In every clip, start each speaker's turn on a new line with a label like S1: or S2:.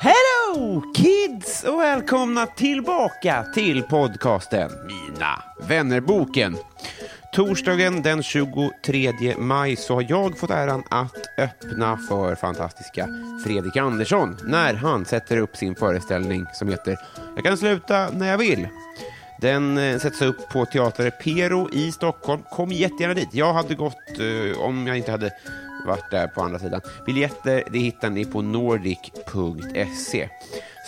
S1: Hello kids och välkomna tillbaka till podcasten Mina vännerboken. Torsdagen den 23 maj så har jag fått äran att öppna för fantastiska Fredrik Andersson när han sätter upp sin föreställning som heter Jag kan sluta när jag vill. Den eh, sätts upp på Teater Pero i Stockholm. Kom jättegärna dit. Jag hade gått eh, om jag inte hade varit där på andra sidan. Biljetter det hittar ni på nordic.se.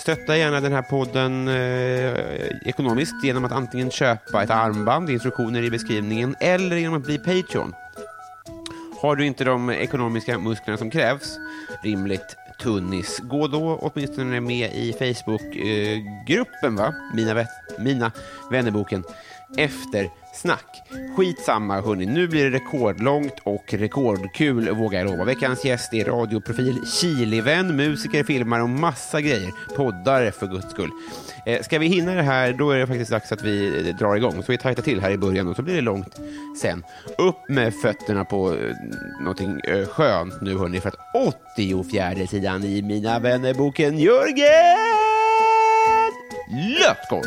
S1: Stötta gärna den här podden eh, ekonomiskt genom att antingen köpa ett armband, instruktioner i beskrivningen, eller genom att bli Patreon. Har du inte de ekonomiska musklerna som krävs, rimligt tunnis, gå då åtminstone med i Facebookgruppen, va? Mina, vä- mina vännerboken efter snack. Skitsamma hörni, nu blir det rekordlångt och rekordkul vågar jag lova. Veckans gäst är radioprofil, Chilivän, musiker, filmare och massa grejer. Poddare för guds skull. Eh, ska vi hinna det här, då är det faktiskt dags att vi eh, drar igång. Så vi tajtar till här i början och så blir det långt sen. Upp med fötterna på eh, någonting eh, skönt nu hörni, för att 84 sidan i Mina vännerboken Jörgen Lötgård.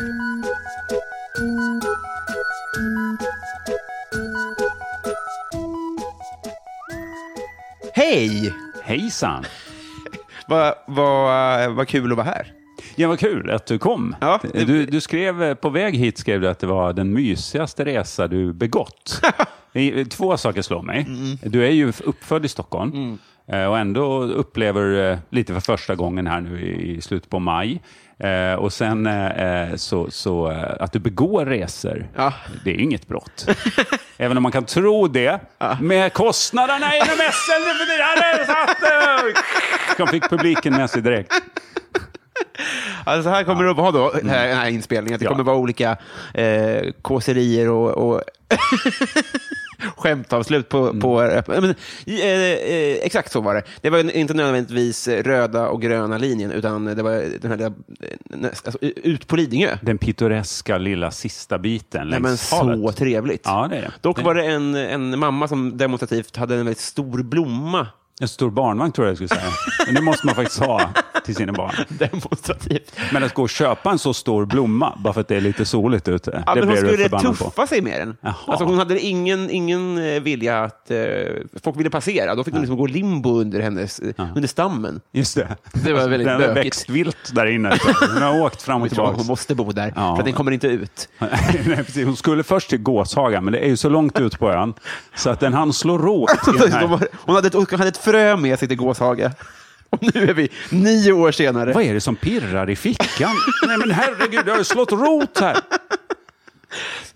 S1: Hej!
S2: Hejsan!
S1: Vad vad
S2: eh,
S1: vad kul att vara här.
S2: Ja, vad kul att du kom.
S1: Ja.
S2: Du, du skrev eh, på väg hit skrev du att det var den mysigaste resa du begått. I- Två saker slår mig.
S1: Mm.
S2: Du är ju uppfödd i Stockholm eh, och ändå upplever eh, lite för första gången här nu i i slutet på maj. Eh, Och sen eh, eh, så, så eh, att du begår resor,
S1: Ja.
S2: det är inget brott. Även om man kan tro det, med kostnaderna inom SL nu för tiden. Här är det satt, eh, De fick publiken med sig direkt.
S1: Alltså här kommer det att vara då, den här, den här inspelningen. att Det
S2: Mm.
S1: kommer
S2: Ja.
S1: vara olika eh, kåserier och, och skämtavslut på...
S2: Mm.
S1: på men, eh, eh, exakt så var det. Det var ju inte nödvändigtvis röda och gröna linjen, utan det var den här lilla, eh, alltså, ut på Lidingö.
S2: den pittoreska lilla sista biten
S1: Nej,
S2: längs
S1: men så
S2: havet.
S1: trevligt.
S2: Ja, det är det.
S1: Dock
S2: Det-
S1: var det en, en mamma som demonstrativt hade en väldigt stor blomma
S2: En stor barnvagn tror jag jag skulle säga. Men det måste man faktiskt ha till sina barn.
S1: demonstrativt.
S2: Men att gå och köpa en så stor blomma bara för att det är lite soligt ute,
S1: Ja,
S2: det
S1: men hon
S2: blir du
S1: skulle
S2: förbannad
S1: tuffa
S2: på.
S1: sig med den.
S2: Jaha.
S1: Alltså, hon hade ingen, ingen eh, vilja att... Eh, folk ville passera. Då fick de liksom gå limbo under, hennes, eh, under stammen.
S2: Just det.
S1: Det var väldigt
S2: den har
S1: bökigt.
S2: växt vilt där inne. Den har åkt fram och
S1: Jag tror att
S2: tillbaka.
S1: hon måste bo där,
S2: Ja,
S1: för att den
S2: men-
S1: kommer inte ut.
S2: Nej, precis. Hon skulle först till Gåshaga, men det är ju så långt ut på ön så att den hann slå råt i den
S1: De
S2: här
S1: var- Hon hade, ett, hon hade ett frö med sig till Gåshaga. Och nu är vi nio år senare.
S2: Vad är det som pirrar i fickan? Nej men herregud, jag har ju slått rot här.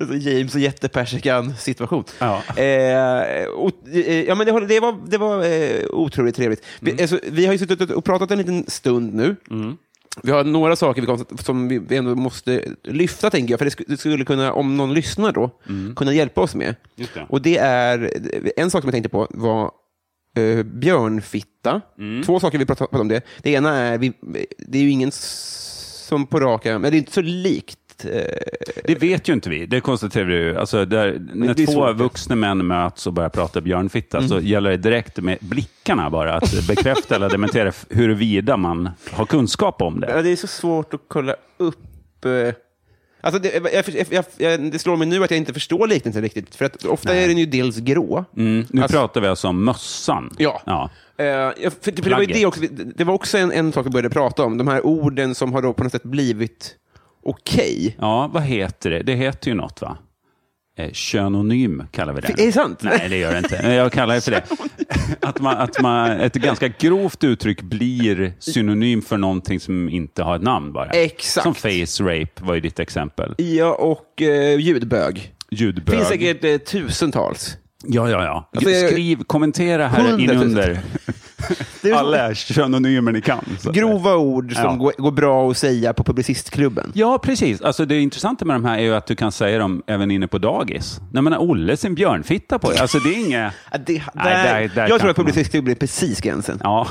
S1: Alltså, James och jättepersikan-situation.
S2: Ja.
S1: Eh, och, eh, ja, men det, håller- det var, det var eh, otroligt trevligt.
S2: Mm.
S1: Vi, alltså, vi har ju suttit och pratat en liten stund nu. Vi har några saker vi kom, som vi- vi ändå måste lyfta, tänker jag. För det sk- det skulle kunna, om någon lyssnar då, kunna hjälpa oss med.
S2: Mm. Just det.
S1: Och det är, en sak som jag tänkte på var eh, björnfitta.
S2: Mm.
S1: Två saker vi pratade pratade om det. Det ena är, vi, det är ju ingen s- som på raka, men det är inte så likt faktiskt... Eh,
S2: Det vet ju inte vi. Det konstaterar vi ju. Alltså, där, när
S1: det är
S2: två
S1: svårt. Mm.
S2: vuxna män möts och börjar prata björnfitta så gäller det direkt med blickarna bara att bekräfta eller dementera f- huruvida man har kunskap om det.
S1: ja, det är så svårt att kolla upp... Eh, alltså det, jag, jag, jag, jag, det slår mig nu att jag inte förstår liknelsen riktigt. För att ofta är den ju dels grå.
S2: Mm, nu
S1: Alltså-
S2: pratar vi alltså om mössan.
S1: Ja.
S2: ja.
S1: Eh, ja, för, för det, var ju
S2: Plagget.
S1: det, också, det var också en, en sak vi började prata om. De här orden som har då på något sätt blivit okej.
S2: Ja, vad heter det? Det heter ju något, va? Eh, könonym kallar vi det.
S1: Är det sant?
S2: Nej, det gör det inte. Jag kallar det för det. Att, man, att man, ett ganska grovt uttryck blir synonym för någonting som inte har ett namn bara.
S1: Exakt.
S2: Som face rape var ju ditt exempel.
S1: Ja, och eh, ljudbög.
S2: Ljudbög.
S1: finns säkert eh, tusentals.
S2: Ja, ja, ja.
S1: Alltså, jag-
S2: Skriv, kommentera här
S1: Hundratusen.
S2: inunder
S1: Det är så-
S2: alla synonymer ni kan. så att säga.
S1: Grova ord som
S2: Ja.
S1: går, går bra att säga på publicistklubben.
S2: Ja, precis. Alltså, det intressanta med de här är ju att du kan säga dem även inne på dagis. Nej, men Olle sin björnfitta på dig. Alltså, det är inget...
S1: Ja, Det, där,
S2: Nej, där- där
S1: jag
S2: kan
S1: tror att
S2: man-
S1: publicistklubben är precis gränsen.
S2: Ja.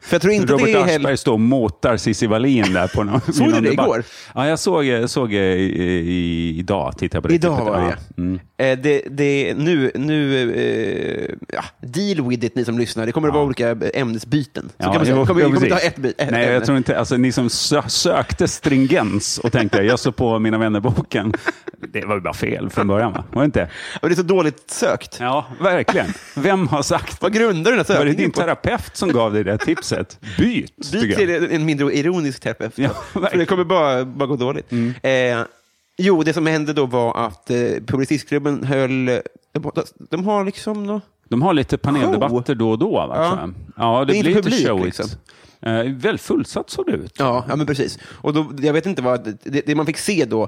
S1: För jag tror inte
S2: Robert
S1: det är
S2: Aschberg står och måtar Cissi Wallin där på någon
S1: Såg du
S2: någon
S1: det
S2: debatt.
S1: igår?
S2: Ja, jag såg, jag såg eh, i, i, idag. Tittade jag på det.
S1: Idag
S2: klippet.
S1: var
S2: Ja. Mm.
S1: det. Eh, det, det nu, nu eh, ja, deal with it ni som lyssnar. Det kommer att vara olika ämnesbyten. Så
S2: Ja,
S1: kan man säga.
S2: jo,
S1: Vi kommer, vi
S2: jo,
S1: kommer inte ha
S2: precis.
S1: ett, by- ett
S2: Nej,
S1: ämne.
S2: jag tror inte, alltså, ni som sö sökte stringens och tänkte jag såg på Mina vännerboken. Det var ju bara fel från början, va? Var det inte?
S1: Men det är så dåligt sökt.
S2: Ja, verkligen. Vem har sagt
S1: Vad grundar du den här
S2: Var det
S1: sökningen
S2: din
S1: på?
S2: terapeut som gav dig det här tipset? Byt,
S1: Byt
S2: tycker jag.
S1: till en mindre ironisk terapeut.
S2: Ja,
S1: för det
S2: verkligen. Mm.
S1: kommer bara, bara gå dåligt. Eh, jo, det som hände då var att eh, Publicistklubben höll... De, de har liksom... nå-
S2: De har lite paneldebatter då och då. Va?
S1: Ja.
S2: tror jag. ja det,
S1: Det är inte
S2: blir lite
S1: publik,
S2: showigt.
S1: liksom.
S2: Eh, väldigt fullsatt såg det ut.
S1: Ja, ja men precis. Och då, jag vet inte vad... Det, det man fick se då,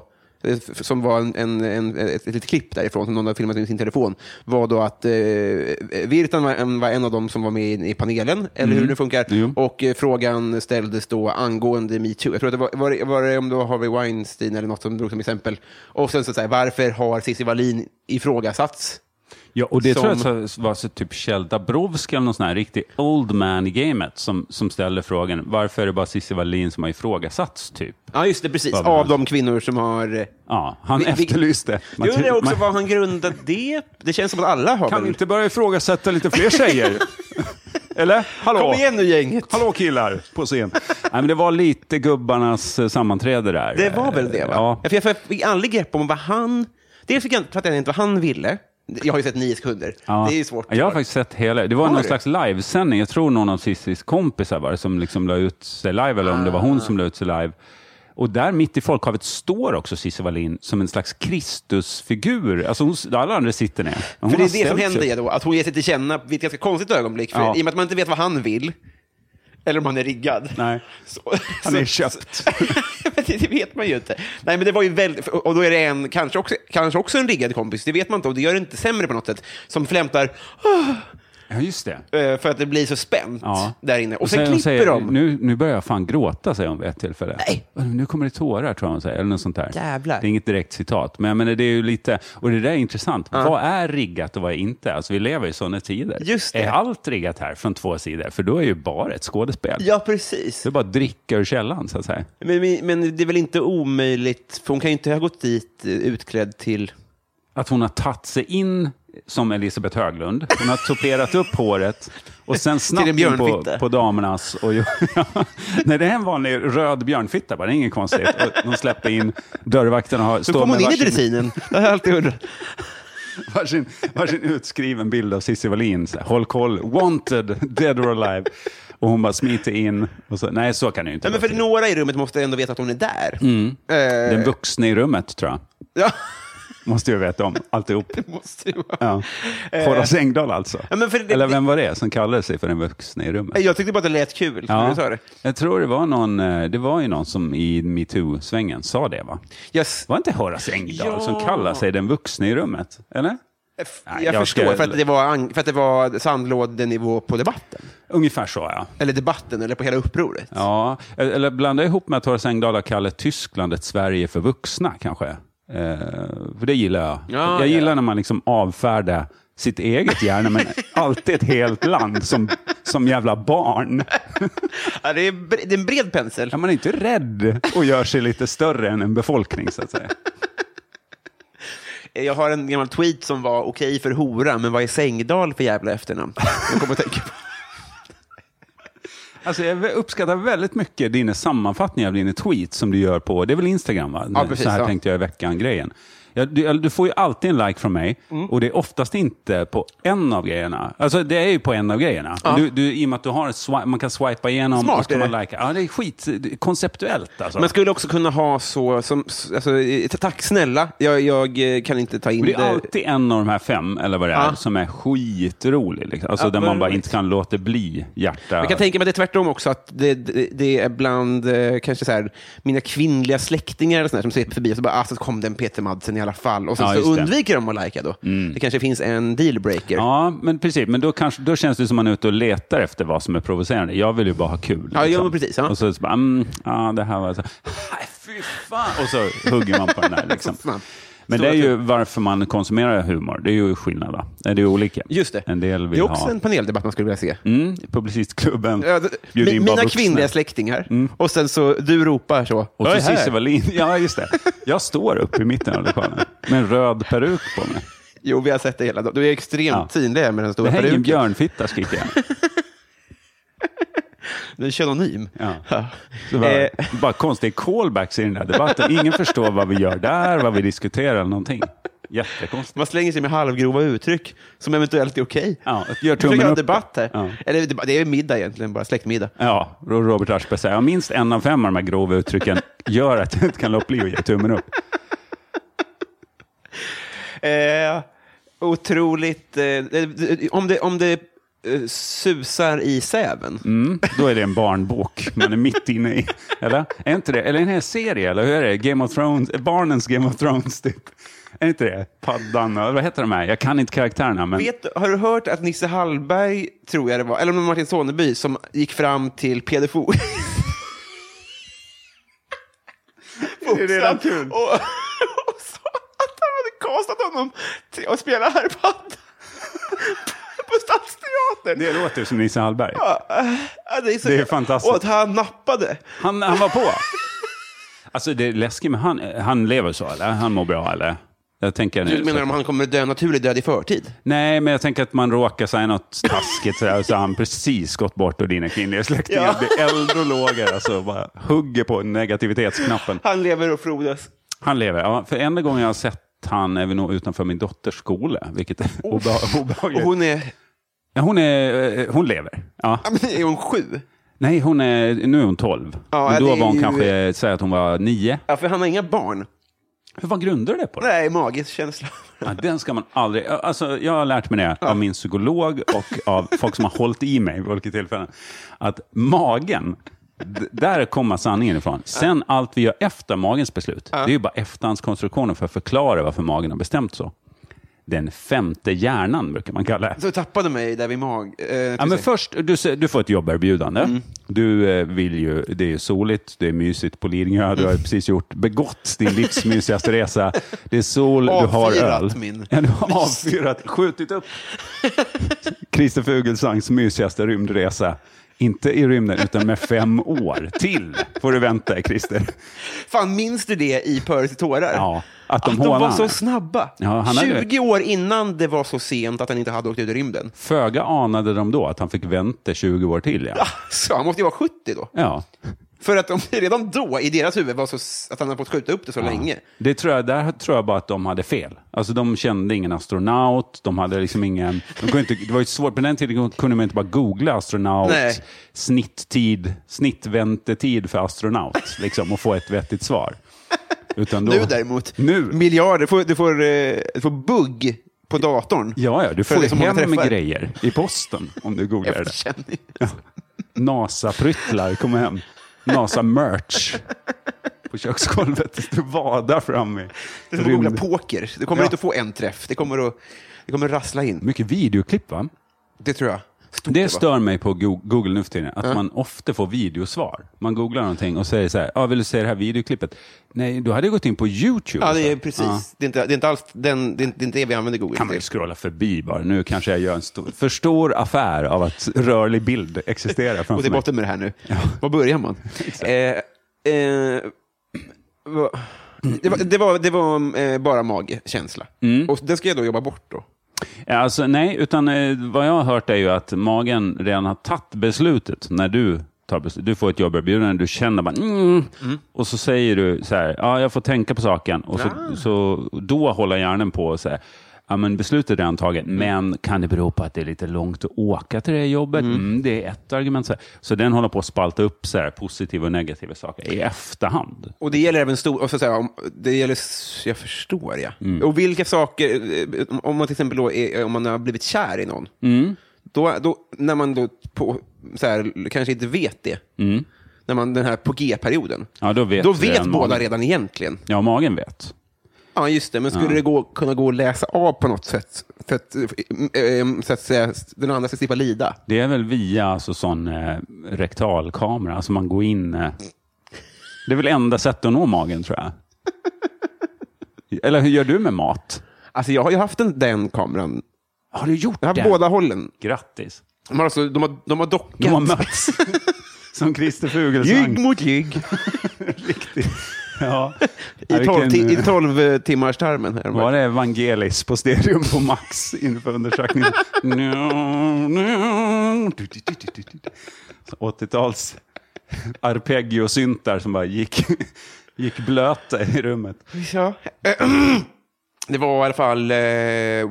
S1: eh, f- som var en, en, en, ett litet klipp därifrån som någon hade filmat med sin telefon, var då att eh, Virtan var en, var en av dem som var med i, i panelen, eller hur det funkar.
S2: Mm. Jo.
S1: Och eh, frågan ställdes då angående metoo. Jag tror att det var, var, det- var det om det var Harvey Weinstein eller något som drog som exempel. Och sen så, så här, varför har Cissi Wallin ifrågasatts?
S2: Ja, och det
S1: Som-
S2: tror jag så- var så typ Kjell Dabrowski eller någon sån här riktig old man i gamet som, som ställde frågan varför är det bara Cissi Wallin som har ifrågasatts typ?
S1: Ja, just det, precis.
S2: Vad
S1: Av
S2: menar
S1: de kvinnor som har... eh,
S2: Ja, han
S1: Vi- vi-
S2: efterlyste. Man-
S1: Jag undrar också
S2: man-
S1: vad han grundade det Det känns som att alla har
S2: Kan
S1: väl-
S2: vi inte börja ifrågasätta lite fler tjejer? eller? Hallå?
S1: Kom igen nu gänget!
S2: Hallå killar på scen. Nej, men det var lite gubbarnas eh, sammanträde där.
S1: Det var väl det? Va?
S2: Ja.
S1: Ja. För jag för jag fick aldrig grepp om vad han... Dels fick jag fattade jag inte vad han ville. Jag har ju sett nio sekunder.
S2: Ja.
S1: Det är ju svårt.
S2: Jag har faktiskt sett hela. Det var
S1: Har
S2: någon
S1: du?
S2: slags livesändning. Jag tror någon av Cissis kompisar var det som liksom la ut sig live, eller om det var
S1: Ah.
S2: hon som la ut sig live. Och där mitt i folkhavet står också Cissi Wallin som en slags Kristusfigur. Alltså hon, alla andra sitter ner. Hon
S1: För det
S2: har
S1: är det som
S2: ställt
S1: händer
S2: sig.
S1: ju då, att hon ger sig till känna vid ett ganska konstigt ögonblick. För
S2: Ja.
S1: I och med att man inte vet vad han vill, eller om han är riggad.
S2: Nej.
S1: Så,
S2: Han
S1: så-
S2: är köpt.
S1: men det, det vet man ju inte. Nej, men det var ju väldigt, och då är det en, kanske också, kanske också en riggad kompis, det vet man inte, och det gör det inte sämre på något sätt, som flämtar
S2: Ja, just det.
S1: eh, för att det blir så spänt
S2: Ja.
S1: där inne. Och sen
S2: hon
S1: klipper
S2: säger,
S1: de.
S2: Nu, nu börjar jag fan gråta, säger hon vid ett tillfälle.
S1: Nej.
S2: Nu kommer det tårar, tror jag hon säger. Eller något sånt där.
S1: Jävlar.
S2: Det är inget direkt citat, men jag menar, det är ju lite... Och det där är intressant. Vad är riggat och vad är inte? Alltså, vi lever i sådana tider.
S1: Just det.
S2: Är allt riggat här från två sidor? För då är ju bara ett skådespel.
S1: Ja, precis.
S2: Det är bara att dricka ur källan, så att säga.
S1: Men, men, men det är väl inte omöjligt, för hon kan ju inte ha gått dit eh, utklädd till...
S2: Att hon har tagit sig in som Elisabeth Höglund. Hon har toperat upp håret och sen snabbt
S1: en
S2: in på,
S1: björnfitta.
S2: på damernas. Och, ju- ja, nej, det är en vanlig röd björnfitta bara, det är inget konstigt. Och de släpper in dörrvakterna har,
S1: Så
S2: står
S1: kom hon
S2: med
S1: in i
S2: varsin,
S1: dressinen. Det har jag alltid undrat.
S2: varsin, varsin utskriven bild av Cissi Wallin. Så här, Håll koll, wanted, dead or alive. Och hon bara smiter in. Och så, nej, så kan det ju inte
S1: Nej, men
S2: gå
S1: för
S2: till.
S1: några i rummet måste ändå veta att hon är där. Eh,
S2: Den vuxne i rummet, tror jag,
S1: ja,
S2: måste ju veta om alltihop.
S1: det måste ju vara.
S2: Ja. Horace Engdahl alltså.
S1: Eh. Ja, men för det-
S2: Eller vem var det som kallade sig för den vuxne i rummet?
S1: Jag tyckte bara att det lät kul. när Du sa det.
S2: Jag tror det var någon, eh, det var ju någon som i metoo-svängen sa det va?
S1: Jag, s-
S2: Var inte Horace Engdahl
S1: Ja.
S2: som kallar sig den vuxne i rummet? Eller?
S1: Eh, f-
S2: Nej,
S1: jag
S2: jag
S1: förstår,
S2: ska-
S1: för, att det var, ang- för att det var sandlådenivå på debatten.
S2: Ungefär så ja.
S1: Eller debatten, eller på hela upproret.
S2: ja. Eller blanda ihop med att Horace Engdahl har kallat Tyskland ett Sverige för vuxna kanske. Eh, för det gillar jag.
S1: Ja,
S2: jag
S1: ja.
S2: gillar när man liksom avfärdar sitt eget hjärna, men alltid ett helt land som, som jävla barn.
S1: Ja, det, är, bre- det är en bred pensel.
S2: Ja, man är inte rädd och gör sig lite större än en befolkning, så att säga.
S1: Eh, Jag har en gammal tweet som var okej för hora, men vad är Sängdal för jävla efternamn? Jag kommer att tänka på.
S2: Alltså, jag uppskattar väldigt mycket dina sammanfattningar av dina tweets som du gör på, det är väl Instagram va?
S1: Ja, precis,
S2: så här
S1: ja.
S2: tänkte jag i veckan-grejen. Ja, du, du får ju alltid en like från mig
S1: Mm.
S2: och det är oftast inte på en av grejerna. Alltså det är ju på en av grejerna. Du, du, I och med att du har ett swi- man kan swipa igenom
S1: Smart
S2: och så kan
S1: är
S2: man
S1: det.
S2: likea. Ja, det är skit det är konceptuellt alltså.
S1: Man skulle också kunna ha så, som, alltså, eh, tack snälla, jag, jag eh, kan inte ta in
S2: Men det
S1: det.
S2: är alltid en av de här fem, eller vad det är,
S1: Ja.
S2: som är skitrolig. Liksom. Alltså
S1: Ja,
S2: där
S1: vad
S2: man bara
S1: roligt.
S2: inte kan låta bli hjärta.
S1: Jag kan tänka mig det tvärtom också, att det, det, det är bland eh, kanske så här, mina kvinnliga släktingar eller sån här, som ser förbi och så bara, ah, så kom den Peter Madsen i alla fall. Och sen
S2: Ja,
S1: så
S2: just det. Mm.
S1: undviker de att lajka då. Det kanske finns en dealbreaker.
S2: Ja, men precis. Men då, kanske, då känns det som man är ute och letar efter vad som är provocerande. Jag vill ju bara ha kul. liksom.
S1: Ja, jo, men precis, ja.
S2: Och så, så bara, mm, ja, det här var så. "Nej, Fy fan! Och så hugger man på den där. Liksom.
S1: Snabbt.
S2: Men det
S1: Stora
S2: är ju varför man konsumerar humor. Det är ju skillnad. Va? Det är ju olika.
S1: Just det.
S2: En del vill
S1: det är också
S2: ha...
S1: en paneldebatt man skulle vilja se.
S2: Mm, publicistklubben
S1: Ja, d-
S2: bjuder
S1: mi-
S2: in bara
S1: mina
S2: vuxna. Mm.
S1: kvinnliga släktingar. Och sen så, du ropar så.
S2: Och
S1: "Jag
S2: så
S1: är här."
S2: Cissi Wallin. Ja, just det. Jag står uppe i mitten av lokalen med en röd peruk på mig.
S1: Jo, vi har sett det hela dagen. Du är extremt
S2: Ja.
S1: synlig med den
S2: Det
S1: stora
S2: hänger en
S1: peruken.
S2: björnfitta, skriker jag.
S1: Du är könonym.
S2: Ja.
S1: Ja.
S2: Det var
S1: Eh,
S2: bara konstiga callbacks i den här debatten. Ingen förstår vad vi gör där, vad vi diskuterar eller någonting. Jättekonstigt.
S1: Man slänger sig med halvgrova uttryck som eventuellt är okej.
S2: Ja, gör
S1: Vi försöker
S2: tummen
S1: ha en
S2: upp.
S1: debatt här.
S2: Ja.
S1: Eller deba- det är middag egentligen, bara släktmiddag.
S2: Ja, och Robert Aschberg säger ja, minst en av fem av de här grova uttrycken gör att jag inte kan låta bli att ge tummen upp.
S1: Eh, otroligt... Eh, eh, om det, om det eh, susar i säven.
S2: Då är det en barnbok man är mitt inne i. Eller? Är inte det? Eller en här serie, eller hur är det? Game of Thrones, barnens Game of Thrones, typ. Är inte det? Paddan, och- vad heter de här? Jag kan inte karaktärerna, men...
S1: Vet, du- har du hört att Nisse Hallberg, tror jag det var, eller om det var Martin Soneby, som gick fram till Peder Fo-
S2: är redan kul.
S1: Och, och sa att han hade castat honom till att spela här på, på Stadsteatern.
S2: Det låter som Nisse Hallberg.
S1: Ja, det, är så
S2: Det är
S1: jävla-
S2: fantastiskt.
S1: Och att han nappade.
S2: Han, han var på. Alltså det är läskigt, men han, han lever så eller? Han mår bra eller? Jag tänker nu.
S1: Du menar om han kommer dö naturlig död i förtid?
S2: Nej, men jag tänker att man råkar säga något taskigt så, här, så har han precis gått bort och dina kvinnliga släktingar
S1: Ja.
S2: blir äldre och lågor. Alltså bara hugger på negativitetsknappen.
S1: Han lever och frodas.
S2: Han lever. Ja, för enda gången jag har sett han är vi nog utanför min dotters skola, vilket är obeha-
S1: Och
S2: obehagligt. Hon,
S1: hon är...
S2: hon, är, eh, hon lever. Ja.
S1: ja, men Är hon sju?
S2: Nej, hon är, nu är hon 12.
S1: Ja,
S2: men
S1: det
S2: då
S1: är
S2: var hon
S1: ju-
S2: kanske, eh, säg att hon var 9.
S1: Ja, för han har inga barn.
S2: Hur vad grundar du det på? då?
S1: Nej, magisk känsla.
S2: Ja, den ska man aldrig... Alltså, jag har lärt mig det av min psykolog och av folk som har hållit i mig vid olika tillfällen. Att magen, d- där kommer sanningen ifrån. Sen allt vi gör efter magens beslut, det är ju bara efterhandskonstruktioner för att förklara varför magen har bestämt så. Den femte hjärnan brukar man kalla det.
S1: Så tappade mig där vid mag... Eh,
S2: Ja, men först, du, se- du får ett jobberbjudande.
S1: Mm.
S2: Du eh, vill ju, det är ju soligt, det är mysigt på Lidingö, du har ju
S1: Mm.
S2: precis gjort, begått din livs mysigaste resa. Det är sol, du har
S1: Avfyrat
S2: öl.
S1: min
S2: ja, du
S1: mys.
S2: har avfyrat, skjutit upp Christer Fugelsangs mysigaste rymdresa. Inte i rymden, utan med fem år till får du vänta, Christer.
S1: Fan, minns du det i Pörs i tårar?
S2: Ja, att de
S1: att de
S2: hånar
S1: var
S2: han.
S1: så snabba.
S2: Ja, han hade-
S1: 20 år innan det var så sent att han inte hade åkt ut i rymden.
S2: Föga anade de då att han fick vänta 20 år till. Ja.
S1: Så han måste ju vara 70 då.
S2: Ja.
S1: För att de redan då, i deras huvud, var så, s- att han hade fått skjuta upp det så länge.
S2: Det tror jag, där tror jag bara att de hade fel. Alltså de kände ingen astronaut, de hade liksom ingen... De kunde inte, det var ju svårt, på den tiden kunde man inte bara googla astronaut,
S1: Nej.
S2: snitttid, snittväntetid för astronaut, liksom, och få ett vettigt svar. Utan då,
S1: Nu däremot,
S2: Nu?
S1: miljarder. Får, du, får, eh, du får bugg på datorn.
S2: Ja, ja, du
S1: För
S2: får
S1: det är så många
S2: hem med
S1: träffar.
S2: grejer i posten om du googlar det.
S1: Efterkänning.
S2: NASA-pryttlar kommer hem. NASA-merch på köksgolvet. Du vadar fram i
S1: Det är som att googla
S2: rymd-
S1: poker. Du kommer
S2: Ja.
S1: inte att få en träff. Det kommer att, det kommer att rassla in.
S2: Mycket videoklipp, va?
S1: Det tror jag. Stort
S2: Det
S1: var.
S2: stör mig på Go- Google nu för tiden, att man ofta får videosvar. Man googlar någonting och säger så här, ah, vill du se det här videoklippet? Nej, då hade jag gått in på YouTube.
S1: Ja,
S2: och så
S1: det är
S2: här.
S1: precis.
S2: Alltså, Ja.
S1: Det, är inte, det är inte alls den, det, är inte, det är inte det vi använder Google
S2: kan man ju
S1: till.
S2: scrolla förbi bara. Nu kanske jag gör en stor, för stor affär av att rörlig bild existerar
S1: Gå
S2: framför
S1: till
S2: mig.
S1: botten med det här nu. Var börjar man? eh, eh, vad- det var, det var, det var eh, bara magkänsla.
S2: Mm.
S1: Och det ska jag då jobba bort då.
S2: Ja, Alltså, nej, utan eh, vad jag har hört är ju att magen redan har tagit beslutet när du tar beslut. Du får ett jobberbjudande, du känner bara mm, och så säger du så här, ja, jag får tänka på saken och så, så då håller hjärnan på och så här, Ja, men beslutet är redan taget, men kan det bero på att det är lite långt att åka till det här jobbet? Mm. det är ett argument. Så, här. så den håller på att spalta upp så här, positiva och negativa saker i efterhand.
S1: Och det gäller även stor... Och så att säga, om, det gäller, s- jag förstår, ja.
S2: Mm.
S1: Och vilka saker... eh, om- Om man till exempel då är, om man har blivit kär i någon,
S2: Mm.
S1: då, då, när man då på, så här, kanske inte vet det, när man, den här på G-perioden,
S2: Mm. Ja, då vet,
S1: då vet
S2: redan
S1: båda
S2: magen.
S1: redan egentligen.
S2: Ja, magen vet.
S1: Ja, just det. Men skulle det gå, kunna gå att läsa av på något sätt? För att, eh, eh, så att säga, den andra ska slippa lida.
S2: Det är väl via alltså, sån eh, rektalkamera, alltså man går in. Eh, det är väl enda sättet att nå magen tror jag. Eller hur gör du med mat?
S1: Alltså, jag har ju haft den, den kameran.
S2: Har du gjort
S1: Jag har
S2: det?
S1: haft båda hållen.
S2: Grattis.
S1: De har, alltså, de har, de har dockat.
S2: De har mötts. Som Christer Fuglesang.
S1: Ljug mot ljug.
S2: Ja.
S1: I
S2: Ja,
S1: tolv,
S2: vilken,
S1: ti-
S2: eh,
S1: i tolv timmars tarmen här.
S2: Var det Evangelis på Stadium på Max inför undersökningen? No, no. Du, du, du, du, du, du. Så 80-tals arpeggiosyntar som bara gick, gick blöta i rummet.
S1: Ja. Det var i alla fall eh,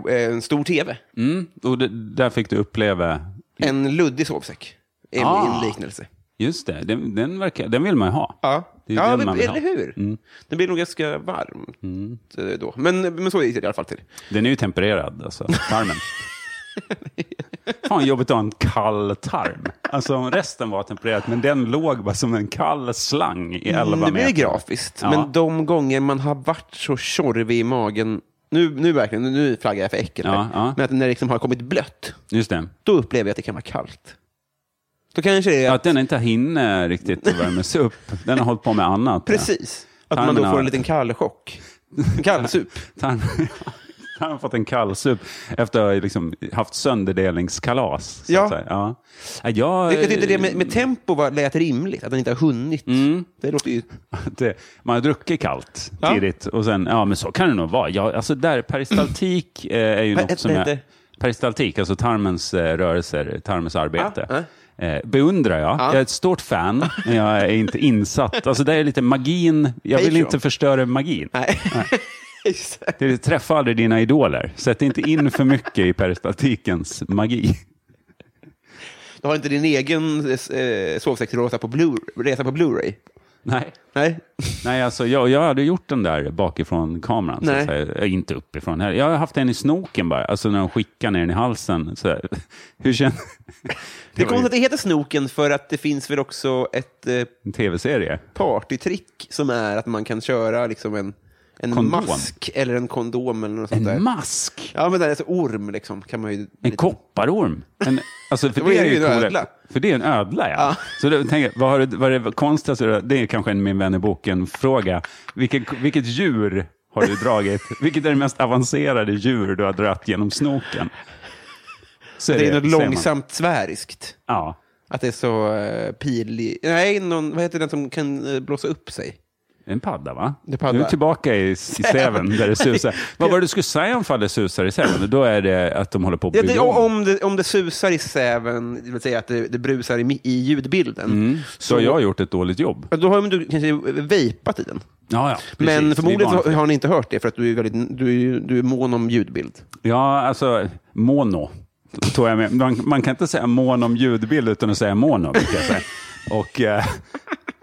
S1: en stor tv.
S2: Mm. Och det, där fick du uppleva...
S1: En luddig sovsäck. En,
S2: Ah.
S1: en liknelse.
S2: Just det, den, den, verkar, den vill man ju ha.
S1: Ja,
S2: Det är
S1: ja
S2: den
S1: men,
S2: man vill ha. Mm.
S1: eller hur? Den blir nog ganska varm eh, då. Men, men så gick det i alla fall till.
S2: Den är ju tempererad, alltså, tarmen. Fan jobbigt att ha en kall tarm. Alltså om resten var tempererad, men den låg bara som en kall slang i 11
S1: Mm, det blir
S2: meter.
S1: grafiskt.
S2: Ja.
S1: Men de gånger man har varit så tjorvig i magen, nu, nu verkligen, nu flaggar jag för äckel här.
S2: Ja, ja.
S1: Men att när det liksom har kommit blött,
S2: Just det.
S1: då upplever jag att det kan vara kallt. Då kanske det är
S2: Att den inte hinner riktigt värmas upp. Den har hållit på med annat.
S1: precis, att man
S2: Tarmen
S1: då får
S2: har-
S1: en liten kallchock. En kallsup.
S2: Tarmen har fått en kallsup efter att ha liksom haft sönderdelningskalas. Så
S1: Ja.
S2: att säga. ja. Ja, Jag,
S1: Jag tyckte det med, med tempo var, lät rimligt, att den inte har hunnit.
S2: Mm.
S1: Det låter ju...
S2: att det, man har druckit kallt
S1: Ja.
S2: tidigt och sen, ja men så kan det nog vara. Ja, alltså där, peristaltik eh, är ju
S1: Vad
S2: något
S1: heter
S2: som jag,
S1: det?
S2: peristaltik, alltså tarmens eh, rörelser, tarmens arbete. Eh, beundrar jag. Jag är ett stort fan, men jag är inte insatt. Alltså det är lite magin, jag vill
S1: Patreon.
S2: inte förstöra magin.
S1: Nej.
S2: Det är, träffa aldrig dina idoler. Sätt inte in för mycket i peristaltikens magi.
S1: du har inte din egen eh, sovsäck resa på Blu- resa på Blu-ray?
S2: Nej.
S1: Nej.
S2: Nej, alltså jag, jag hade gjort den där bakifrån kameran. Så
S1: Nej.
S2: att säga. Eh, Inte uppifrån heller. Jag har haft en i snoken bara, alltså när de skickar ner den i halsen. Så här. Hur känns
S1: Det är
S2: var ju
S1: konstigt att det heter Snoken för att det finns väl också ett eh,
S2: en tv-serie?
S1: partytrick som är att man kan köra liksom en, en
S2: Kondom.
S1: mask eller en kondom eller något sånt där.
S2: En mask?
S1: Ja, men det är så orm liksom. Kan man ju
S2: En kopparorm? En, alltså för
S1: Då
S2: det
S1: är
S2: är
S1: det
S2: ju
S1: ju en
S2: coolare.
S1: ödla.
S2: För det är en ödla, ja. Så då tänker jag, vad, har, du- vad är det konstigaste? du har- Det är kanske en Min vän i boken-fråga. Vilken, vilket djur har du dragit? Vilket är det mest avancerade djur du har dragit genom snoken? Så
S1: Det är något
S2: ser man.
S1: långsamt sväriskt.
S2: Ja.
S1: Att det är så uh, pilig... Nej, någon, vad heter den som kan eh, blåsa upp sig?
S2: En padda, va?
S1: Det är padda.
S2: Nu är vi tillbaka i, i säven där det susar. Vad var det du skulle säga om fall det susar i säven? Då är det att de håller på att
S1: Ja,
S2: bygga
S1: det,
S2: om.
S1: om, det, om det susar i säven, det vill säga att det, det brusar i, mi- i ljudbilden,
S2: Så har jag gjort ett dåligt jobb.
S1: Ja, då har du kanske vejpat i den.
S2: Ja, ja, precis. Det
S1: Men
S2: är
S1: förmodligen så
S2: vanligt.
S1: har ni inte hört det för att du är, väldigt, du är, ju- du är mån om ljudbild.
S2: Ja, alltså mono. Tog jag med. Man, man kan inte säga mono om ljudbild utan att säga mono. brukar Jag säga. Och, eh,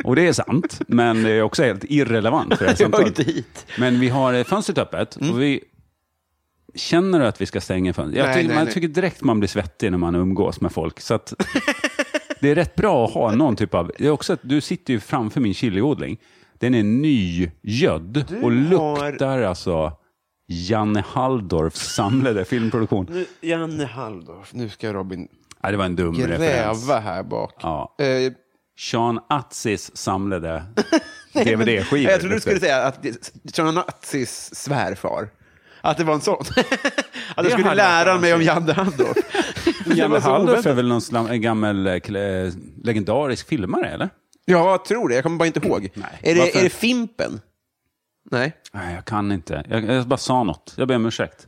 S2: och det är sant, men det är också helt irrelevant för det här
S1: Jag hör
S2: samtalet.
S1: inte hit. Mm.
S2: Men vi har eh, fönstret öppet och vi känner du att vi ska stänga fönstret. Jag,
S1: Nej,
S2: tycker,
S1: nej,
S2: man
S1: nej.
S2: tycker direkt man blir svettig när man umgås med folk. Så att det är rätt bra att ha någon typ av... Det är också att du sitter ju framför min chiliodling. Den är nygödd och
S1: har-
S2: luktar alltså Janne Halldorfs samlade filmproduktion.
S1: Janne Halldorf, nu ska Robin
S2: Ja, det var en dum referens.
S1: gräva här bak.
S2: Ja.
S1: Eh,
S2: Sean Atzis samlade DVD-skivor.
S1: Jag trodde du skulle säga att John Nazis svärfar. Att det var en sån. att du skulle
S2: hade
S1: lära
S2: varit
S1: mig om Janne Halldorf. Det var
S2: Janne
S1: så
S2: Halldorf är
S1: oväntat.
S2: väl någon slam, en gammal eh, kle- legendarisk filmare, eller?
S1: Ja, jag tror det. Jag kommer bara inte ihåg.
S2: Nej.
S1: Är, det,
S2: Varför?
S1: är det Fimpen? Nej.
S2: Nej, jag kan inte. Jag, jag bara sa något. Jag ber om ursäkt.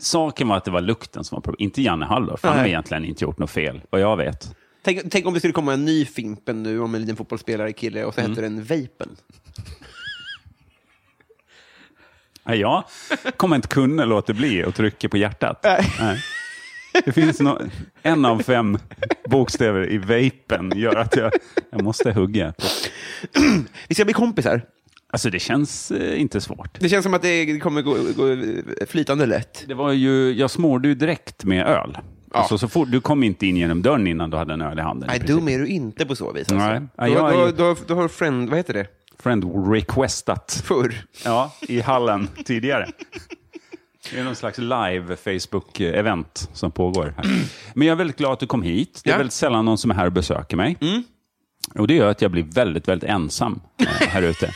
S2: Saken var att det var lukten som var problemet, inte Janne Halldorf. Han har
S1: Nej.
S2: egentligen inte gjort något fel, vad jag vet.
S1: Tänk, tänk om det skulle komma en ny Fimpen nu om en liten fotbollsspelare kille och så
S2: Mm.
S1: hette den Vapen.
S2: Nej, jag kommer inte kunna låta bli att trycka på hjärtat. Nej. Det finns nå- en av fem bokstäver i vapen gör att jag, jag måste hugga.
S1: Vi ska bli kompisar.
S2: Alltså det känns eh, inte svårt.
S1: Det känns som att det kommer gå, gå flytande lätt.
S2: Det var ju, jag smorde ju direkt med öl. Alltså, så fort, du kom inte in genom dörren innan du hade en öl i handen. i
S1: Nej,
S2: princip.
S1: dum är du inte på så vis. Alltså.
S2: Nej. Nej,
S1: Då,
S2: jag är
S1: då,
S2: ju-
S1: då, då har friend, vad heter det?
S2: Friend requestat.
S1: Förr.
S2: Ja, i hallen tidigare. Det är någon slags live Facebook-event som pågår här. Men jag är väldigt glad att du kom hit. Det är
S1: Ja. Mm.
S2: väldigt sällan någon som är här och besöker mig. Och det gör att jag blir väldigt, väldigt ensam eh, här ute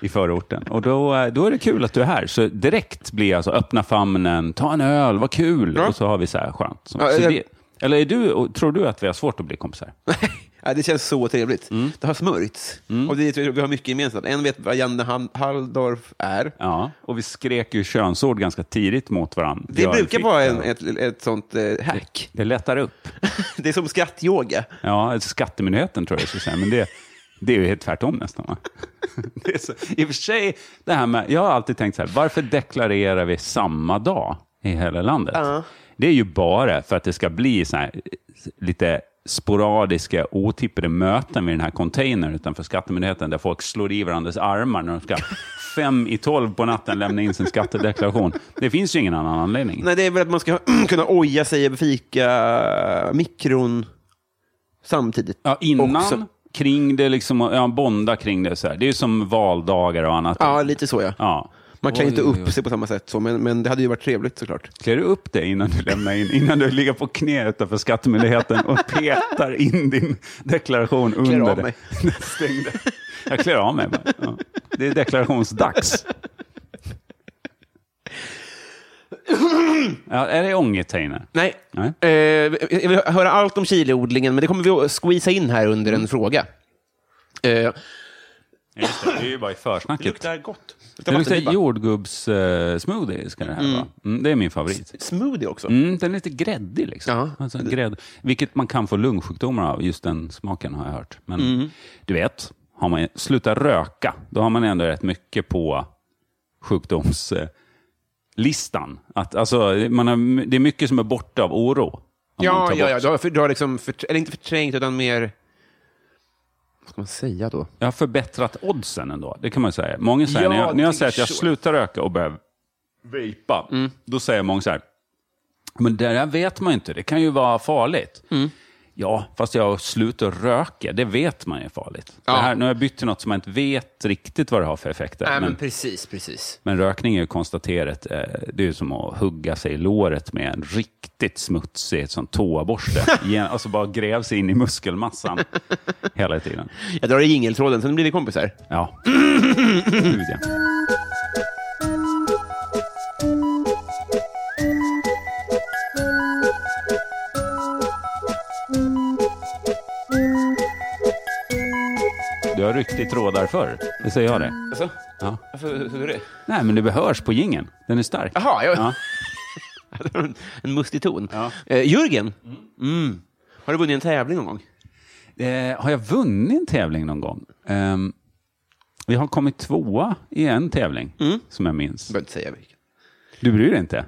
S2: i förorten. Och då, eh, då är det kul att du är här. Så direkt blir jag så öppna famnen, ta en öl, vad kul. Och så har vi så här skönt. Så,
S1: Ja,
S2: så
S1: jag-
S2: det, eller är du, och tror du att vi har svårt att bli kompisar?
S1: ja, det känns så trevligt.
S2: Mm.
S1: Det har smörjts. Och det, vi har mycket gemensamt. En vet vad Janne Hall- Halldorf är.
S2: Ja, och vi skrek ju könsord ganska tidigt mot varandra.
S1: Det brukar vara en, ett, ett sånt eh, hack.
S2: Det lättar upp.
S1: Det är som skrattyoga.
S2: Ja, alltså Skattemyndigheten tror jag jag skulle säga, men det, det är ju helt tvärtom nästan. Va? Det är så, I och för sig, det här med, jag har alltid tänkt så här, varför deklarerar vi samma dag i hela landet? Det är ju bara för att det ska bli så här, lite sporadiska, otippade möten vid den här containern utanför Skattemyndigheten, där folk slår i varandras armar när de ska fem i tolv på natten lämna in sin skattedeklaration. Det finns ju ingen annan anledning.
S1: Nej, det är väl att man ska kunna oja sig över fika eh, mikron samtidigt.
S2: Ja, innan,
S1: Också.
S2: kring det, liksom, och- ja, bonda kring det. Så här. Det är ju som valdagar och annat.
S1: Ja, lite så ja.
S2: Ja.
S1: Man kan
S2: Oj,
S1: ju inte
S2: oj,
S1: upp sig på samma sätt så, men, men det hade ju varit trevligt såklart.
S2: Klär du upp dig innan du lämnar in, innan du ligger på knä utanför Skattemyndigheten och petar in din deklaration under
S1: av
S2: det.
S1: mig.
S2: Stäng det. Jag klär av mig bara. Ja. Det är deklarationsdags. Ja, är det ångestainer?
S1: Nej.
S2: Nej.
S1: Eh, jag vill höra allt om chiliodlingen, men det kommer vi att squeeza in här under
S2: Mm.
S1: en fråga. Eh,
S2: Just det, det är ju bara i försnacket.
S1: gott.
S2: Det luktar jordgubbssmoothie, ska det här vara. Mm, det är min favorit.
S1: Smoothie också.
S2: Mm, den är lite gräddig. Liksom.
S1: Ja.
S2: Alltså, grädd, vilket man kan få lungsjukdomar av, just den smaken har jag hört. Men
S1: Mm.
S2: du vet, har man slutat röka, då har man ändå rätt mycket på sjukdomslistan. Att, alltså, man har, det är mycket som är borta av oro. om man
S1: Ja,
S2: tar
S1: ja,
S2: bort-
S1: ja. Du har, för, du har liksom, förtr- eller inte förträngt, utan mer... Vad ska man säga då?
S2: Jag har förbättrat oddsen ändå, det kan man ju säga. Många säger,
S1: Ja,
S2: när jag, när jag
S1: det
S2: säger
S1: är
S2: att jag
S1: så. Mm.
S2: slutar röka och börjar vejpa, då säger många så här, men det där vet man ju inte, det kan ju vara farligt.
S1: Mm.
S2: Ja, fast jag slutar röka, det vet man ju är farligt.
S1: Ja.
S2: Det här, nu har jag bytt till något som jag inte vet riktigt vad det har för effekter.
S1: Nej, men,
S2: men,
S1: precis, precis.
S2: men rökning är ju konstaterat, eh, det är ju som att hugga sig i låret med en riktigt smutsig sån toaborste. Igen, alltså bara grävs in i muskelmassan hela tiden.
S1: Jag drar i jingeltråden, sen blir vi kompisar.
S2: Ja. Gud, ja. Du har ryckt i trådar förr. Det säger jag det.
S1: Alltså?
S2: Ja.
S1: Varför hur är det?
S2: Nej, men det behörs på gingen. Den är stark.
S1: Jaha, jag...
S2: Ja.
S1: en, en mustig ton.
S2: Ja.
S1: Eh, Jörgen, Mm. har du vunnit en tävling någon gång?
S2: Eh, har jag vunnit en tävling någon gång? Ehm, jag har kommit tvåa i en tävling, som jag minns.
S1: Jag behöver inte säga vilken.
S2: Du bryr dig inte?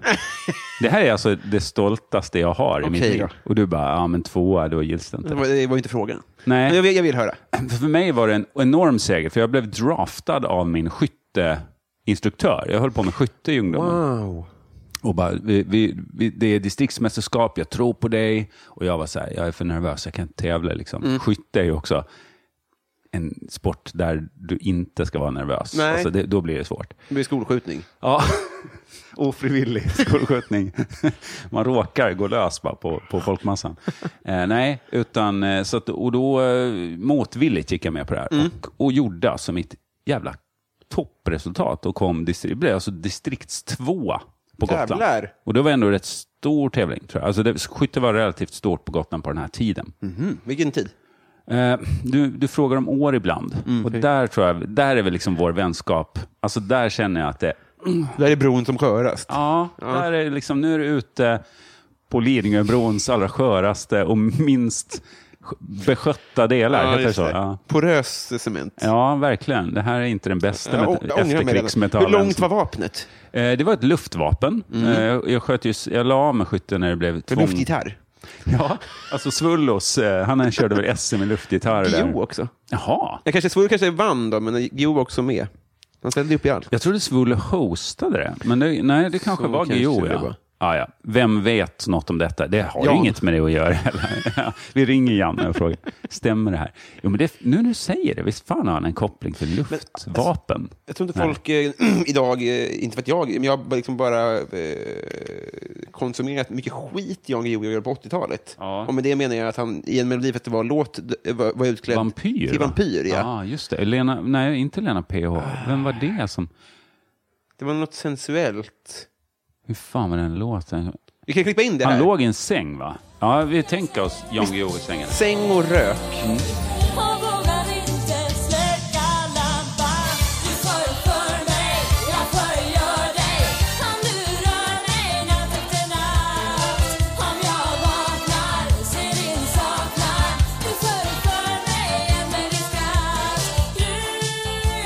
S2: Det här är alltså det stoltaste jag har i mitt
S1: Okej
S2: liv.
S1: då.
S2: Och du bara, ja men tvåa, då gills det
S1: Det
S2: inte.
S1: var, det var ju inte frågan.
S2: Nej.
S1: Men jag, vill, jag vill höra.
S2: För mig var det en enorm seger, för jag blev draftad av min skytteinstruktör. Jag höll på med skytte i ungdomen.
S1: Wow.
S2: Och bara, vi, vi, vi, det är distriktsmästerskap, jag tror
S1: Mm.
S2: på dig. Och jag var så här, jag är för nervös, jag kan inte tävla. Liksom. Skytte är ju också en sport där du inte ska vara nervös.
S1: Nej.
S2: Alltså det, då blir det svårt.
S1: Det blir skolskjutning.
S2: Ja, ofrivillig skolskjutning. Man råkar gå lös bara på, på folkmassan. Eh, nej, utan, eh, så att, och då eh, motvilligt gick jag med på det här
S1: Mm.
S2: och, och gjorde alltså mitt jävla toppresultat och kom distri- blev alltså distriktstvåa på Gotland.
S1: Jävlar.
S2: Och det var ändå en rätt stor tävling tror jag. Alltså det, skytte var relativt stort på Gotland på den här tiden.
S1: Mm. Vilken tid?
S2: Eh, du, du frågar om år ibland.
S1: Mm.
S2: och där tror jag, där är väl liksom vår vänskap. Alltså där känner jag att det,
S1: Där är bron som skörast.
S2: Ja, Där är det liksom, nu är du ute på Lidingöbrons allra sköraste och minst beskötta delar.
S1: Ja,
S2: heter det
S1: just
S2: så?
S1: det.
S2: Ja.
S1: Porös cement.
S2: ja, verkligen. Det här är inte den bästa
S1: Jag
S2: met-
S1: ångrar mig redan.
S2: efterkrigsmetallen.
S1: Hur långt var vapnet?
S2: Eh, Det var ett luftvapen. Eh, Jag, sköt ju, jag la av med skytten när det blev
S1: För
S2: tvång.
S1: luftgitarr?
S2: Ja, alltså Svullos, eh, han körde väl SM i luftgitarr. där.
S1: Gio också.
S2: Jaha.
S1: Jag kanske, Svor kanske vann då, men Gio var också med. Han ställde upp i allt.
S2: Jag trodde Svullo hostade det, men det, nej, det kanske
S1: Så
S2: var
S1: kanske
S2: Guillou.
S1: det
S2: Ja.
S1: var.
S2: Ah, ja. Vem vet något om detta? Det har
S1: Jan.
S2: ju inget med det att göra. heller. Ja, Vi ringer Janne och frågar, stämmer det här? Jo, men det, nu när du säger det, visst fan har han en koppling till
S1: alltså,
S2: luftvapen?
S1: Jag tror inte folk eh, idag, eh, inte för att jag, men jag har liksom bara eh, konsumerat mycket skit Jan Guillou gjorde på 80-talet.
S2: Ja.
S1: Och med det menar jag att han i en Melodifestival-låt d- eh, var, var utklädd
S2: vampyr?
S1: till
S2: va?
S1: vampyr. Ja.
S2: ah, just det. Lena, nej, inte Lena PH. Vem var det som...
S1: Det var något sensuellt.
S2: Hur fan var den låten?
S1: Vi kan klippa in det här.
S2: Han låg i en säng, va? Ja, vi tänker oss Jan Guillou i sängen.
S1: Säng och rök.
S3: Och vågar inte släcka lampan Du förför mig, jag förgör dig Han lurar mig natt efter natt Om jag vaknar, ser din saknad Du förför mig, en med din skatt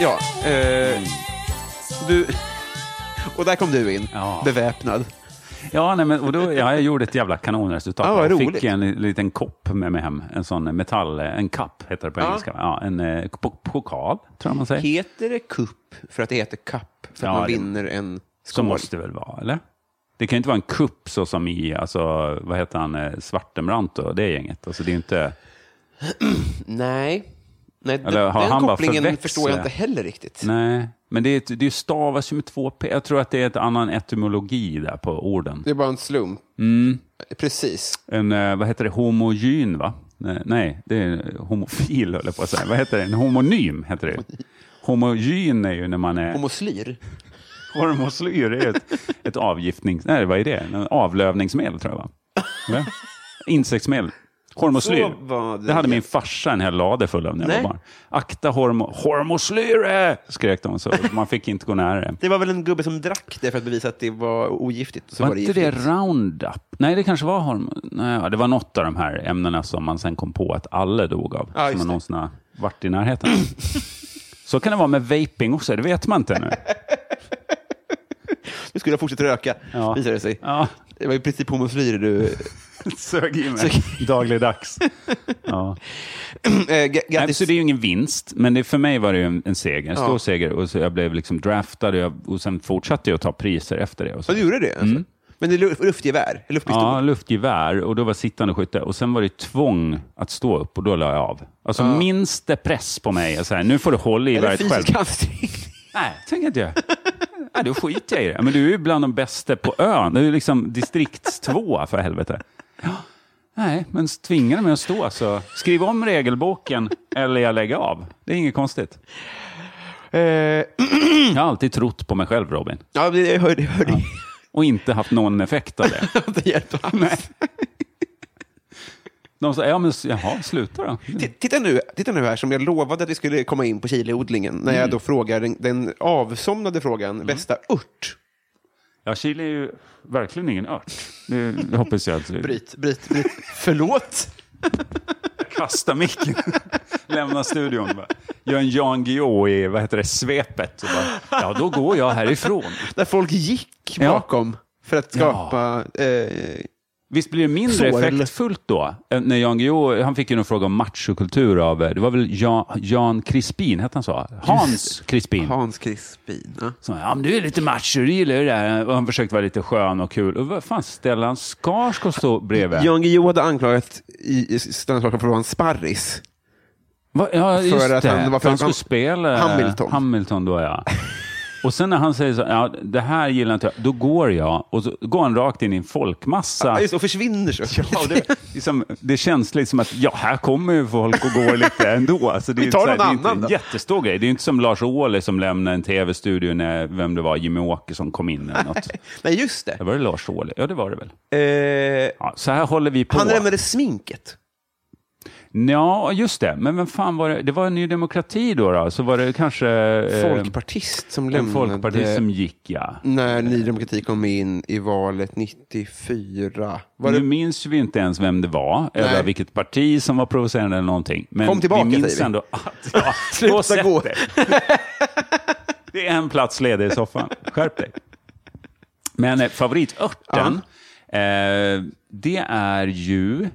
S1: Ja, eh, du... Och där kom du in,
S2: Ja.
S1: beväpnad.
S2: Ja, nej, men, och då, ja, jag gjorde ett jävla kanonresultat.
S1: Ja, vad
S2: jag
S1: roligt.
S2: fick en li- liten kopp med mig hem. En sån metall, en kapp heter det på engelska. Ja, en eh, po- pokal, tror jag man säger.
S1: Heter det kupp för att det heter kapp? För att
S2: Ja,
S1: man
S2: det-
S1: vinner en
S2: Som
S1: skål?
S2: måste det väl vara, eller? Det kan ju inte vara en kupp så som i, alltså, vad heter han, eh, Svartenbrandt och det gänget. Alltså, det är ju inte...
S1: Nej. Nej
S2: Eller
S1: den,
S2: har
S1: den
S2: han bara
S1: kopplingen
S2: förväxlat?
S1: förstår jag inte heller riktigt.
S2: Nej, men det, är ett, det stavas ju med två p. Jag tror att det är ett annan etymologi där på orden.
S1: Det är bara en slump.
S2: Mm.
S1: Precis.
S2: En, eh, vad heter det, homogyn va? Nej, Nej, det är homofil höll jag på att säga. Vad heter det? En homonym heter det. Homogyn är ju när man är...
S1: Homoslyr.
S2: Hormoslyr är ett, ett avgiftnings... Nej, vad är det? En avlövningsmedel tror jag, va? Eller? Insektsmedel. Hormoslyr.
S1: Så var det.
S2: Det. hade min farsa en hel lade full av när jag
S1: Nej.
S2: var barn. Akta hormo... Hormoslyre! skrek de så. Man fick inte gå nära det.
S1: Det var väl en gubbe som drack det för att bevisa att det var ogiftigt. och Så
S2: Var,
S1: var det
S2: inte det
S1: giftigt.
S2: Roundup? Nej, det kanske var hormon... Nej, ja, det var något av de här ämnena som man sen kom på att alla dog av.
S1: Ja, just
S2: som man
S1: det.
S2: någonsin har varit i närheten. så kan det vara med vaping också, det vet man inte nu.
S1: Du skulle ha fortsatt röka,
S2: Ja.
S1: visade det sig.
S2: Ja,
S1: Det var i princip homoslyr du...
S2: sög i mig dagligdags. Ja.
S1: Eh, g-
S2: Nej,
S1: Grattis.
S2: så det är ju ingen vinst, men det, för mig var det ju en, en seger, en stor
S1: Ja.
S2: seger. Och så jag blev liksom draftad och, jag, och sen fortsatte jag att ta priser efter det. Och så.
S1: Ja, du gjorde det? Alltså. Men det är lu- luftgevär? Luftpistol?
S2: Mm. Ja, luftgevär och då var sittande skytte. Och sen var det tvång att stå upp och då la jag av. Alltså minst det press på mig. Så här, nu får du hålla i
S1: Eller
S2: geväret själv.
S1: fysisk ansträngning?
S2: Nej, tänker inte jag. Nej, då skiter jag i det. Men du är ju bland de bästa på ön. Du är ju liksom distriktstvåa för helvete. Ja, Nej, men tvingar mig att stå så skriv om regelboken eller jag lägger av. Det är inget konstigt.
S1: Eh,
S2: Jag har alltid trott på mig själv, Robin.
S1: ja, det- jag hörde, jag hörde.
S2: Och inte haft någon effekt av det.
S1: Det hjälpte alls.
S2: De sa, ja men s- jaha, sluta då.
S1: T- Titta nu, titta nu här, som jag lovade att vi skulle komma in på chiliodlingen, när
S2: Mm.
S1: jag då frågar den, den avsomnade frågan, bästa ört?
S2: Ja, chili är ju verkligen ingen ört. Det hoppas jag att du
S1: Bryt, bryt, bryt. Förlåt?
S2: kastar micken, lämnar studion. Bara. Gör en Jan Guillou i, vad heter det, svepet. Och bara, ja, då går jag härifrån.
S1: Där folk gick
S2: Ja.
S1: bakom för att skapa... Eh,
S2: Visst blir det mindre
S1: Sorl.
S2: effektfullt då? Eh, När Jan Guillou, han fick ju någon fråga om machokultur av, eh, det var väl Jan, Jan Crispin, hette han så? Hans Crispin.
S1: Hans Crispin. Ja.
S2: Så, ja, men du är lite macho, du gillar ju det där. Och han försökte vara lite skön och kul. Och vad fan, Stellan Skarsgård stod bredvid.
S1: Jan Guillou hade anklagat i- i Stellan Skarsgård för att vara en sparris.
S2: Va, ja, just
S1: För att
S2: det.
S1: han- det var för
S2: han
S1: att han-
S2: skulle spela
S1: Hamilton.
S2: Hamilton då, ja. Och sen när han säger så ja, det här gillar inte jag, då går jag. Och så går han rakt in i en folkmassa.
S1: Ja, just det, och försvinner så.
S2: Ja, och det, liksom, det känns liksom att ja, här kommer ju folk och går lite ändå. Alltså, det är
S1: Vi tar
S2: så här,
S1: någon
S2: det är inte
S1: annan
S2: en
S1: då.
S2: jättestor grej. Det är ju inte som Lars Ohly som lämnade en tv-studio när, vem det var, Jimmy Åkesson kom in eller något.
S1: Nej, just det.
S2: Ja, Var det Lars Ohly? Ja, det var det väl.
S1: Eh,
S2: Ja, så här håller vi på.
S1: han lämnade sminket.
S2: Ja, just det. Men vem fan var det? Det var Ny Demokrati då, då. så var det kanske... eh,
S1: Folkpartist som
S2: En
S1: lämnade...
S2: folkpartist som gick, ja.
S1: När Ny Demokrati kom in i valet 94. Var
S2: Nu
S1: det...
S2: minns vi inte ens vem det var, eller
S1: Nej.
S2: vilket parti som var provocerande eller någonting. Men
S1: Kom tillbaka,
S2: vi minns
S1: säger vi.
S2: ändå att... Ja,
S1: Sluta
S2: gå och sätt
S1: gå.
S2: dig. Det är en plats ledig i soffan. Skärp dig. Men eh, favoritörten, eh, det är ju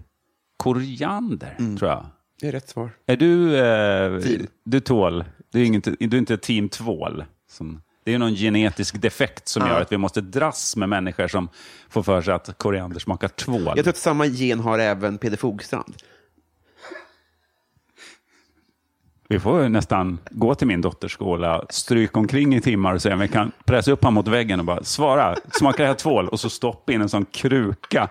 S2: koriander,
S1: Mm.
S2: tror jag.
S1: det är rätt svar.
S2: Är du... Eh,
S1: Team.
S2: Du tål. Du är, inget, du är inte team tvål. Som, det är någon genetisk defekt som gör att vi måste dras med människor som får för sig att koriander smakar tvål.
S1: Jag tror att samma gen har även Peder Fogstrand.
S2: Vi får ju nästan gå till min dotters skola, stryka omkring i timmar och se om vi kan pressa upp honom mot väggen och bara svara, smakar det här tvål? Och så stoppa in en sån kruka,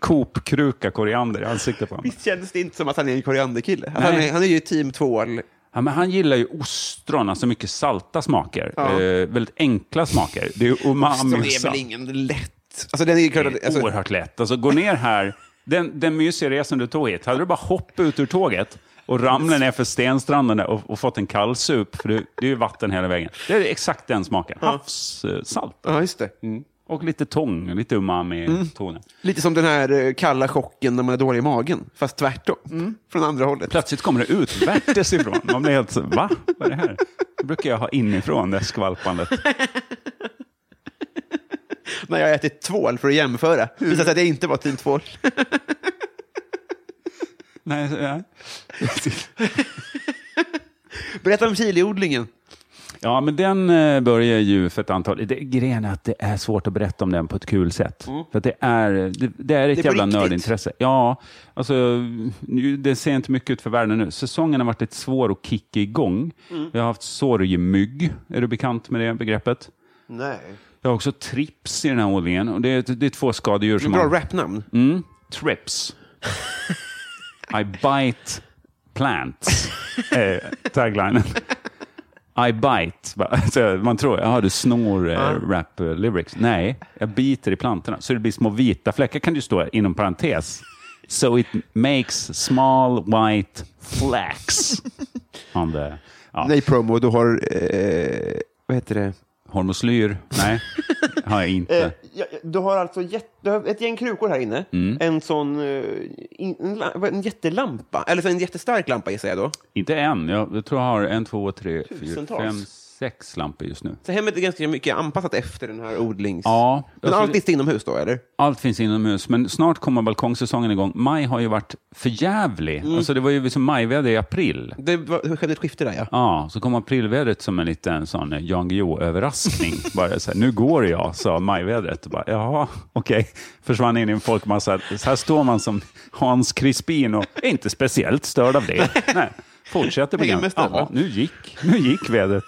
S2: Coop-kruka koriander i ansiktet på honom.
S1: Visst känns det inte som att han är en korianderkille? Att
S2: Nej.
S1: Han är, han är ju team tvål.
S2: Ja, men han gillar ju ostron, alltså mycket salta smaker. Eh, väldigt enkla smaker. Det är ju
S1: Som
S2: umami och
S1: är
S2: salt.
S1: väl ingen lätt... Alltså, den är ju klart
S2: Det
S1: att,
S2: är
S1: alltså,
S2: oerhört lätt. Alltså, gå ner här. Den, den mysiga resan du tog hit, hade du bara hoppat ut ur tåget och ramlat ner för stenstranden där och, och fått en kallsup, för det, det är ju vatten hela vägen. Det är exakt den smaken. Havssalt. Mm.
S1: ja, Mm. just det.
S2: Och lite tång, lite umami-toner.
S1: Lite som den här eh, kalla chocken när man är dålig i magen, fast tvärtom. Från andra hållet.
S2: Plötsligt kommer det utvärtes ifrån. Man blir helt så, va? Vad är det här? Det brukar jag ha inifrån, det skvalpandet.
S1: När jag har ätit tvål för att jämföra. Det visade sig att jag inte var team tvål.
S2: Nej, så- ja.
S1: Berätta om chiliodlingen.
S2: Ja, men den eh, börjar ju för ett antal... Det, grejen är att det är svårt att berätta om den på ett kul sätt. För att det är, det, det är ett
S1: på
S2: jävla
S1: riktigt.
S2: nördintresse. Ja, alltså, nu, det ser inte mycket ut för världen nu. Säsongen har varit lite svår att kicka igång. Vi har haft sorgemygg. Är du bekant med det begreppet?
S1: Nej.
S2: Jag har också trips i den här odlingen. Och det, är, det är två skadedjur som
S1: Bra
S2: har...
S1: rapnamn.
S2: Mm, trips. I bite plants. Eh, taglinen. I bite. Bara, så Man tror, jaha, du snor eh, rap eh, lyrics. Nej, jag biter i plantorna. Så det blir små vita fläckar kan du stå inom parentes. So it makes small white flax. On the, ja,
S1: Nej, promo, du har... Eh, vad heter det?
S2: hormoslyr? Nej, har jag
S1: Eh.
S2: inte.
S1: du har alltså jätt, du har ett gäng krukor här inne.
S2: Mm.
S1: En sån... eh, in- En, la- vad- en jättelampa. Eller så en jättestark lampa gissar jag då.
S2: Inte än. Jag, jag tror jag har en, två, tre, fyra,
S1: Tusentals.
S2: fem, sex lampor just nu.
S1: Så hemmet är ganska mycket anpassat efter den här odlings...
S2: Ja,
S1: Men
S2: alltså-
S1: allt visst inomhus då, eller?
S2: Allt finns inomhus, men snart kommer balkongsäsongen igång. Maj har ju varit förjävlig.
S1: Mm.
S2: Alltså det var ju som majväder i april.
S1: Det var, det skedde ett skifte där, ja.
S2: Ja, så kom aprilvädret som en liten sån eh, Jan Guillou-överraskning. Bara så här, nu går jag, sa majvädret. Och Bara, Jaha, okej. Försvann in i en folkmassa. Så här står man som Hans Crispin och är inte speciellt störd av det. Nej, fortsätter programmet.
S1: Hängmästare,
S2: Ja,
S1: va?
S2: nu gick, nu gick vädret.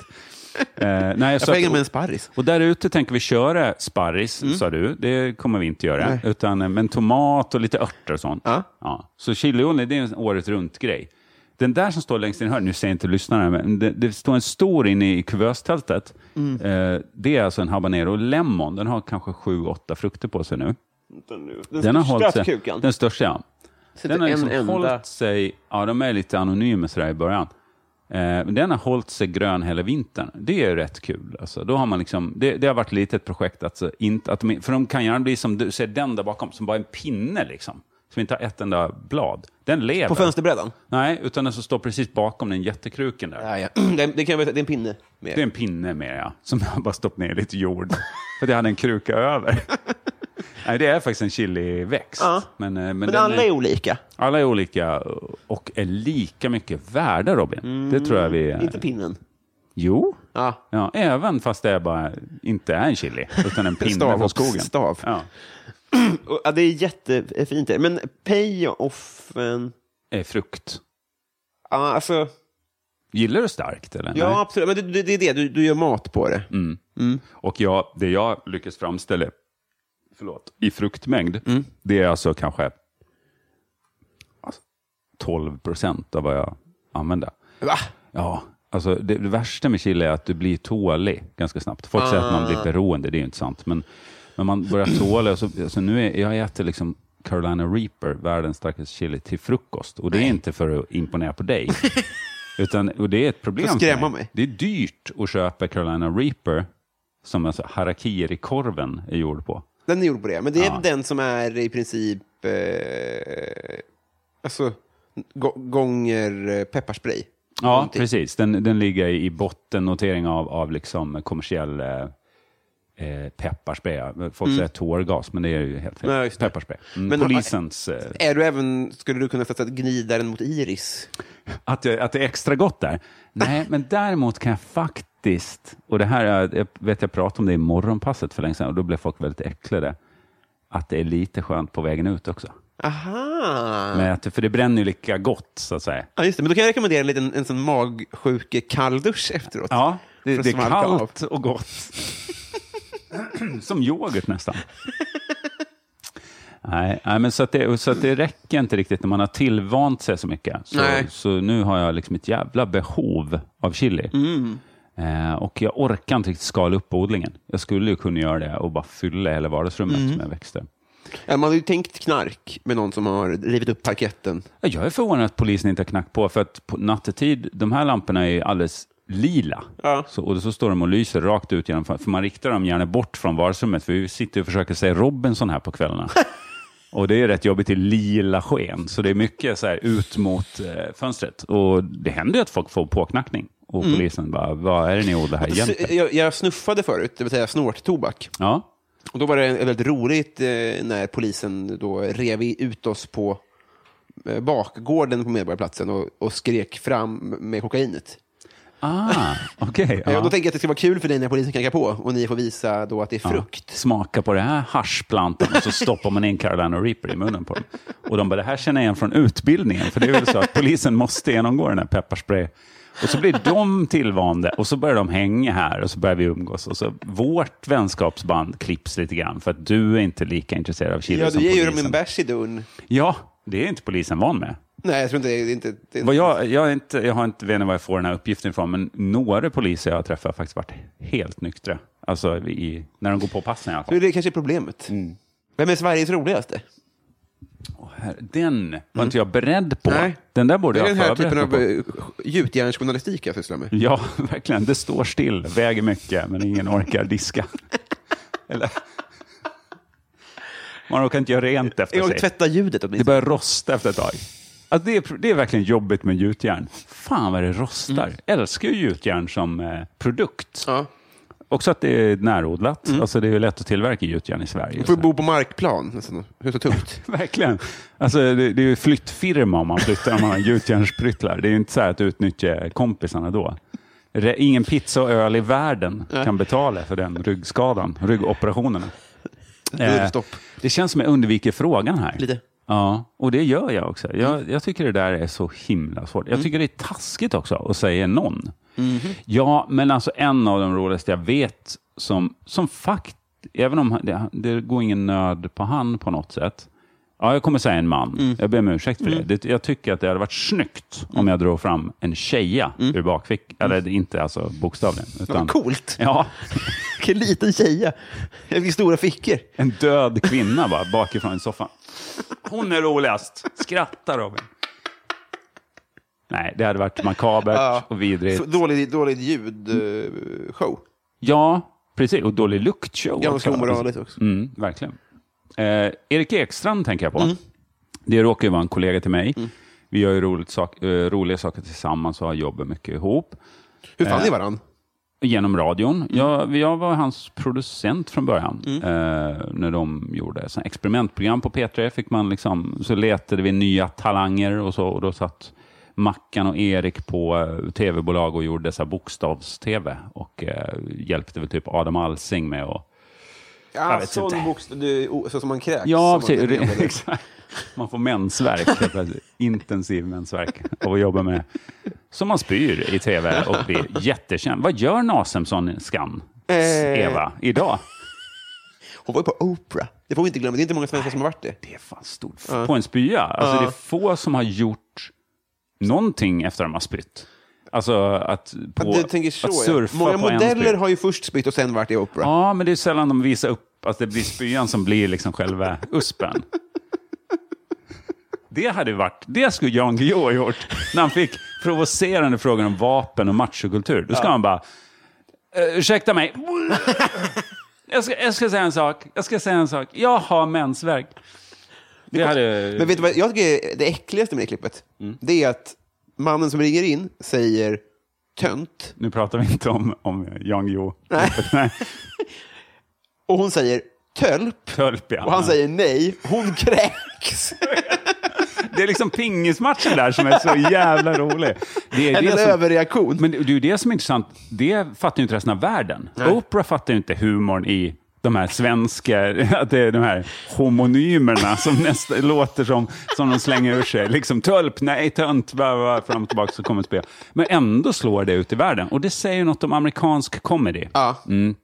S2: Eh, nej,
S1: Jag
S2: så
S1: får
S2: att-
S1: hänga med en sparris.
S2: och där ute tänker vi köra sparris,
S1: Mm.
S2: sa du. Det kommer vi inte göra. Utan, eh, men tomat och lite örter och sånt.
S1: Ja.
S2: Så chiliolja, det är en året runt-grej. Den där som står längst in här, nu ser jag inte lyssnarna, men det, det står en stor inne i kuvöstältet.
S1: Mm.
S2: Eh, det är alltså en habanero lemon. Den har kanske sju, åtta frukter på sig nu.
S1: Den,
S2: Den har
S1: största
S2: hållit sig,
S1: kukan.
S2: Den största, ja.
S1: Sitter
S2: Den har
S1: en
S2: liksom
S1: enda.
S2: hållit sig, ja de är lite anonyma sådär i början. Eh, men den har hållit sig grön hela vintern. Det är ju rätt kul. Alltså, då har man liksom, det, det har varit lite ett projekt, alltså, inte att de, för de kan gärna bli som du ser den där bakom, som bara en pinne liksom. Som inte har ett enda blad. Den lever.
S1: På fönsterbrädan?
S2: Nej, utan den som står precis bakom den jättekruken där.
S1: Ja, ja. Det, det kan jag berätta, det är en pinne. Med.
S2: Det är en pinne med, ja, som jag bara stoppat ner lite jord. För det hade en kruka över. Nej, det är faktiskt en chiliväxt.
S1: Ja.
S2: Men, eh, men
S1: Men
S2: den
S1: alla är olika.
S2: alla är olika och är lika mycket värda, Robin. Det tror jag vi...
S1: Inte pinnen.
S2: Jo.
S1: Ja.
S2: Ja, även fast det är bara, inte är en chili, utan en pinne
S1: Stav
S2: från
S1: och
S2: skogen.
S1: stav.
S2: Ja.
S1: Och, Ja, det är jättefint. det. Men payoffen...
S2: Är frukt.
S1: Ja, alltså...
S2: Gillar du starkt? Eller?
S1: Ja,
S2: Nej. Mm.
S1: absolut. Men det, det, det är det, du, du gör mat på det.
S2: Och jag, det jag lyckas framställa förlåt, i fruktmängd,
S1: Mm.
S2: det är alltså kanske alltså, 12 procent av vad jag använder.
S1: Va?
S2: Ja, alltså det, det värsta med chili är att du blir tålig ganska snabbt. Folk säger att man
S1: Ah.
S2: blir beroende, det är ju inte sant. Men när man börjar tåla, så, alltså nu är, jag äter liksom Carolina Reaper, världens starkaste chili, till frukost. Och det är inte för att imponera på dig. Utan, och det är ett problem
S1: För att skrämma
S2: för
S1: mig.
S2: Det är dyrt att köpa Carolina Reaper som alltså harakiri-korven är gjord på.
S1: Den är gjord på det. Men det är den som är i princip... Eh, alltså, gå- gånger eh, pepparspray.
S2: Ja, precis. Den, den ligger i botten, notering av, av liksom kommersiell eh, eh, pepparspray. Folk säger tårgas, men det är ju helt fel.
S1: Mm. Nej, just det.
S2: pepparspray. Mm,
S1: Men-
S2: polisens... Eh,
S1: Är du även, skulle du kunna sätta gnidaren mot iris?
S2: att, jag- att det är extra gott där? Nej, men däremot kan jag faktiskt... Och det här, är- jag vet jag pratade om det i morgonpasset för länge sedan och då blev folk väldigt äcklade. Att det är lite skönt på vägen ut också.
S1: Aha!
S2: Men att, för det bränner ju lika gott, så att säga.
S1: Ja, just det. Men då kan jag rekommendera en, liten, en sån magsjuke kalldusch efteråt.
S2: Ja, det,
S1: För att
S2: det är
S1: svalka
S2: kallt och gott. Som yoghurt nästan. Nej, nej, men så, att det, så att det räcker inte riktigt när man har tillvant sig så mycket. Så,
S1: Nej.
S2: så nu har jag liksom ett jävla behov av chili. Eh, och jag orkar inte riktigt skala upp odlingen. Jag skulle ju kunna göra det och bara fylla hela vardagsrummet med växter.
S1: Ja, Man har ju tänkt knark med någon som har rivit upp parketten.
S2: Ja, Jag är förvånad att polisen inte har knackat på, för att på nattetid, de här lamporna är ju alldeles lila.
S1: Ja.
S2: Så, och så står de och lyser rakt ut genom fönstret, för man riktar dem gärna bort från vardagsrummet, för vi sitter och försöker se Robinson här på kvällarna. och det är rätt jobbigt i lila sken, så det är mycket så här ut mot eh, fönstret. Och det händer ju att folk får påknackning. Och
S1: Mm.
S2: polisen bara, vad är det ni odlar här egentligen?
S1: Jag, jag snuffade förut, det vill säga snorttobak.
S2: Ja,
S1: Och då var det väldigt roligt eh, när polisen då rev i- ut oss på eh, bakgården på Medborgarplatsen och, och skrek fram med kokainet.
S2: ah, okej.
S1: Ja.
S2: ja.
S1: Då tänker jag att det ska vara kul för dig när polisen knackar på och ni får visa då att det är
S2: Ja.
S1: frukt.
S2: Smaka på det här haschplantan och så stoppar man in Carolina Reaper i munnen på dem. Och de bara, det här känner jag igen från utbildningen, för det är väl så att polisen måste genomgå den här pepparspray. Och så blir de tillvande och så börjar de hänga här och så börjar vi umgås. Och så vårt vänskapsband klipps lite grann för att du är inte lika intresserad av chili
S1: Ja,
S2: som
S1: du ger ju
S2: polisen.
S1: dem en bärs i dörren.
S2: Ja, det är inte polisen van med.
S1: Nej, jag tror inte det är inte... Det är
S2: Vad jag, jag, är inte, jag har inte, vet inte var jag får den här uppgiften ifrån, men några poliser jag har träffat har faktiskt varit helt nyktra. Alltså i, när de går på passen i alla fall.
S1: Så är det kanske problemet. Vem är Sveriges roligaste?
S2: Här- Den var inte jag beredd på.
S1: Mm. Nej.
S2: Den där borde
S1: Det är
S2: jag
S1: den här
S2: ha
S1: typen
S2: förberett
S1: av
S2: mig på.
S1: eh, gjutjärnsjournalistik jag sysslar med.
S2: Ja, verkligen. Det står still, väger mycket, men ingen orkar diska. Eller? Man orkar inte göra rent efter
S1: Jag
S2: sig.
S1: tvätta ljudet
S2: Det
S1: åtminstone.
S2: börjar rosta efter ett tag. Alltså det, är, pr- det är verkligen jobbigt med gjutjärn. Fan vad det rostar. Älskar ju gjutjärn som eh, produkt.
S1: Mm. Ja.
S2: Också att det är närodlat. Alltså det är ju lätt att tillverka gjutjärn i Sverige.
S1: Du får bo på markplan. Alltså, hur så tungt?
S2: Verkligen. Alltså, det, det är ju flyttfirma om man flyttar om man har gjutjärnspryttlar. Det är ju inte så här att utnyttja kompisarna då. Re, ingen pizza och öl i världen kan betala för den ryggskadan, ryggoperationen.
S1: blir stopp.
S2: Eh, det känns som jag undviker frågan här.
S1: Lite. Mm.
S2: Ja, och det gör jag också. Jag, jag tycker det där är så himla svårt. Jag tycker det är taskigt också att säga någon.
S1: Mm-hmm.
S2: Ja, men alltså en av de roligaste jag vet som, som fakt, även om han- det, det går ingen nöd på han på något sätt. Ja, jag kommer säga en man.
S1: Mm.
S2: Jag ber om ursäkt för det. det. Jag tycker att det hade varit snyggt om jag drog fram en tjeja
S1: Mm.
S2: ur bakfickan. Eller inte alltså bokstavligen. Utan,
S1: Coolt!
S2: Ja,
S1: Vilken liten tjeja. Vilka stora fickor.
S2: en död kvinna bara bakifrån i soffan. Hon är roligast. Skratta Robin. Nej, det hade varit makabert och vidrigt.
S1: Så Dålig, dålig ljudshow.
S2: Ja, precis. Och dålig luktshow.
S1: Ganska
S2: också.
S1: omoraliskt också.
S2: Mm, verkligen. Eh, Erik Ekstrand tänker jag på. Det råkar ju vara en kollega till mig. Vi gör ju roligt sak, eh, roliga saker tillsammans och har jobbat mycket ihop.
S1: Hur fan är varann?
S2: Genom radion. Jag, jag var hans producent från början. Eh, när de gjorde såna experimentprogram på P3. Fick man liksom, så letade vi nya talanger och så. Och då satt Mackan och Erik på eh, tv-bolag och gjorde så här bokstavs-tv. Och eh, hjälpte väl typ Adam Alsing med att
S1: Ja,
S2: vet
S1: sån
S2: inte.
S1: bokstav, du, o- så som man kräks.
S2: Ja,
S1: Som man-
S2: precis. Exakt. Man får mensvärk. helt plötsligt. Intensiv mensvärk av att jobba med Som man spyr i tv och blir jättekänd. Vad gör Nasemson Skam, Eva, idag?
S1: Hon var ju på Oprah. Det får vi inte glömma. Det är inte många svenskar som har varit det.
S2: Det är fan stort. På en spya. Alltså det är få som har gjort någonting efter att de har spytt. Alltså att, på,
S1: Att du tänker så,
S2: att surfa
S1: ja. Många
S2: på en
S1: modeller
S2: spya.
S1: har ju först spytt och sen varit i opera.
S2: Ja, men det är sällan de visar upp att det blir spyan som blir liksom själva uspen. Det hade varit, det skulle Jan Guillou ha gjort. När han fick provocerande frågor om vapen och machokultur. Då ska han bara, "Eh, ursäkta mig. Jag ska, jag ska säga en sak. Jag ska säga en sak. Jag har mensvärk. Det hade...
S1: Men vet du vad jag tycker är det äckligaste med det klippet? Det är att mannen som ringer in säger tönt
S2: Nu pratar vi inte om, om Jan Guillou. Nej.
S1: och hon säger tölp
S2: Tölp, ja.
S1: och han säger nej. Hon kräks.
S2: Det är liksom pingismatchen där som är så jävla rolig. Det är
S1: En
S2: det som,
S1: överreaktion.
S2: men det det är ju det som är intressant. Det fattar ju inte resten av världen. Oprah fattar ju inte humorn i de här svenska, att det är de här homonymerna som nästa, låter som, som de slänger ur sig. Liksom tölp, nej, tönt, bla, bla, bla, fram och tillbaka så kommer ett spel. Men ändå slår det ut i världen. Och det säger ju något om amerikansk comedy.
S1: Ja.
S2: Men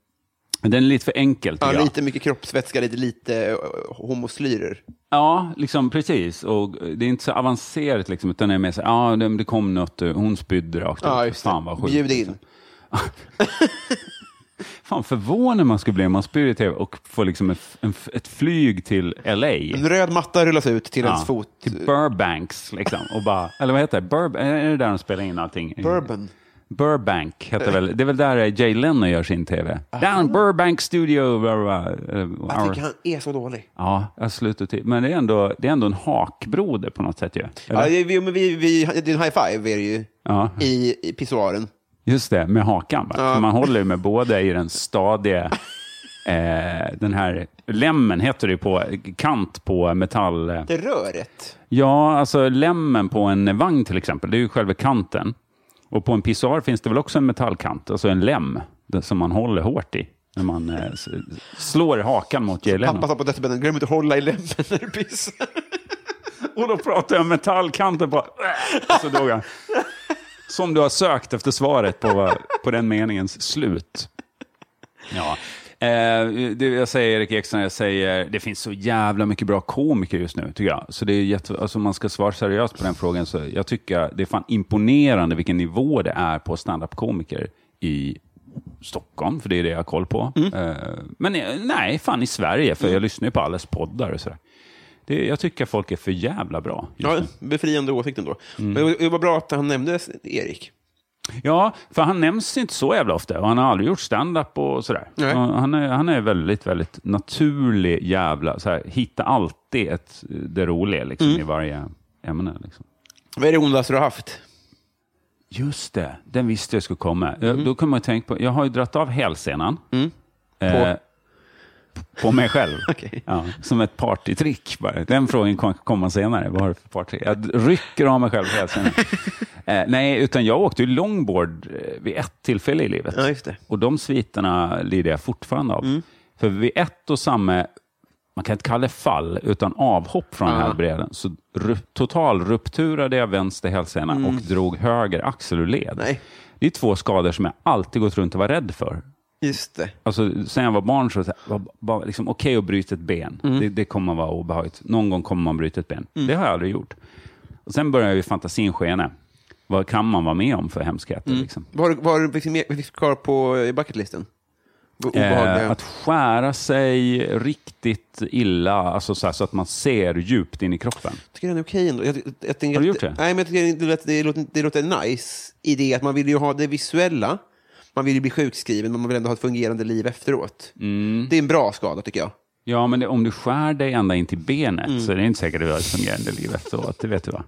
S2: Den är lite för enkel, tycker
S1: Ja,
S2: jag.
S1: lite mycket kroppsvätska, lite, lite eh, homoslyrer.
S2: Ja, liksom precis. Och det är inte så avancerat, liksom, utan det är mer så här, ja, det, det kom något, eh, hon spydde rakt ut.
S1: Ja, just det.
S2: Fan vad sjukt.
S1: Bjud in.
S2: Fan förvånad man skulle bli om man spyr i tv och får liksom en, f- en, f- ett flyg till LA.
S1: En röd matta rullas ut till ens fot.
S2: Till Burbanks, liksom. Och bara, eller vad heter det? Burb är det där de spelar in allting?
S1: Bourbon.
S2: Burbank heter väl, det är väl där Jay Leno gör sin tv. Down Burbank Studio, bla, bla, bla. Eh,
S1: Jag
S2: our-
S1: tycker han är så dålig.
S2: Ja, jag slutar till. Men det är, ändå, det är ändå en hakbroder på något sätt ju. Eller?
S1: Ja, vi, men vi, vi, det är en high five är det ju
S2: Ja.
S1: i, i pissoaren.
S2: Just det, med hakan. Va? För man håller ju med båda i den stadiga... Eh, den här lämmen heter det ju på, kant på metall... eh,
S1: Det röret.
S2: Ja, alltså lämmen på en vagn till exempel, det är ju själva kanten. Och på en pissoar finns det väl också en metallkant, alltså en läm den som man håller hårt i när man eh, s- slår hakan mot gelen.
S1: Pappa sa på dödsbädden, glöm inte att hålla i lämmen när du pissar.
S2: Och då pratar jag om metallkanten på... Och så dog han. Som du har sökt efter svaret på, på den meningens slut. Ja. Eh, det jag säger Erik Ekstrand, jag säger det finns så jävla mycket bra komiker just nu, tycker jag. Så det är jätte, alltså, om man ska svara seriöst på den frågan, så jag tycker det är fan imponerande vilken nivå det är på standup-komiker i Stockholm, för det är det jag har koll på. Eh, men eh, nej, fan i Sverige, för jag lyssnar ju på alles poddar och sådär. Det, jag tycker folk är för jävla bra. just
S1: Ja, befriande åsikt ändå.
S2: Mm.
S1: Men det var bra att han nämnde Erik.
S2: Ja, för han nämns inte så jävla ofta och han har aldrig gjort stand-up och sådär. Och
S1: Nej.
S2: Han är, han är väldigt, väldigt naturlig jävla, så här, hitta alltid ett, det roliga liksom, i varje ämne. Liksom.
S1: Vad är det ondaste du har haft?
S2: Just det, den visste jag skulle komma. Jag-
S1: Mm.
S2: Då kommer jag tänka på, jag har ju dratt av hälsenan. Eh, på mig själv.
S1: Okej.
S2: ja, som ett partytrick. Bara. Den frågan kom- kommer senare. Vad har du för party? Jag rycker av mig själv hälsenan. eh, nej, utan jag åkte ju longboard eh, vid ett tillfälle i livet.
S1: Ja, just det. Mm.
S2: Och de sviterna lider jag fortfarande av. För vid ett och samma, man kan inte kalla det fall, utan avhopp från den här bredden, så ru- totalrupturade jag vänster hälsena och drog höger axel ur led.
S1: Nej.
S2: Det är två skador som jag alltid gått runt och var rädd för.
S1: Just det.
S2: Alltså, sen jag var barn så var det så här, var bara liksom, okej att bryta ett ben. Det, det kommer att vara obehagligt. Någon gång kommer man bryta ett ben. Det har jag aldrig gjort. Och sen började ju fantasin skena. Vad kan man vara med om för hemskheter? Liksom?
S1: Vad har du- vad har du liksom mer- kvar på eh, bucketlisten? O- Obehagliga.
S2: Eh, att skära sig riktigt illa, alltså så, här, så att man ser djupt in i kroppen.
S1: tycker den är okej ändå. Jag, jag, jag tänker
S2: Har du
S1: att-
S2: gjort det?
S1: Nej, men jag tycker det låter, det, låter, det låter nice i det att man vill ju ha det visuella. Man vill ju bli sjukskriven, men man vill ändå ha ett fungerande liv efteråt.
S2: Mm.
S1: Det är en bra skada, tycker jag.
S2: Ja, men det, om du skär dig ända in till benet
S1: Mm.
S2: så är det inte säkert att du har ett fungerande liv efteråt. Det vet du va?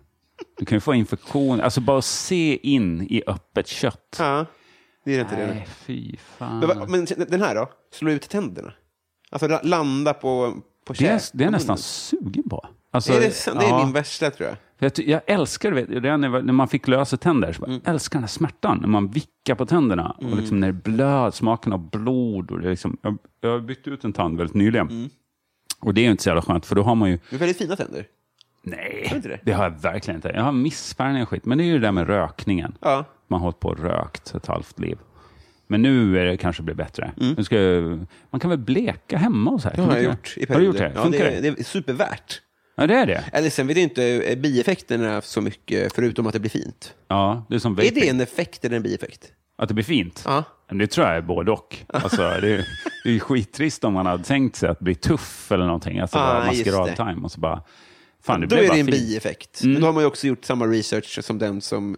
S2: Du kan ju få infektion. Alltså bara se in i öppet kött.
S1: Ja, det är inte
S2: Nej,
S1: det.
S2: fy fan.
S1: Men, va- men den här då? Slå ut tänderna? Alltså la- landa på, på
S2: det, är,
S1: käk-
S2: det är
S1: på
S2: jag nästan
S1: munnen.
S2: sugen på. Alltså,
S1: är det, sant? det är
S2: ja.
S1: min värsta, tror jag.
S2: För Jag, ty- jag älskar vet, du, redan när jag var- när man fick lösa tänder. Så bara,
S1: Mm.
S2: Jag älskar den här smärtan när man vickar på tänderna. Och liksom när det blöd, smaken av blod. Och det är liksom, jag, jag
S1: Mm.
S2: har bytt ut en tand väldigt nyligen. Och det är ju inte så jävla skönt, för då har man ju...
S1: Du har väldigt fina tänder.
S2: Nej,
S1: inte det?
S2: det? har jag verkligen inte. Jag har missfärgning och skit. Men det är ju det där med rökningen.
S1: Ja.
S2: Man har hållit på och rökt ett halvt liv. Men nu är det kanske blir bättre. Nu ska, jag- man kan väl bleka hemma och så
S1: Det
S2: här? kan
S1: har
S2: man
S1: Mm. jag
S2: inte
S1: gjort i
S2: det? Har du gjort
S1: perioder.
S2: det?
S1: Ja,
S2: Funkar
S1: det, det är supervärt.
S2: Ja, det är det.
S1: Eller sen vet jag inte eh, bieffekterna så mycket, förutom att det blir fint.
S2: Ja, det är som
S1: Är
S2: vaping.
S1: det en effekt eller en bieffekt?
S2: Att det blir fint?
S1: Ja.
S2: Men det tror jag är både och. Alltså, det, är, det är ju skittrist om man hade tänkt sig att bli tuff eller någonting. Alltså
S1: Ah,
S2: bara
S1: just det.
S2: maskerad-time och så bara... Fan, det
S1: Då
S2: blev
S1: är
S2: bara
S1: det en
S2: fint. Mm.
S1: bieffekt. Men då har man ju också gjort samma research som den som...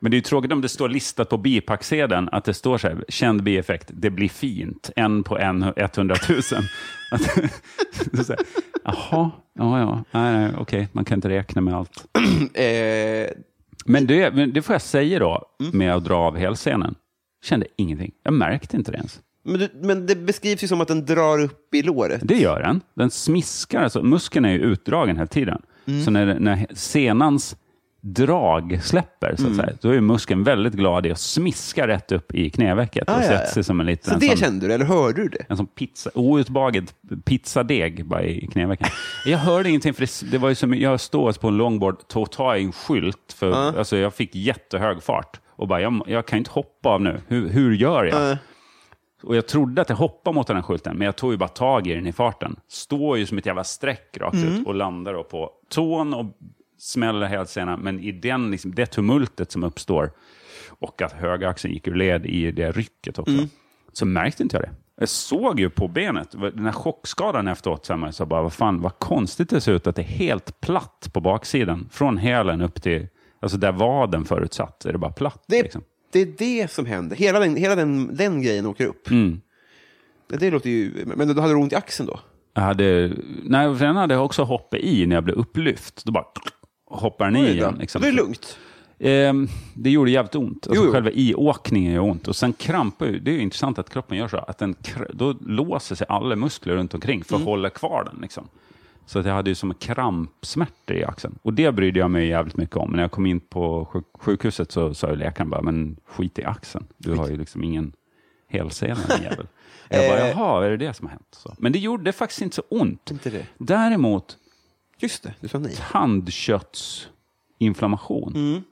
S2: Men det är ju tråkigt om det står listat på bipacksedeln att det står så här, känd bieffekt, det blir fint, en på en, 100 000. Att, det är så här, Jaha, ja, ja, nej, nej, okej, man kan inte räkna med allt.
S1: Eh,
S2: Men det, men det får jag säga då, med att dra av helscenen. Kände ingenting. Jag märkte inte det ens.
S1: men, du, men det beskrivs ju som att den drar upp i låret.
S2: Det gör den. Den smiskar, alltså, muskeln är ju utdragen hela tiden.
S1: Mm.
S2: Så när, när senans drag släpper,
S1: Mm.
S2: så att säga, då är ju muskeln väldigt glad i att smiska rätt upp i knävecket och
S1: Ah, ja,
S2: sätter
S1: ja.
S2: sig som en liten...
S1: Så det
S2: sån-
S1: kände du, eller hörde du det?
S2: en sån pizza, outbagad pizzadeg bara i knävecken. Jag hörde ingenting, för det, det var ju som jag står alltså på en longboard, tog tag i en skylt, för
S1: Ah.
S2: alltså, jag fick jättehög fart och bara, jag, jag kan inte hoppa av nu, hur, hur gör
S1: Ah.
S2: jag? Och jag trodde att jag hoppade mot den här skylten, men jag tog ju bara tag i den i farten. Står ju som ett jävla streck rakt ut och landar då på tån och smäller hela scenen. Men i den, liksom, det tumultet som uppstår och att högaxeln gick ur led i det rycket också, så märkte inte jag det. Jag såg ju på benet, den här chockskadan efteråt, så här, så bara, vad fan, vad konstigt det ser ut att det är helt platt på baksidan. Från hälen upp till, alltså där vaden förutsatt, är det bara platt.
S1: Det,
S2: liksom.
S1: det är det som händer. Hela den, hela den, den grejen åker upp.
S2: Mm.
S1: Det, det låter ju... Men då hade du ont i axeln då?
S2: Jag hade, nej, för den hade jag också hoppat i när jag blev upplyft. Då bara hoppar den i
S1: Oj då.
S2: igen. Liksom.
S1: Det är lugnt.
S2: Ehm, det gjorde jävligt ont. Alltså,
S1: Jo, jo.
S2: Själva iåkningen gör ont. Och sen krampar ju. Det är ju intressant att kroppen gör så. Att den, kr- då låser sig alla muskler runt omkring
S1: Mm.
S2: för att hålla kvar den. Liksom. Så att jag hade ju som krampsmärtor i axeln. Och det brydde jag mig jävligt mycket om. När jag kom in på sjuk sjukhuset så sa ju läkaren bara, men skit i axeln. Du har ju liksom ingen helsena din jävel. Jag bara,
S1: Eh.
S2: jaha, är det det som har hänt? Så. Men det gjorde faktiskt inte så ont.
S1: Inte det.
S2: Däremot
S1: Just det, du sa nej.
S2: tandköttsinflammation.
S1: Mm.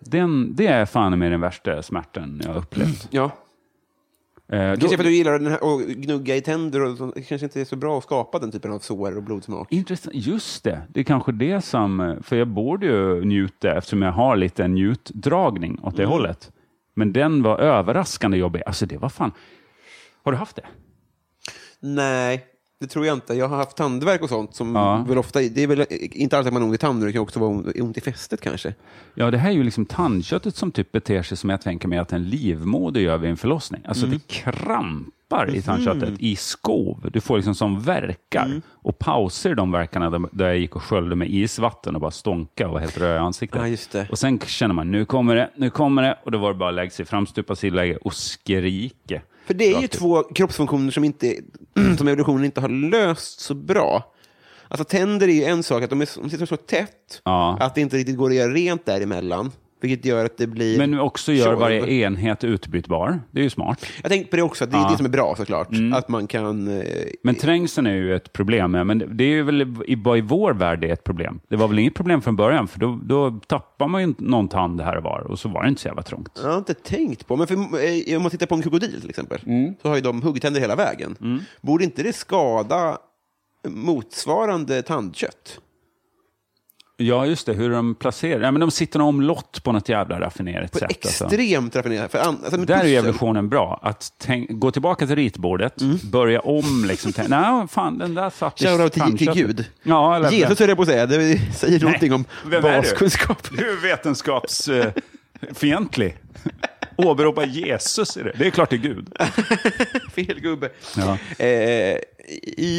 S2: Den, det är fan med den värsta smärtan jag har upplevt.
S1: Ja.
S2: Eh, då,
S1: Mm. Kanske för att du gillar den här, att gnugga i tänder och sånt. det kanske inte är så bra att skapa den typen av sår och blodsmak.
S2: intressant, just det, det är kanske det som... eh, För jag borde ju njuta eftersom jag har lite en njutdragning åt det
S1: Mm.
S2: hållet. Men den var överraskande jobbig. Alltså det var fan... Har du haft det?
S1: Nej, det tror jag inte. Jag har haft tandvärk och sånt. Som
S2: Ja.
S1: väl ofta, det är väl inte alltid att man har ont i tanden, det kan också vara ont- ont i fästet kanske.
S2: Ja, det här är ju liksom tandköttet som typ beter sig som jag tänker mig att en livmoder gör vid en förlossning. Alltså
S1: Mm.
S2: det krampar i tandköttet i skov. Du får liksom som verkar
S1: Mm.
S2: och pauser i de verkarna där, där jag gick och sköljde med isvatten och bara stånka och var helt röd i ansiktet.
S1: Ja, just det.
S2: Och sen känner man, nu kommer det, nu kommer det. Och då var det bara att lägga sig fram, stupa sig i läge och skrika.
S1: För det är
S2: Rakt
S1: ju
S2: ut.
S1: två kroppsfunktioner som, inte, som evolutionen inte har löst så bra. Alltså tänder är ju en sak, att de, är, de sitter så tätt
S2: Ja.
S1: att det inte riktigt går att göra rent däremellan. Vilket gör att det blir...
S2: Men också gör
S1: tjorv.
S2: varje enhet utbytbar. Det är ju smart.
S1: Jag tänkte på det också, att det är det som är bra såklart.
S2: Mm.
S1: Att man kan... eh,
S2: Men trängseln är ju ett problem, ja, men det är ju väl i, bara i vår värld det är ett problem. Det var väl inget problem från början, för då, då tappar man ju någon tand här och var och så var det inte så jävla trångt.
S1: Jag har inte tänkt på, men för, eh, om man tittar på en krokodil till exempel,
S2: Mm.
S1: så har ju de huggtänder hela vägen. Borde inte det skada motsvarande tandkött?
S2: Ja, just det, hur de placerar. Ja, men de sitter nog omlott på något jävla raffinerat
S1: På
S2: sätt. alltså.
S1: extremt raffinerat. För an, alltså, med
S2: Där är ju
S1: pussel- Mm.
S2: evolutionen bra. Att tänk, gå tillbaka till ritbordet, börja om. Liksom, tänk, Nej, fan, den där satt i
S1: Shoutout till, till
S2: tandköttet."
S1: Gud.
S2: Ja, eller
S1: Jesus höll jag på att säga, det säger någonting om
S2: Vem är du?
S1: baskunskap.
S2: Du är vetenskapsfientlig. Åberopa Jesus i det. Det är klart det är Gud.
S1: Fel gubbe.
S2: Ja.
S1: Eh,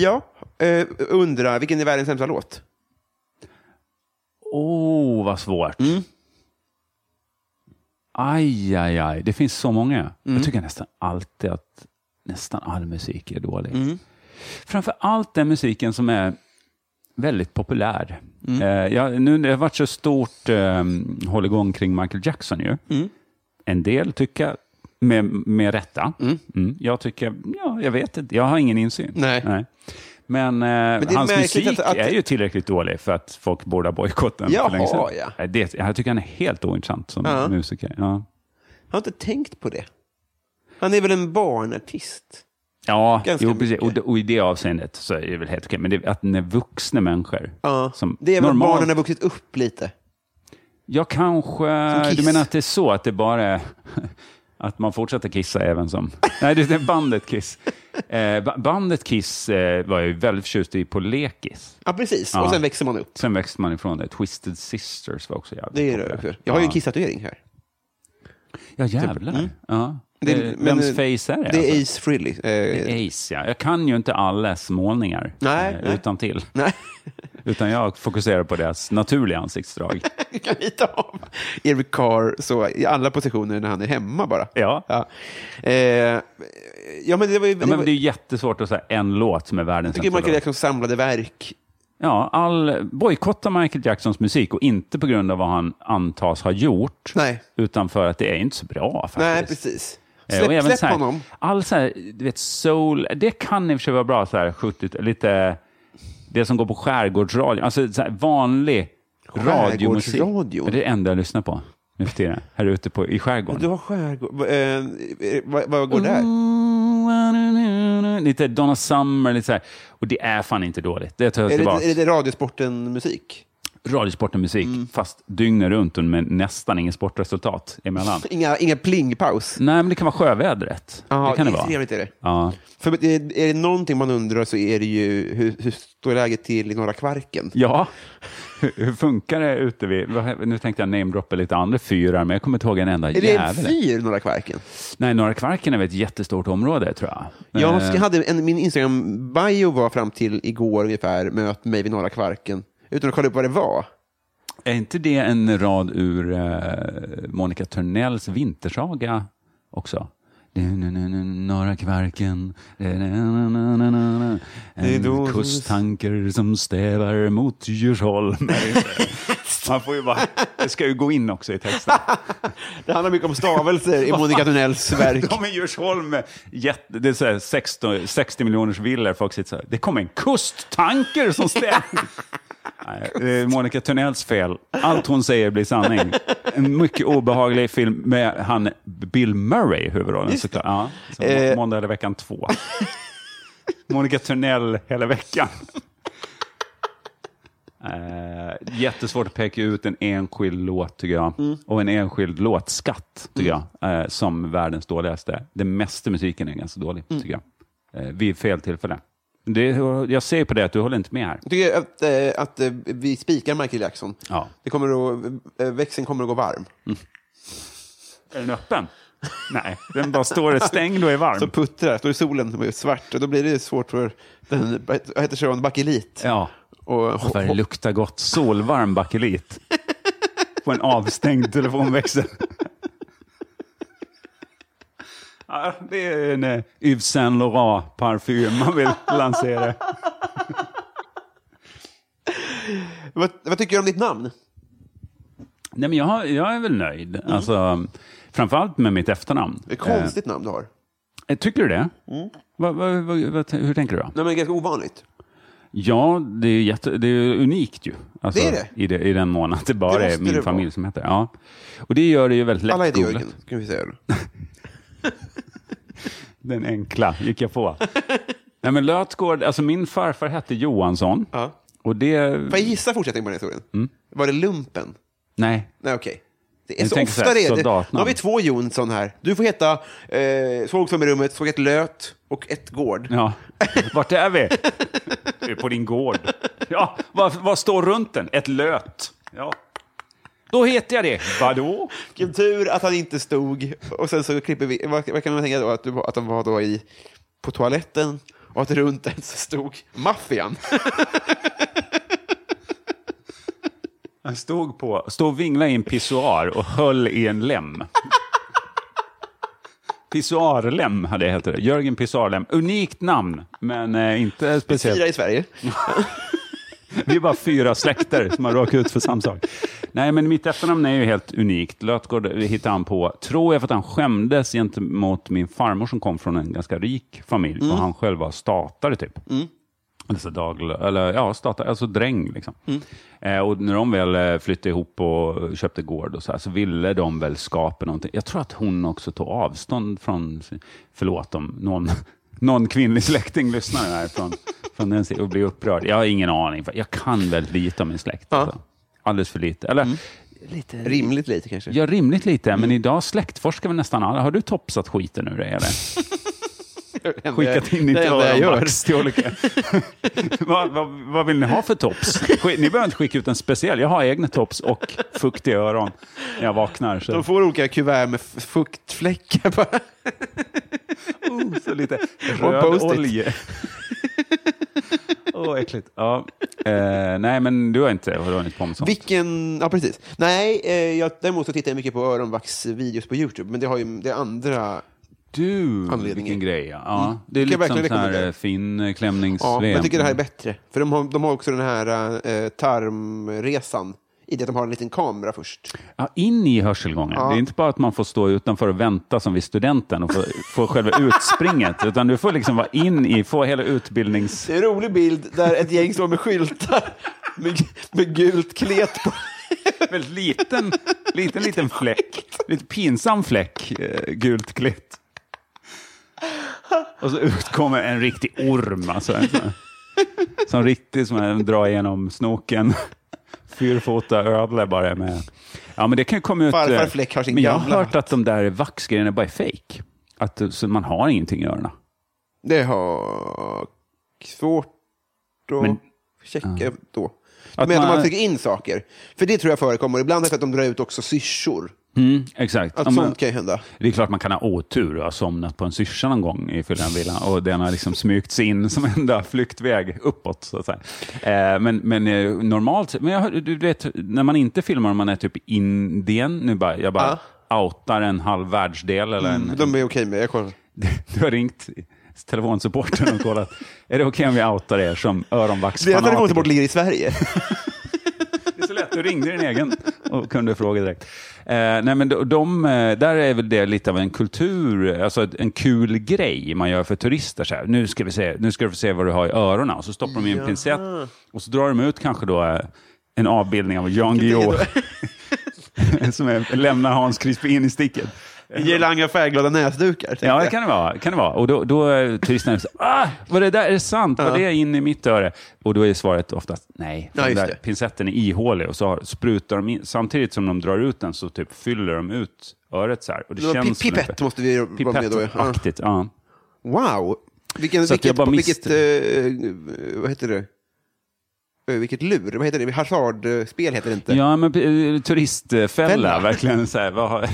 S1: ja, eh, undrar, vilken är världens sämsta låt?
S2: Åh, oh, vad svårt.
S1: Mm.
S2: Aj, aj, aj. Det finns så många.
S1: Mm.
S2: Jag tycker nästan alltid att nästan all musik är dålig.
S1: Mm.
S2: Framför allt den musiken som är väldigt populär.
S1: Mm.
S2: Eh, jag, nu, det har varit så stort eh, hålligång kring Michael Jackson ju.
S1: Mm.
S2: En del tycker, Mm. med, med rätta. Mm. Jag tycker, ja, jag vet inte. Jag har ingen insyn.
S1: Nej.
S2: Nej. Men, eh,
S1: det är
S2: hans
S1: märkligt
S2: musik
S1: att- att-
S2: är ju tillräckligt dålig för att folk borde ha bojkottat den
S1: Jaha,
S2: för länge sedan.
S1: ja.
S2: Nej, Det, jag tycker han är helt ointressant som
S1: Ja.
S2: musiker. Ja,
S1: Jag har inte tänkt på det. Han är väl en barnartist?
S2: ja
S1: Ganska
S2: jo, precis.
S1: mycket.
S2: Och, det- och i det avseendet så är det väl helt okej. Men det, att när vuxna människor
S1: Ja.
S2: som
S1: det är väl att
S2: normalt...
S1: barnen har vuxit upp lite.
S2: Ja,
S1: Som
S2: kanske.
S1: Kiss.
S2: Du menar att det är så, att det bara är... Att man fortsätter kissa även som... Nej, det är bandet Kiss. Eh, ba- bandet Kiss eh, var jag ju väldigt förtjust i på lekis.
S1: Ja, precis.
S2: Ja.
S1: Och sen växer man upp.
S2: Sen växte man ifrån det. Twisted Sisters var också jävligt
S1: Det är det.
S2: populärt.
S1: också. Jag har ju
S2: Ja.
S1: en kissatatuering här.
S2: Ja, jävlar. Ja.
S1: Typ, mm. Det-
S2: Eh,
S1: men,
S2: Vems
S1: eh,
S2: face är det?
S1: Det är
S2: alltså?
S1: Ace Frehley. Eh,
S2: Ace, ja. Jag kan ju inte allas målningar eh,
S1: Nej, nej.
S2: utan till.
S1: Nej,
S2: Utan jag fokuserar på deras naturliga ansiktsdrag.
S1: du kan rita av Eric Carr så, i alla positioner när han är hemma bara.
S2: Ja.
S1: Ja, eh, ja men det var ju...
S2: Ja,
S1: det
S2: men
S1: var,
S2: det är ju jättesvårt att säga en låt som är
S1: jag
S2: världens
S1: tycker
S2: sämsta
S1: Michael
S2: låt.
S1: Jacksons samlade verk
S2: Ja, all, bojkotta Michael Jacksons musik och inte på grund av vad han antas ha gjort,
S1: Nej.
S2: utan för att det är inte så bra. Faktiskt.
S1: Nej, precis.
S2: Eh, och
S1: Släpp,
S2: även
S1: släpp
S2: så här,
S1: honom.
S2: All så här, du vet, soul, det kan i och för sig vara bra, så här, 70, lite det som går på skärgårdsradio, alltså så här, vanlig radiomusik.
S1: Skärgårdsradio?
S2: Det är det enda jag lyssnar på nu för tiden, här ute på, i skärgården.
S1: Du har skärgård... Eh, eh, vad, vad går
S2: Mm.
S1: där?
S2: Lite Donna Summer, lite så här. Och det är fan inte dåligt. Det tar jag
S1: Är
S2: tillbaka.
S1: det, är Mm. det Radiosporten-musik?
S2: Radiosporten-musik, fast dygnet runt och med nästan inget sportresultat emellan.
S1: Inga, inga plingpaus?
S2: Nej, men det kan vara sjövädret.
S1: Ja,
S2: Mm, det kan det,
S1: är
S2: vara.
S1: trevligt är det.
S2: Ja.
S1: För är, är det någonting man undrar så är det ju hur, hur står läget till i Norra Kvarken?
S2: ja. Hur, hur funkar det ute vid... vad- Nu tänkte jag namedroppa lite andra fyrar, men jag kommer inte ihåg en enda
S1: Är det en
S2: jävel.
S1: fyr, Norra Kvarken?
S2: Nej, Norra Kvarken är väl ett jättestort område, tror jag.
S1: Jag
S2: Eh,
S1: ska- hade en, min Instagram-bio var fram till igår ungefär, möt mig vid Norra Kvarken, utan att kolla upp vad det var.
S2: Är inte det en rad ur eh, Monica Törnells vintersaga också? Norra Kvarken,
S1: är då-
S2: en kusttanker som stävar mot Djursholm. Man får ju bara, det ska ju gå in också i texten.
S1: Det handlar mycket om stavelser i Monica Tunnells verk.
S2: De i Djursholm, är jätte, det är så här 60, 60 miljoners villor. Folk sitter så här, det kom en kusttanker som stämde. Nej, det är Monica Törnells fel. Allt hon säger blir sanning. En mycket obehaglig film med han Bill Murray i huvudrollen såklart. Ja, så må-
S1: Eh.
S2: Måndag eller veckan två. Monica Törnell hela veckan. Eh, jättesvårt att peka ut en enskild låt, tycker jag. Och en enskild låtskatt, tycker jag, eh, som världens dåligaste. Det mesta musiken är ganska dålig, tycker jag. Eh, vid fel tillfälle. Det, jag ser på det att du håller inte med här.
S1: Jag tycker att, eh, att eh, vi spikar Michael Jackson.
S2: Ja.
S1: Det kommer att, eh, växeln kommer att gå varm.
S2: Är den öppen? Nej, den bara står stängd och är varm.
S1: Så puttrar, står i solen och är svart, och då blir det svårt för den, vad heter Sharon Bakelit?
S2: ja,
S1: Och,
S2: vad det luktar gott. Solvarm bakelit. På en avstängd telefonväxel. Ja, det är en eh, Yves Saint Laurent-parfym man vill lansera.
S1: vad, vad tycker du om ditt namn?
S2: Nej, men jag, har- jag är väl nöjd. Alltså, framförallt med mitt efternamn.
S1: Mm. Det är Mm. ett konstigt namn du har.
S2: Eh, Tycker du det? Vad- vad- vad- vad- hur tänker du? Då?
S1: Nej, men ganska ovanligt.
S2: Ja, det är, jätte, det är unikt ju. Alltså,
S1: Det är det.
S2: I, I den mån att det bara
S1: Det måste
S2: är min
S1: det
S2: familj
S1: vara.
S2: som heter det. ja. Och det gör det ju väldigt lätt.
S1: Alla är det,
S2: googlat.
S1: Jörgen. Kan vi säga. då.
S2: Den enkla gick jag på. Nej, men Lötgård, alltså min farfar hette Johansson.
S1: Ja.
S2: Och det...
S1: Får jag gissa fortsättningen på den historien?
S2: Mm.
S1: Var det lumpen?
S2: Nej,
S1: Nej, okej. Det är
S2: Jag
S1: så
S2: tänker
S1: ofta
S2: så här,
S1: det är. det.
S2: soldatnamn.
S1: Nu har vi två Jonsson här. Du får heta eh, Såg som i rummet, Såg ett löt och ett gård.
S2: ja. Vart är vi? Vi är på din gård. Ja, vad, vad står runt den? Ett löt. Ja. Då heter jag det. Vadå?
S1: Vilken tur att han inte stod. Och sen så klipper vi. Vad, vad kan man tänka då? Att, du, att de var då i, på toaletten och att runt den så stod maffian.
S2: Han stod, på, stod och vinglade i en pissoar och höll i en lem. Pissoarlem hade jag heter det. Jörgen Pissoarlem. Unikt namn, men eh, inte speciellt.
S1: Fyra i Sverige.
S2: Vi är bara fyra släkter som har råkat ut för samma sak. Nej, men mitt efternamn är ju helt unikt. Lötgård hittade han på, tror jag, för att han skämdes gentemot min farmor som kom från en ganska rik familj och han själv var statare typ. Alltså daglö- eller ja, stata, alltså dräng. Liksom. Eh, och när de väl eh, flyttade ihop och köpte gård och så, här, så ville de väl skapa någonting. Jag tror att hon också tog avstånd från, sin- förlåt om någon, någon kvinnlig släkting lyssnar här från, från den sidan och blir upprörd. Jag har ingen aning. för Jag kan väldigt lite om min släkt. Alltså. Alldeles för lite. Eller,
S4: Rimligt lite kanske.
S2: Ja, rimligt lite, men idag släktforskar vi nästan alla. Har du topsat skiten nu dig, eller? Skickat in ditt
S4: det enda jag gör.
S2: öronvax till olika... vad, vad, vad vill ni ha för tops? Sk- Ni behöver inte skicka ut en speciell. Jag har egna tops och fukt i öron när jag vaknar. Så,
S1: De får olika kuvert med f- fuktfläckar bara.
S2: Mm, så lite
S1: Och
S2: röd
S1: post-it.
S2: olje. Åh, äckligt. Ja. Eh, nej, men du har inte hunnit på med sånt.
S1: Vilken... Ja, precis. Nej, eh, jag, däremot så tittar jag mycket på öronvaxvideos på YouTube, men det har ju det är andra...
S2: Du,
S1: Anledningen.
S2: vilken grej. Ja. Ja, det är
S1: Mm. Kan jag
S2: lite
S1: verkligen
S2: som sån här
S1: rekommendera.
S2: eh, fin eh,
S1: Ja,
S2: klämnings-VM.
S1: men jag tycker det
S2: Mm.
S1: här är bättre. För de har, de har också den här eh, tarmresan, i det att de har en liten kamera först.
S2: Ja, in i hörselgången. Det är inte bara att man får stå utanför och vänta som vid studenten och få, få själva utspringet, utan du får liksom vara in i, få hela utbildnings...
S1: Det är en rolig bild där ett gäng står med skyltar med, med gult klet på.
S2: Väldigt liten, liten, liten fläck. Lite pinsam fläck, eh, gult klitt. Och så utkommer en riktig orm, alltså. En sån, sån riktig som en drar igenom snoken. Fyrfota ödla bara med... Ja, men det kan ju komma ut... eh,
S1: Farfar Fläck har sin
S2: Men jag har
S1: gamla
S2: hört
S1: hatt.
S2: att de där vaxgrejerna bara är fake. Att eh, så man har ingenting i öronen.
S1: Det har svårt att
S2: Men-
S1: checka då. Du
S2: Att
S1: menar att
S2: man-
S1: man trycker in saker? För det tror jag förekommer. Ibland är det för att de drar ut också syrsor.
S2: Mm, exakt.
S1: Att
S2: Ja, men-
S1: sånt kan ju hända.
S2: det är klart man kan ha otur och ha somnat på en syrsa någon gång i fyllan villan och den har liksom smygts in som enda flyktväg uppåt. Så att säga. Eh, men men eh, normalt sett- men jag, hör- du vet, när man inte filmar om man är typ i Indien, nu bara, jag bara outar en halv världsdel eller en,
S1: Mm, De är okej med, jag kollar.
S2: du har ringt telefonsupporten och kollat, är det okej om vi outar er som
S1: Deras
S2: öronvaxfanatiker?
S1: telefonsupport ligger i Sverige.
S2: Det är så lätt, du ringde din egen och kunde fråga direkt. Eh, nej, men de, de, eh, där är väl det lite av en kultur, alltså ett- en kul grej man gör för turister. Så här, nu, ska vi se, nu ska du få se vad du har i öronen. Och så stoppar de in en pincett och så drar de ut kanske då eh, en avbildning av Jan Guillou som är, lämnar Hans Crispin i sticket.
S1: Gelanga färgglada näsdukar. tänkte
S2: Ja, det
S1: jag.
S2: kan det vara. Kan det vara. Och då, då eh, är turisterna så, ah, var det där, är det sant? Var det in i mitt öre? Och då är svaret oftast nej. För
S1: Ja,
S2: den
S1: just
S2: där
S1: det.
S2: pincetten är ihålig och så har, sprutar de in, samtidigt som de drar ut den så typ fyller de ut öret så här. Och det
S1: Det var
S2: känns
S1: pi-
S2: väl
S1: pipett
S2: inte-
S1: måste vi vara med då. Ja.
S2: Pipettaktigt, ja.
S1: Wow! Vilken,
S2: Så att jag
S1: vilket,
S2: bara
S1: vilket,
S2: misste-
S1: eh, vad heter det? Eh, vilket lur? Vad heter det? Hazardspel heter det inte.
S2: Ja, men eh, turistfälla,
S1: Fälla.
S2: verkligen. Så här, vad, har-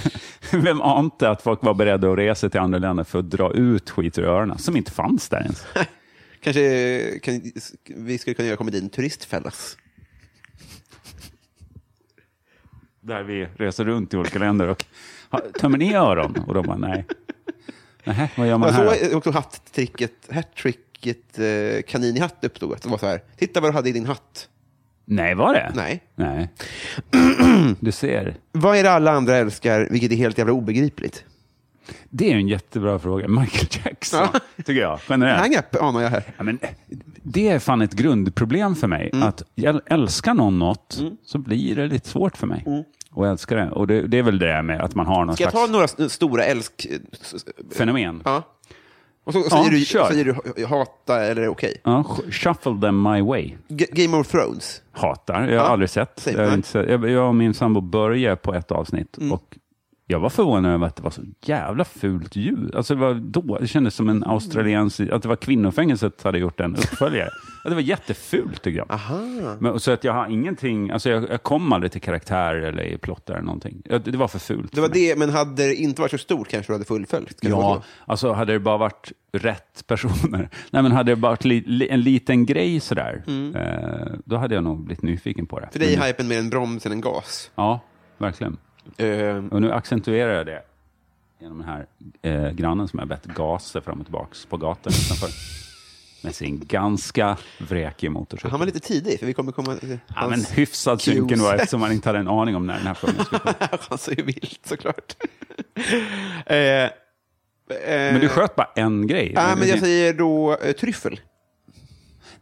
S2: vem ante att folk var beredda att resa till andra länder för att dra ut skit ur öronen, som inte fanns där ens.
S1: Kanske kan, vi skulle kunna göra komedin Turistfällas.
S2: där vi reser runt i olika länder och ha- tömmer ni öron? Och de bara nej. Nähä, vad gör man
S1: Jag
S2: här? då?
S1: såg också hattricket, hattricket eh, kanin i hatt uppstod. Att det var så här, titta vad du hade i din hatt.
S2: Nej, var det?
S1: Nej.
S2: Nej. Du ser.
S1: Vad är det alla andra älskar, vilket är helt jävla obegripligt?
S2: Det är en jättebra fråga. Michael Jackson,
S1: Ja.
S2: tycker jag. Generellt.
S1: Hang up anar jag här.
S2: Ja, men, det är fan ett grundproblem för mig.
S1: Mm.
S2: Att jag älskar någon något så blir det lite svårt för mig. Och älskar det. Och det, det är väl det där med att man har någon
S1: Mm. Ska jag
S2: slags
S1: ta några s- stora älsk... s- s-
S2: fenomen. Ja.
S1: Ja. Och så
S2: Ja,
S1: säger, du,
S2: kör.
S1: säger du hata eller okej.
S2: sh- shuffle them my way.
S1: G- Game of Thrones.
S2: hatar. Jag har
S1: Ja,
S2: aldrig sett.
S1: säg
S2: Jag, har
S1: nej.
S2: inte sett. jag jag och min sambo började på ett avsnitt
S1: Mm.
S2: och jag var förvånad över att det var så jävla fult ljud. Alltså det, var då, det kändes som
S1: Mm.
S2: en australiensisk, att det var kvinnofängelset hade gjort en uppföljare. ja, det var jättefult tycker jag. Men, och så att jag har ingenting, alltså jag, jag kom aldrig till karaktär eller i plott eller någonting. Ja, Det, det var för fult.
S1: Det var
S2: för mig.
S1: det, men hade det inte varit så stort kanske du hade fullföljt? Kanske var
S2: Ja,
S1: så.
S2: alltså hade det bara varit rätt personer. Nej, men hade det bara varit li, li, en liten grej sådär, eh, då hade jag nog blivit nyfiken på det.
S1: Mm. För dig är
S2: Men-
S1: hypen mer en broms än en gas.
S2: Ja, verkligen.
S1: Eh,
S2: Och nu accentuerar jag det genom den här eh, grannen som jag bett gasa fram och tillbaks på gatan utanför. Med sin ganska vräkiga motorcykel.
S1: han var lite tidig, för vi kommer komma...
S2: Ja, men
S1: Hans,
S2: hyfsad synken
S1: cues.
S2: var eftersom man inte hade en aning om när den här frågan skulle komma.
S1: han sa ju vilt såklart. eh, eh,
S2: Men du sköt bara en grej.
S1: Ja,
S2: Det-
S1: men jag
S2: det-
S1: säger då eh, tryffel.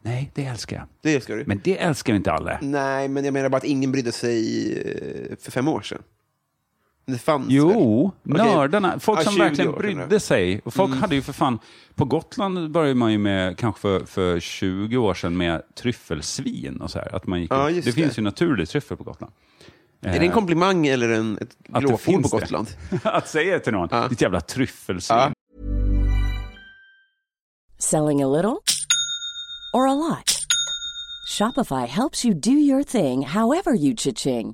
S2: Nej, det älskar jag.
S1: Det älskar du.
S2: Men det älskar ju inte alla.
S1: Nej, men jag menar bara att ingen brydde sig eh, för fem år sedan. Det fanns väl?
S2: Jo,
S1: Okej.
S2: nördarna. Folk
S1: Ja,
S2: som
S1: 20
S2: verkligen
S1: år sedan
S2: brydde
S1: nu. Mm.
S2: sig. Och Folk hade ju för fan... På Gotland började man ju med, kanske för, för 20 år sedan, med tryffelsvin och så här. Att man gick
S1: Ja,
S2: ut. det,
S1: just det.
S2: finns ju naturlig tryffel på Gotland. Eh,
S1: Är det en komplimang eller en, ett
S2: Att det
S1: glåpord på
S2: finns det.
S1: Gotland?
S2: Att säga till någon,
S1: Ja.
S2: ditt jävla tryffelsvin.
S1: Ja.
S5: Selling a little or a lot? Shopify helps you do your thing however you cha-ching.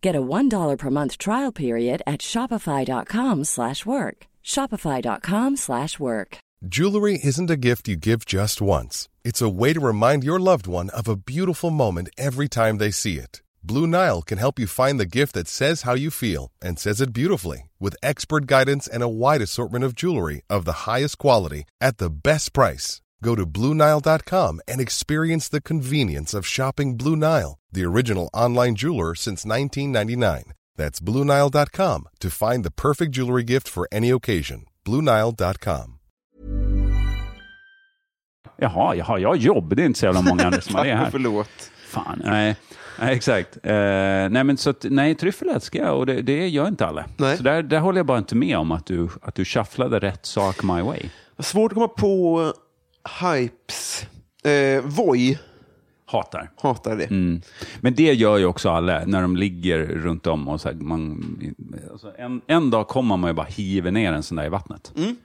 S5: Get a $1 per month trial period at shopify.com/work. shopify.com/work.
S6: Jewelry isn't a gift you give just once. It's a way to remind your loved one of a beautiful moment every time they see it. Blue Nile can help you find the gift that says how you feel and says it beautifully with expert guidance and a wide assortment of jewelry of the highest quality at the best price. Go to BlueNile.com and experience the convenience of shopping Blue Nile, the original online jeweler since 1999. That's BlueNile.com to find the perfect jewelry gift for any occasion. BlueNile.com.
S2: Jaha, jaha, jag har jobb. Det är inte så jävla många andra som har det här.
S1: Förlåt.
S2: Fan, nej. nej exakt. Eh, nej, men så att, nej, tryffel älskar jag och det, det gör inte alla.
S1: Nej.
S2: Så där, där håller jag bara inte med om att du, att du shufflade rätt sak my way.
S1: Svårt att komma på hypes. Eh, Voi
S2: Hatar.
S1: hatar det.
S2: Mm. Men det gör ju också alla när de ligger runt om. Och så här, man, alltså en, en dag kommer man ju bara hiver ner en sån där i vattnet.
S1: Mm.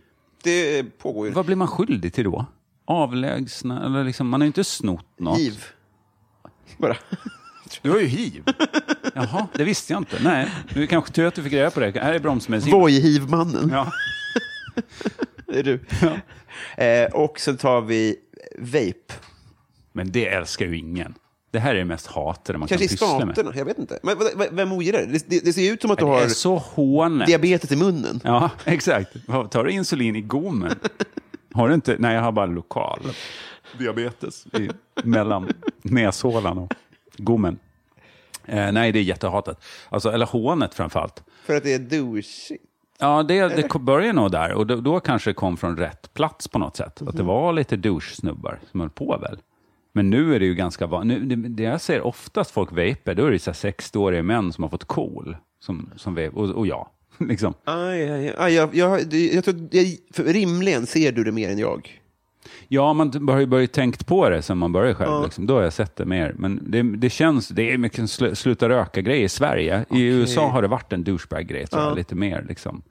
S1: Det pågår ju.
S2: Vad blir man skyldig till då? Avlägsna? Eller liksom, man har ju inte snott något.
S1: Hiv. Bara.
S2: Du har ju hiv. Jaha, det visste jag inte. Nej, nu är det kanske tur att du fick reda på det. Här är bromsmedicin.
S1: Voi-hivmannen.
S2: Ja.
S1: Det är du. Eh, och så tar vi vape.
S2: Men det älskar ju ingen. Det här är det mest hatade man
S1: Kanske i
S2: kan pyssla med.
S1: staterna, jag vet inte. Men, vad- vad- vem ogillar det? det? Det det ser ju ut som att du
S2: Det är
S1: har
S2: så hånet.
S1: diabetes i munnen.
S2: Ja, exakt. Vad- Tar du insulin i gommen? Har du inte? Nej, jag har bara lokal diabetes i, mellan näshålan och gommen. Eh, nej, det är jättehatat. Alltså, eller hånet framför allt.
S1: För att det är douchigt.
S2: Ja, det, det kom- började nog där. Och då, då kanske det kom från rätt plats på något sätt. Att det var lite douche-snubbar som höll på väl. Men nu är det ju ganska vanligt. Det, det jag ser oftast folk vape, då är det så här 60-åriga män som har fått KOL. Som, som vape, och, och jag. Liksom.
S1: Aj, aj, aj. Jag, jag, det- jag tror, jag, för rimligen ser du det mer än jag.
S2: Ja, man har ju börjat tänkt på det sen man började själv. Liksom. Då har jag sett det mer. Men det, det känns, det är mycket en sl, sluta röka-grej i Sverige. I USA har det varit en douchebag-grej, tror jag, lite mer. Liksom.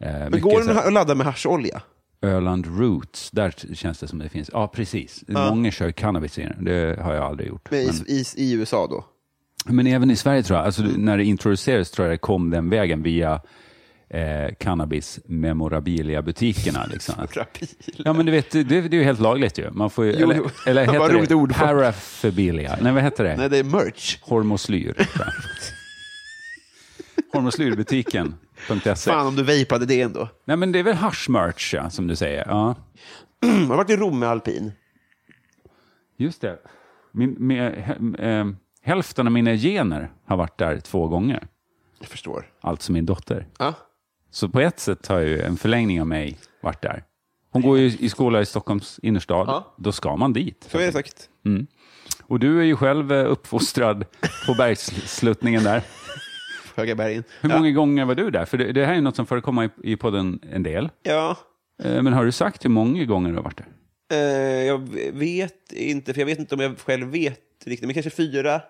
S2: Eh,
S1: Men
S2: mycket
S1: går
S2: så
S1: den
S2: här-
S1: att ladda med hascholja?
S2: Öland Roots, där t- känns det som det finns. Ja, precis. Många kör cannabis i den. Det har jag aldrig gjort.
S1: Med,
S2: Men,
S1: i, i, I USA då?
S2: men även i Sverige tror jag, alltså,
S1: Mm.
S2: när det introducerades tror jag det kom den vägen via eh, cannabis memorabilia-butikerna. Liksom.
S1: Rapil.
S2: Ja, men du vet, det, det är ju helt lagligt ju. Man får ju,
S1: Jo,
S2: eller,
S1: jo.
S2: eller
S1: Vad
S2: heter
S1: roligt
S2: det
S1: ord för-
S2: paraphilia? Nej, vad heter det?
S1: Nej, det är merch.
S2: Hormoslyr. tror jag. Hormoslyrbutiken.se.
S1: Fan om du vejpade det ändå.
S2: E. Nej, men det är väl haschmerch, ja, som du säger. Ja.
S1: Jag Mm, har varit i Rom med alpin.
S2: Just det. Min, min, he, eh, hälften av mina gener har varit där två gånger.
S1: Jag förstår.
S2: Alltså min dotter.
S1: Ja.
S2: Så på ett sätt har ju en förlängning av mig varit där. Hon går ju i skola i Stockholms innerstad.
S1: Ja.
S2: Då ska man dit.
S1: Så är det sagt.
S2: Och du är ju själv eh, uppfostrad på bergssluttningen där.
S1: Höga bergen.
S2: Hur många gånger var du där? För det, det här är något som förekommer i, i podden en del.
S1: Ja.
S2: Eh, Men har du sagt hur många gånger du har varit där?
S1: Eh, jag vet inte, för jag vet inte om jag själv vet riktigt. Men kanske fyra.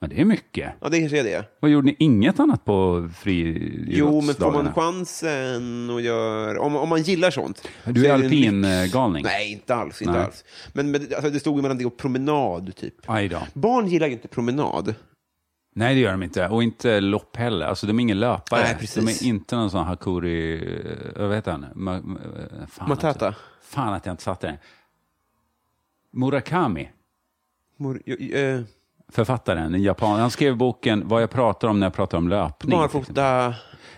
S2: Ja, det är mycket.
S1: Ja, det kanske är det.
S2: Vad gjorde ni? Inget annat på
S1: Jo, men får
S2: friidrottsdagarna?
S1: man chansen och gör... Om, om man gillar sånt.
S2: Du
S1: så
S2: är
S1: det en lyx.
S2: alpingalning?
S1: Nej, inte alls. Inte
S2: Nej.
S1: alls. Men, men alltså, det stod ju mellan det och promenad, typ.
S2: Aj då.
S1: Barn gillar ju inte promenad.
S2: Nej, det gör de inte. Och inte lopp heller. Alltså, de är ingen löpare.
S1: Nej, precis.
S2: De är inte någon sån Hakuri... eh, Vad heter han? Ma, ma, eh, fan
S1: Matata.
S2: Att, fan att jag inte satte den. Murakami.
S1: Mor, jo, eh,
S2: författaren, den japan. Han skrev boken Vad jag pratar om när jag pratar om löpning.
S1: Barfota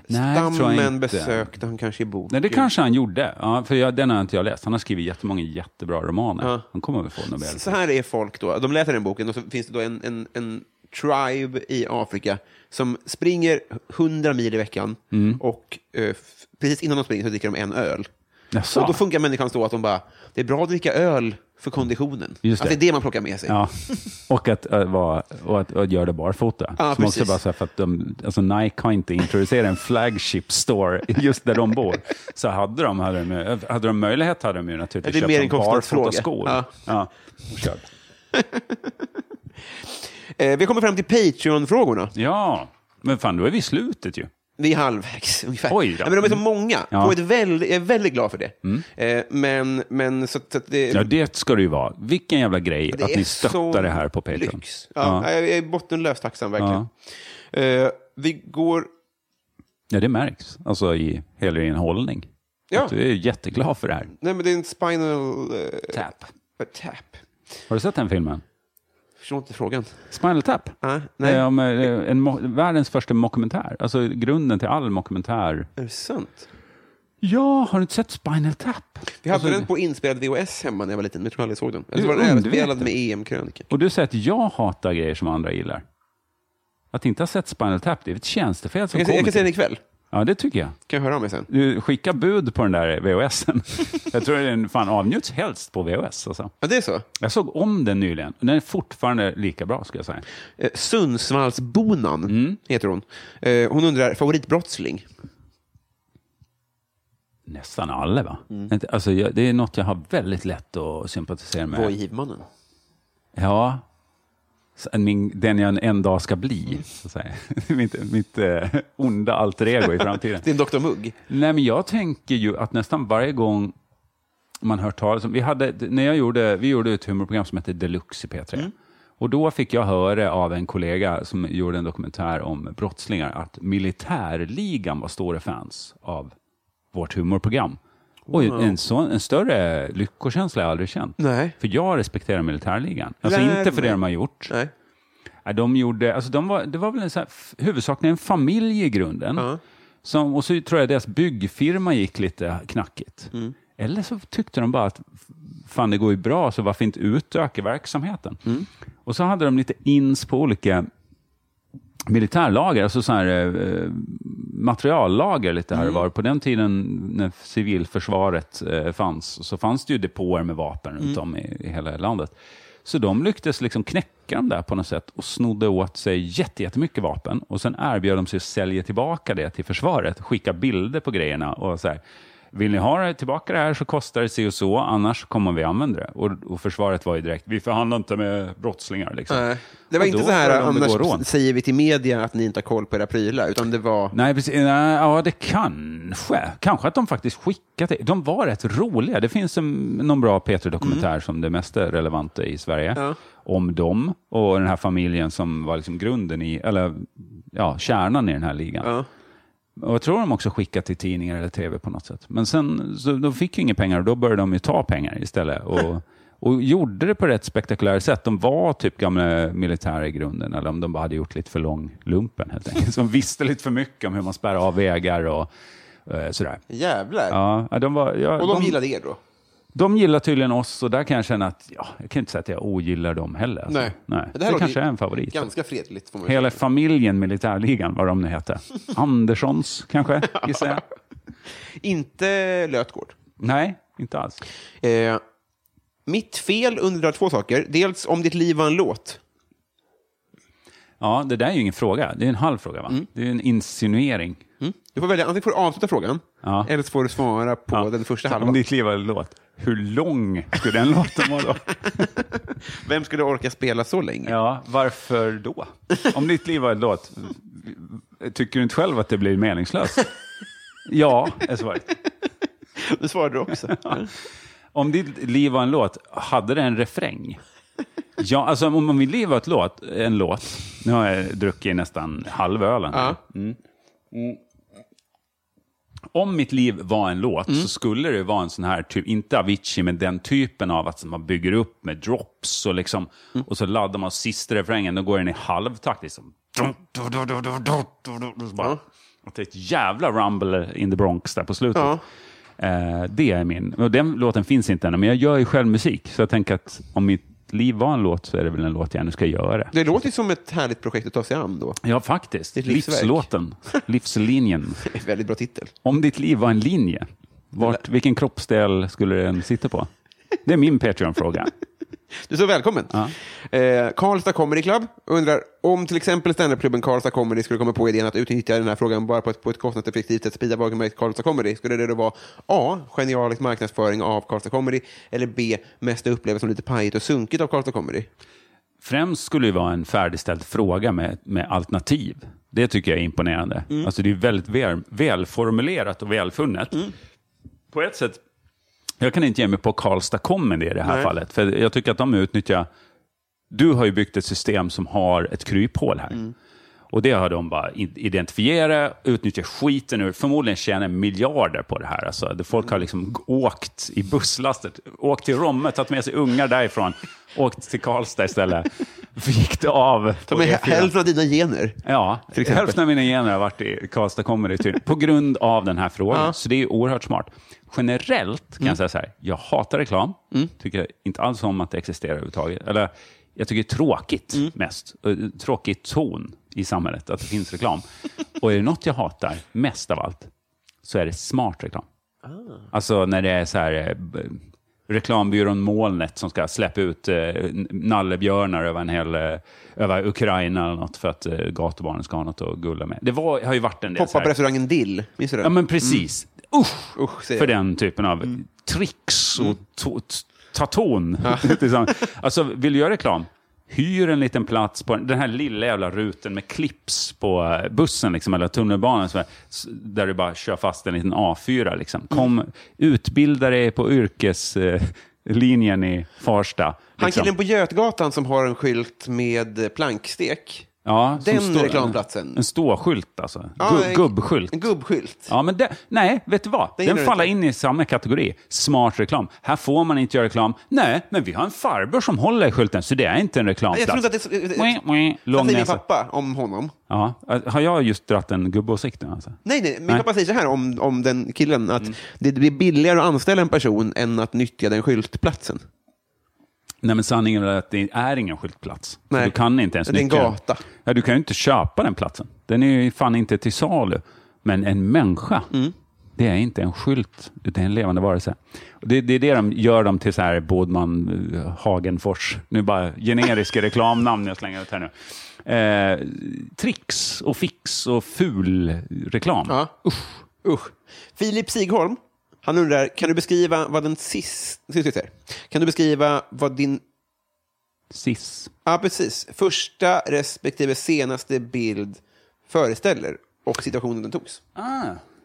S2: Nej, det tror jag
S1: stammen
S2: inte.
S1: besökte han kanske i boken.
S2: Nej, det kanske han gjorde. Ja, för jag, den har inte jag läst. Han har skrivit jättemånga jättebra romaner.
S1: Ja.
S2: Han kommer väl få Nobel.
S1: Så här är folk då, de läser den boken och så finns det då en, en, en tribe i Afrika som springer 100 mil i veckan
S2: Mm.
S1: och eh, f- precis innan de springer så dricker de en öl.
S2: Jaså?
S1: Och då funkar människan så att de bara, det är bra att dricka öl för konditionen.
S2: Just
S1: Att
S2: det.
S1: det är det man plockar med sig.
S2: Ja, och att, äh, vara, och att, och att göra det barfota.
S1: Ja,
S2: Som
S1: precis.
S2: också bara så här för att de, alltså Nike har inte introducerat en flagship store just där de bor. Så hade de, hade de, hade de möjlighet hade de ju naturligtvis
S1: Det är mer en
S2: köpt som
S1: kostnadsfråga.
S2: barfotaskor.
S1: Ja.
S2: Ja. Ja. och kört.
S1: Eh, vi kommer fram till Patreon-frågorna.
S2: ja, men fan då är vi i slutet ju.
S1: Vi är halvvägs ungefär.
S2: Oj
S1: Nej,
S2: då. Mm.
S1: men de är så många.
S2: Ja. Mm.
S1: På ett väl, jag är väldigt glad för det. Eh, men men så, att- så att det,
S2: Ja, det ska det ju vara. Vilken jävla grej
S1: det
S2: att
S1: är
S2: ni
S1: så
S2: stöttar det här på Patreon.
S1: Lyx. Ja,
S2: Ja.
S1: Jag är bottenlöst tacksam verkligen. Eh, vi går...
S2: Ja, det märks, alltså i hela din hållning.
S1: Ja.
S2: Att Du är ju jätteglad för det här.
S1: Nej, men det är en spinal eh,
S2: Tap.
S1: tap.
S2: Har du sett den filmen?
S1: Förstår inte frågan.
S2: Spinal Tap?
S1: Ah,
S2: Nej.
S1: nej.
S2: Eh, om, eh, en, mo- världens första mockumentär. Alltså grunden till all mockumentär.
S1: Är det sant?
S2: Ja, har du inte sett Spinal Tap?
S1: Vi hade
S2: Alltså,
S1: den på inspelad VHS hemma när jag var liten, men jag tror aldrig jag såg den. Eller så
S2: Du
S1: var den
S2: undervet
S1: överspelad
S2: det.
S1: med E EM-krönikan.
S2: Och du säger att jag hatar grejer som andra gillar. Att inte ha sett Spinal Tap, det är ett tjänstefel som
S1: Jag kan, se- jag
S2: komiker.
S1: kan se den ikväll.
S2: Ja, det tycker jag.
S1: Kan jag höra av mig sen?
S2: Du skickar bud på den där VHSen. jag tror den fan avnjuts helst på VHS. Alltså.
S1: Ja, det är så.
S2: Jag såg om den nyligen. Den är fortfarande lika bra, ska jag säga.
S1: Eh, Sundsvallsbonan
S2: Mm.
S1: heter hon. Eh, hon undrar, favoritbrottsling?
S2: Nästan alla, va? Inte- Alltså, jag, det är något jag har väldigt lätt att sympatisera med.
S1: Vojhivmannen.
S2: Ja. Så Min, den jag en, en dag ska bli, så att säga. mitt, mitt eh, onda alter ego i framtiden.
S1: Det är en Dr Mugg.
S2: Nej, men jag tänker ju att nästan varje gång man hör talas om... Vi, hade, när jag gjorde, vi gjorde ett humorprogram som hette Deluxe i P3. Och då fick jag höra av en kollega som gjorde en dokumentär om brottslingar att militärligan var stora fans av vårt humorprogram. Och en, sån, en större lyckokänsla har jag aldrig känt.
S1: Nej.
S2: För jag respekterar militärligan. Alltså
S1: Lär
S2: inte för det
S1: mig.
S2: de har gjort.
S1: Nej.
S2: Nej, De gjorde, alltså de var, det var väl en så här, f- huvudsakligen en familj i grunden. Som, och så tror jag deras byggfirma gick lite knackigt. Eller så tyckte de bara att fan det går ju bra, så varför inte utöka verksamheten? Och så hade de lite ins på olika militärlager, alltså så här, eh, materiallager lite här och
S1: Mm.
S2: var. På den tiden när civilförsvaret eh, fanns, så fanns det ju depåer med vapen
S1: Mm.
S2: runt om i, i hela landet. Så de lyckades liksom knäcka dem där på något sätt och snodde åt sig jätte- jättemycket vapen. Och sen erbjöd de sig att sälja tillbaka det till försvaret, skicka bilder på grejerna och så här. Vill ni ha det tillbaka det här så kostar det si och så, annars kommer vi använda det. Och, och försvaret var ju direkt, vi förhandlar inte med brottslingar. Liksom.
S1: Nej. Det var
S2: Och
S1: inte
S2: då
S1: så här,
S2: började de begå rån.
S1: annars säger vi till media att ni inte har koll på era prylar, utan det var...
S2: Nej, precis. Nej, ja, det kanske. Kanske att de faktiskt skickat det. De var rätt roliga. Det finns en, någon bra P3-dokumentär som det mest är relevanta i Sverige om dem och den här familjen som var liksom grunden i, eller ja, kärnan i den här ligan. Och jag tror de också skickat till tidningar eller tv på något sätt. Men sen så de fick ju inga pengar och då började de ju ta pengar istället. Och, och gjorde det på rätt spektakulärt sätt. De var typ gamla militärer i grunden, eller om de bara hade gjort lite för lång lumpen helt enkelt. Så de visste lite för mycket om hur man spärrar av vägar och eh, sådär.
S1: Jävlar.
S2: Ja, de var, ja,
S1: Äh. Och de gillade er då?
S2: de gillar tydligen oss och där kan jag känna att, ja, jag kan inte säga att jag ogillar dem heller. alltså. Nej.
S1: Men
S2: Det,
S1: låter
S2: kanske
S1: ju
S2: är en favorit.
S1: Ganska fredligt, får man ju
S2: Hela
S1: säga.
S2: familjen Militärligan, vad de nu hette. Anderssons kanske, gissar jag.
S1: Inte Lötgård.
S2: Nej, inte alls.
S1: Eh, mitt fel undrar två saker. Dels om ditt liv var en låt.
S2: Ja, det där är ju ingen fråga. Det är en halv fråga, va?
S1: Mm.
S2: Det är en insinuering.
S1: Du får välja, antingen får du avsluta frågan,
S2: Ja.
S1: eller så får du svara på
S2: Ja.
S1: den första
S2: Så
S1: halvan.
S2: Om ditt liv var en låt, hur lång skulle den låten vara då?
S1: Vem skulle orka spela så länge?
S2: Ja, varför då? Om ditt liv var en låt, tycker du inte själv att det blir meningslöst? Ja, är svaret.
S1: Det svarade du också.
S2: Om ditt liv var en låt, hade det en refräng? Ja, alltså om om mitt liv var ett låt, en låt, nu har jag druckit nästan halv ölen. här. Mm. Om mitt liv var en låt så skulle det vara en sån här, typ, inte Avicii, men den typen av att man bygger upp med drops och, liksom, och så laddar man sista refrängen, då går den i halvtakt. Liksom. Och så bara, och det är ett jävla rumble in the Bronx där på slutet. Eh, det är min. Och den låten finns inte ännu, men jag gör ju själv musik. Så jag tänker att om mitt liv var en låt så är det väl en låt jag nu ska göra.
S1: Det låter ju som ett härligt projekt att ta sig an då.
S2: Ja, faktiskt.
S1: Ett livsverk.
S2: Livslåten. Livslinjen.
S1: Väldigt bra titel.
S2: Om ditt liv var en linje, vart, vilken kroppsdel skulle den sitta på? Det är min Patreon-fråga.
S1: Du är så välkommen. Eh, Karlstad Comedy Club undrar om till exempel standupklubben Karlstad Comedy skulle komma på idén att utnyttja den här frågan bara på ett, på ett kostnadseffektivt sätt, sprida varumärket Karlstad Comedy. Skulle det då vara A. Genialisk marknadsföring av Karlstad Comedy eller B. Mesta upplevs som lite pajigt och sunkigt av Karlstad Comedy?
S2: Främst skulle det vara en färdigställd fråga med, med alternativ. Det tycker jag är imponerande.
S1: Mm.
S2: Alltså det är väldigt väl, välformulerat och välfunnet. På ett sätt, jag kan inte ge mig på Karlstad Comedy i det här fallet, för jag tycker att de utnyttjar... Du har ju byggt ett system som har ett kryphål här.
S1: Mm.
S2: Och det har de bara i- identifierat, utnyttjat skiten ur. Förmodligen tjänar miljarder på det här. Alltså, det- folk
S1: Mm.
S2: har liksom g- åkt i busslaster, åkt till Romme, tagit med sig ungar därifrån, åkt till Karlstad istället. Fick det av.
S1: Ta
S2: på
S1: med
S2: E4.
S1: hälften av dina gener.
S2: Ja,
S1: till exempel.
S2: hälften av mina gener har varit i Karlstad Comedy tydligen, på grund av den här frågan. Så det är ju oerhört smart. Generellt
S1: Mm.
S2: kan jag säga så här, jag hatar reklam. Tycker inte alls om att det existerar överhuvudtaget. Eller, jag tycker det är tråkigt
S1: Mm.
S2: mest. Och, eh, Tråkig ton i samhället, att det finns reklam. Och är det något jag hatar mest av allt, så är det smart reklam.
S1: Ah.
S2: Alltså när det är så här... eh, b- reklambyrån Molnet som ska släppa ut eh, n- nallebjörnar över, en hel, eh, över Ukraina eller något för att eh, gatubarnen ska ha något att gulla med. Det var, har ju varit en del... så
S1: Poppa
S2: här-
S1: på Mm. restaurangen Dill. Minns du den?
S2: Ja, men precis. Usch!
S1: Usch, säger
S2: för
S1: jag.
S2: den typen av
S1: Mm.
S2: tricks och to- t- ta ton. Tillsammans. alltså, vill du göra reklam? Hyr en liten plats på den här lilla jävla ruten med clips på eh, bussen liksom, eller tunnelbanan så här, s- där du bara kör fast en liten A4. Liksom.
S1: Mm.
S2: Kom, Utbilda dig på yrkeslinjen i Farsta.
S1: Han
S2: liksom.
S1: killen på Götgatan som har en skylt med plankstek.
S2: ja, som
S1: den
S2: står-
S1: reklamplatsen.
S2: En ståskylt alltså.
S1: Ja,
S2: Gub-
S1: en-
S2: gubbskylt.
S1: En gubbskylt.
S2: Ja, men det, nej, vet du vad? Den,
S1: gillar du
S2: faller
S1: inte.
S2: in i samma kategori. Smart reklam. Här får man inte göra reklam. Nej, men vi har en farbror som håller i skylten, så det är inte en reklamplats.
S1: Jag tror inte att det är så...
S2: Mwah, mwah.
S1: Vad säger
S2: Lång
S1: min
S2: näsa.
S1: pappa om honom?
S2: Ja. Har jag just dratt en gubbåsikt nu? Alltså?
S1: Nej, nej, Mm. min
S2: Nej.
S1: pappa säger så här om, om den killen, att det blir billigare att anställa en person än att nyttja den skyltplatsen.
S2: Nej, men sanningen är väl att det är ingen skyltplats.
S1: Nej.
S2: Så du kan inte ens
S1: Det är en
S2: nyttja den.
S1: gata.
S2: Ja, du kan ju inte köpa den platsen. Den är ju fan inte till salu. Men en människa,
S1: Mm.
S2: det är inte en skylt, utan en levande varelse. Och det, det är det de gör dem till så här Bodman, eh, Hagenfors. Nu bara generiska reklamnamn jag slänger ut här nu. Eh, tricks och fix och ful reklam.
S1: Ja. Usch. Usch. Filip Sigholm, han undrar, kan du beskriva vad den sist... ska vi se här. Kan du beskriva vad din...
S2: Sis.
S1: Ja, precis. Första respektive senaste bild föreställer och situationen den togs.
S2: Ah,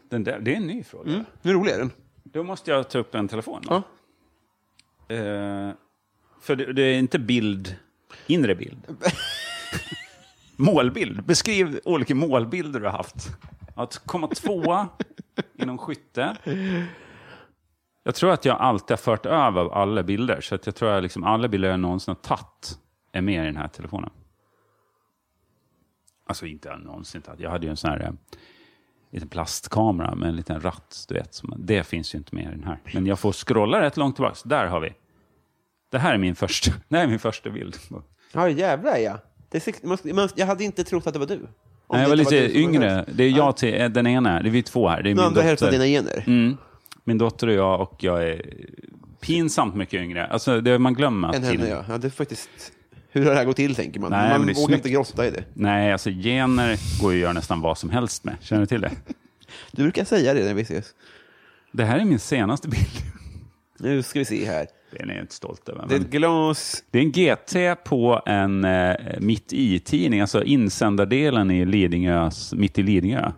S2: den där, det är en ny fråga.
S1: Hur rolig är den?
S2: Då måste jag ta upp en telefon. då. Eh, för det, det är inte bild, inre bild. Målbild. Beskriv olika målbilder du har haft. Att komma tvåa inom skytte. Jag tror att jag alltid har fört över alla bilder. Så att jag tror att liksom alla bilder jag någonsin har tagit är med i den här telefonen. Alltså inte någonsin tagit. Jag hade ju en sån här... Eh, liten plastkamera med en liten ratt. Du vet, som, det finns ju inte med i den här. Men jag får scrolla rätt långt tillbaka. Så Där har vi. Det här är min första, det här är min första bild.
S1: Ja, jävlar ja. Det är sex... man, man, jag hade inte trott att det var du. Om
S2: Nej, jag var
S1: det inte
S2: lite
S1: du som var
S2: yngre.
S1: först.
S2: Det är jag till eh, den ena. Det är vi två här. Det är
S1: Nu
S2: min
S1: använder hälften av
S2: dotter.
S1: dina gener.
S2: Mm. Min dotter och jag och jag är pinsamt mycket yngre. Alltså, det, man glömmer att
S1: Än henne,
S2: killen-
S1: ja. ja det är faktiskt... Hur har det här gått till, tänker man.
S2: Nej, men
S1: man
S2: det är
S1: vågar
S2: snyggt.
S1: inte grotta i det.
S2: Nej, alltså gener går ju att göra nästan vad som helst med. Känner du till det?
S1: Du brukar säga det när vi ses.
S2: Det här är min senaste bild.
S1: Nu ska vi se här.
S2: Den är jag inte stolt över.
S1: Det är
S2: men-
S1: ett glas...
S2: Det är en GT på en eh, Mitt i-tidning, alltså insändardelen i Lidingös, Mitt i Lidingö,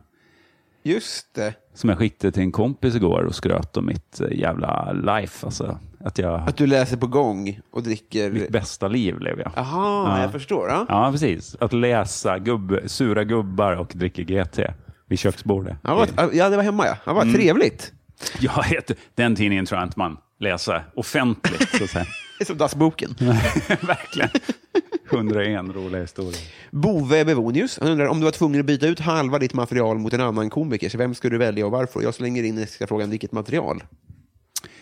S1: Just det.
S2: som jag skickade till en kompis igår och skröt om mitt eh, jävla life. Alltså, att jag,
S1: Att du läser på gång och dricker...
S2: mitt bästa liv lever jag.
S1: Aha,
S2: Ja.
S1: jag förstår. Ja.
S2: Ja, precis. Att läsa gubb, sura gubbar och dricka GT. vid köksbordet.
S1: Ja, var, ja, det var hemma ja. ja
S2: Mm.
S1: vad Trevligt.
S2: Jag heter, den tidningen tror jag inte man läser offentligt, så att säga.
S4: Det är som dassboken.
S2: Verkligen. 101 roliga historier.
S1: Bove Bevonius, han undrar om du var tvungen att byta ut halva ditt material mot en annan komiker, så vem skulle du välja och varför? Jag slänger in extra frågan, vilket material?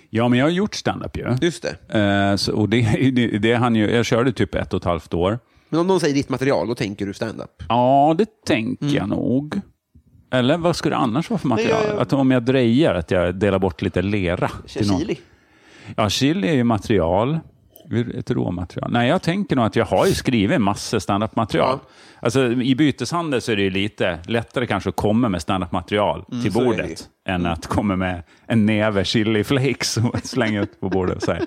S2: Ja, men jag har gjort standup ju.
S1: Just det.
S2: Eh, så, och det, det, det han ju, jag körde typ ett och ett halvt år.
S1: Men om någon säger ditt material, då tänker du stand-up.
S2: Ja, det tänker jag nog. Eller vad skulle det annars vara för material?
S1: jag- jag-
S2: Att om jag drejar, att jag delar bort lite lera. till någon.
S1: Chili.
S2: Ja, chili är ju material. Ett råmaterial. Nej, jag tänker nog att jag har ju skrivit en massa standup-material. Alltså, I byteshandel så är det ju lite lättare kanske att komma med standup-material till
S1: Mm, så är det Mm.
S2: bordet än att komma med en näve chili flakes och slänga ut på bordet. och Så här.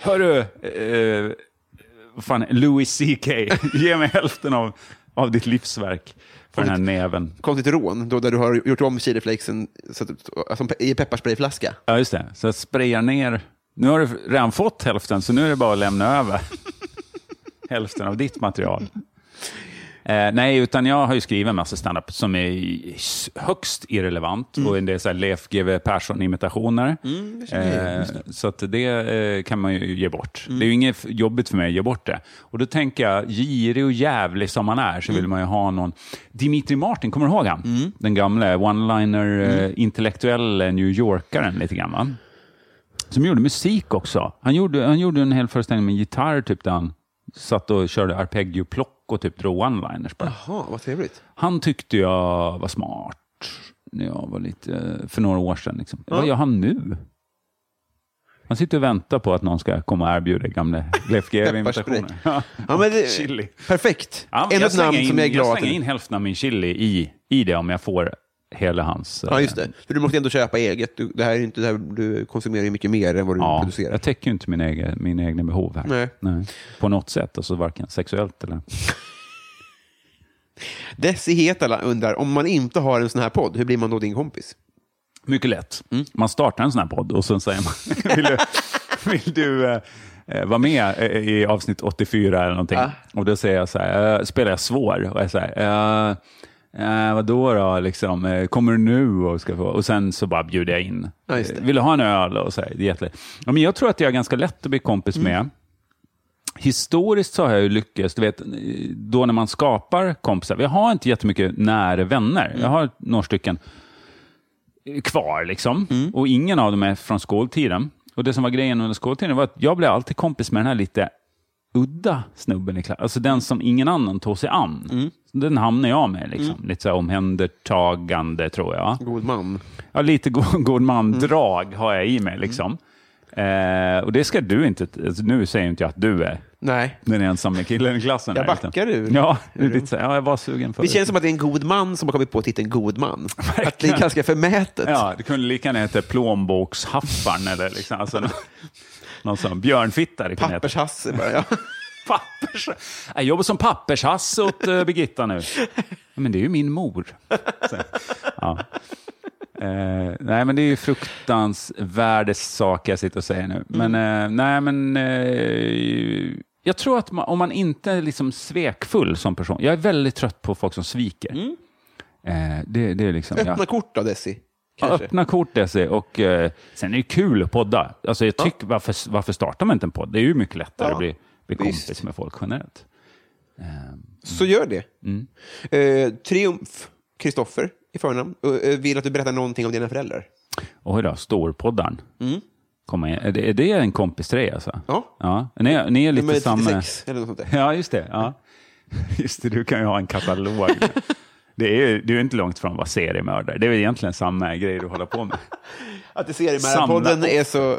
S2: Hörru, eh, vad fan, Louis CK, ge mig hälften av, av ditt livsverk för den här näven.
S1: Konstigt rån, då där du har gjort om chiliflakesen så att- som pe- i pepparsprayflaska.
S2: Ja, just det. Så jag sprayar ner. Nu har du redan fått hälften, så nu är det bara att lämna över hälften av ditt material. Eh, nej, utan jag har ju skrivit en massa standup som är i- s- högst irrelevant och en del så här Leif GW Persson-imitationer. eh, så att det Mm. eh, kan man ju ge bort. Det är ju inget f- jobbigt för mig att ge bort det. Och då tänker jag, girig och jävlig som man är, så vill man ju ha någon... Dimitri Martin, kommer du ihåg han? Den gamla one-liner, eh, intellektuella New Yorkaren lite grann, va? som gjorde musik också. Han gjorde, han gjorde en hel föreställning med gitarr, typ, där han satt och körde arpeggioplock och typ drog one-liners. bara.
S1: Jaha, vad trevligt.
S2: Han tyckte jag var smart när jag var lite, för några år sedan. Liksom.
S1: Ah.
S2: Vad gör han nu? Han sitter och väntar på att någon ska komma och erbjuda gamla Leif GW-invitationer.
S1: Pepparspray. Ja, men det,
S2: Chili.
S1: Perfekt.
S2: Ja, men
S1: Ännu ett
S2: slänger
S1: namn som jag är glad
S2: jag
S1: att-
S2: slänger in hälften av min chili i, i det om jag får hela hans... eh,
S1: Ja, just det. För du måste ändå köpa eget. Du, det här är ju inte det här, du konsumerar ju mycket mer än vad du
S2: Ja,
S1: producerar.
S2: jag täcker ju inte mina egna, mina egna behov här.
S1: Nej.
S2: På något sätt, alltså varken sexuellt eller...
S1: Desi Hetala undrar, om man inte har en sån här podd, hur blir man då din kompis?
S2: Mycket lätt. Man startar en sån här podd och sen säger man, vill du, vill du eh, eh, vara med eh, i avsnitt 84 eller någonting?
S1: Ah.
S2: Och då säger jag så här, eh, spelar jag svår? Och jag säger, uh, uh, vadå då, liksom, eh, kommer du nu? Och, ska få? och sen så bara bjuder jag in.
S1: Ja, just det.
S2: Eh, Vill du ha en öl? Och så här, det är jättelätt. ja, men jag tror att jag är ganska lätt att bli kompis
S1: Mm.
S2: med. Historiskt så har jag ju lyckats, du vet, då när man skapar kompisar. Jag har inte jättemycket nära vänner.
S1: Mm.
S2: Jag har några stycken kvar. Liksom.
S1: Mm.
S2: Och ingen av dem är från skoltiden. Och det som var grejen under skoltiden var att jag blev alltid kompis med den här lite udda snubben i klassen. Alltså den som ingen annan tog sig an.
S1: Mm.
S2: Den hamnade jag med. Liksom. Lite så här omhändertagande, tror jag.
S1: God man.
S2: Ja, lite go- god man-drag har jag i mig.
S1: Mm.
S2: Liksom. Eh, och det ska du inte... Alltså, nu säger inte jag att du är
S1: Nej.
S2: den ensamme killen i klassen.
S1: Jag
S2: här, utan-
S1: backar ur.
S2: Ja, lite så här, ja, jag var sugen
S1: Det
S2: förut.
S1: känns som att det är en god man som har kommit på titeln god man. Att det är ganska förmätet.
S2: Ja, det kunde lika gärna heta plånbokshaffaren eller liksom, alltså, någon, någon sån björnfitta. Det kunde heta.
S1: Pappershasse bara. Ja.
S2: Pappers. Jag jobbar som pappershass åt eh, Birgitta nu. Men det är ju min mor. Så, ja. eh, nej, men det är ju fruktansvärdes sak jag sitter och säger nu. Men, eh, nej, men eh, jag tror att man, om man inte är liksom svekfull som person. Jag är väldigt trött på folk som sviker. Eh, det, det är liksom, jag-
S1: Öppna kort då, Desi.
S2: Ja,
S1: Kanske.
S2: Öppna kort Desi. Och, eh, sen är det kul att podda. Alltså, jag tycker, varför, varför startar man inte en podd? Det är ju mycket lättare
S1: Ja,
S2: att bli, bli
S1: visst.
S2: kompis med folk generellt.
S1: Så gör det.
S2: Mm.
S1: Eh, triumf, Kristoffer i förnamn, eh, vill att du berättar någonting om dina föräldrar.
S2: Och hur då, storpoddaren. Komma in. Är, det, är det en kompis till dig alltså?
S1: Mm. Ja.
S2: ja. Ni, är- ni är lite
S1: Nummer
S2: samma...
S1: 36 eller något sånt där.
S2: Ja, just det. Ja. Just det, du kan ju ha en katalog. Det är ju du är inte långt från att vara seriemördare. Det är väl egentligen samma grej du håller på med.
S1: Att det seriemördarpodden
S2: Samla-
S1: är så...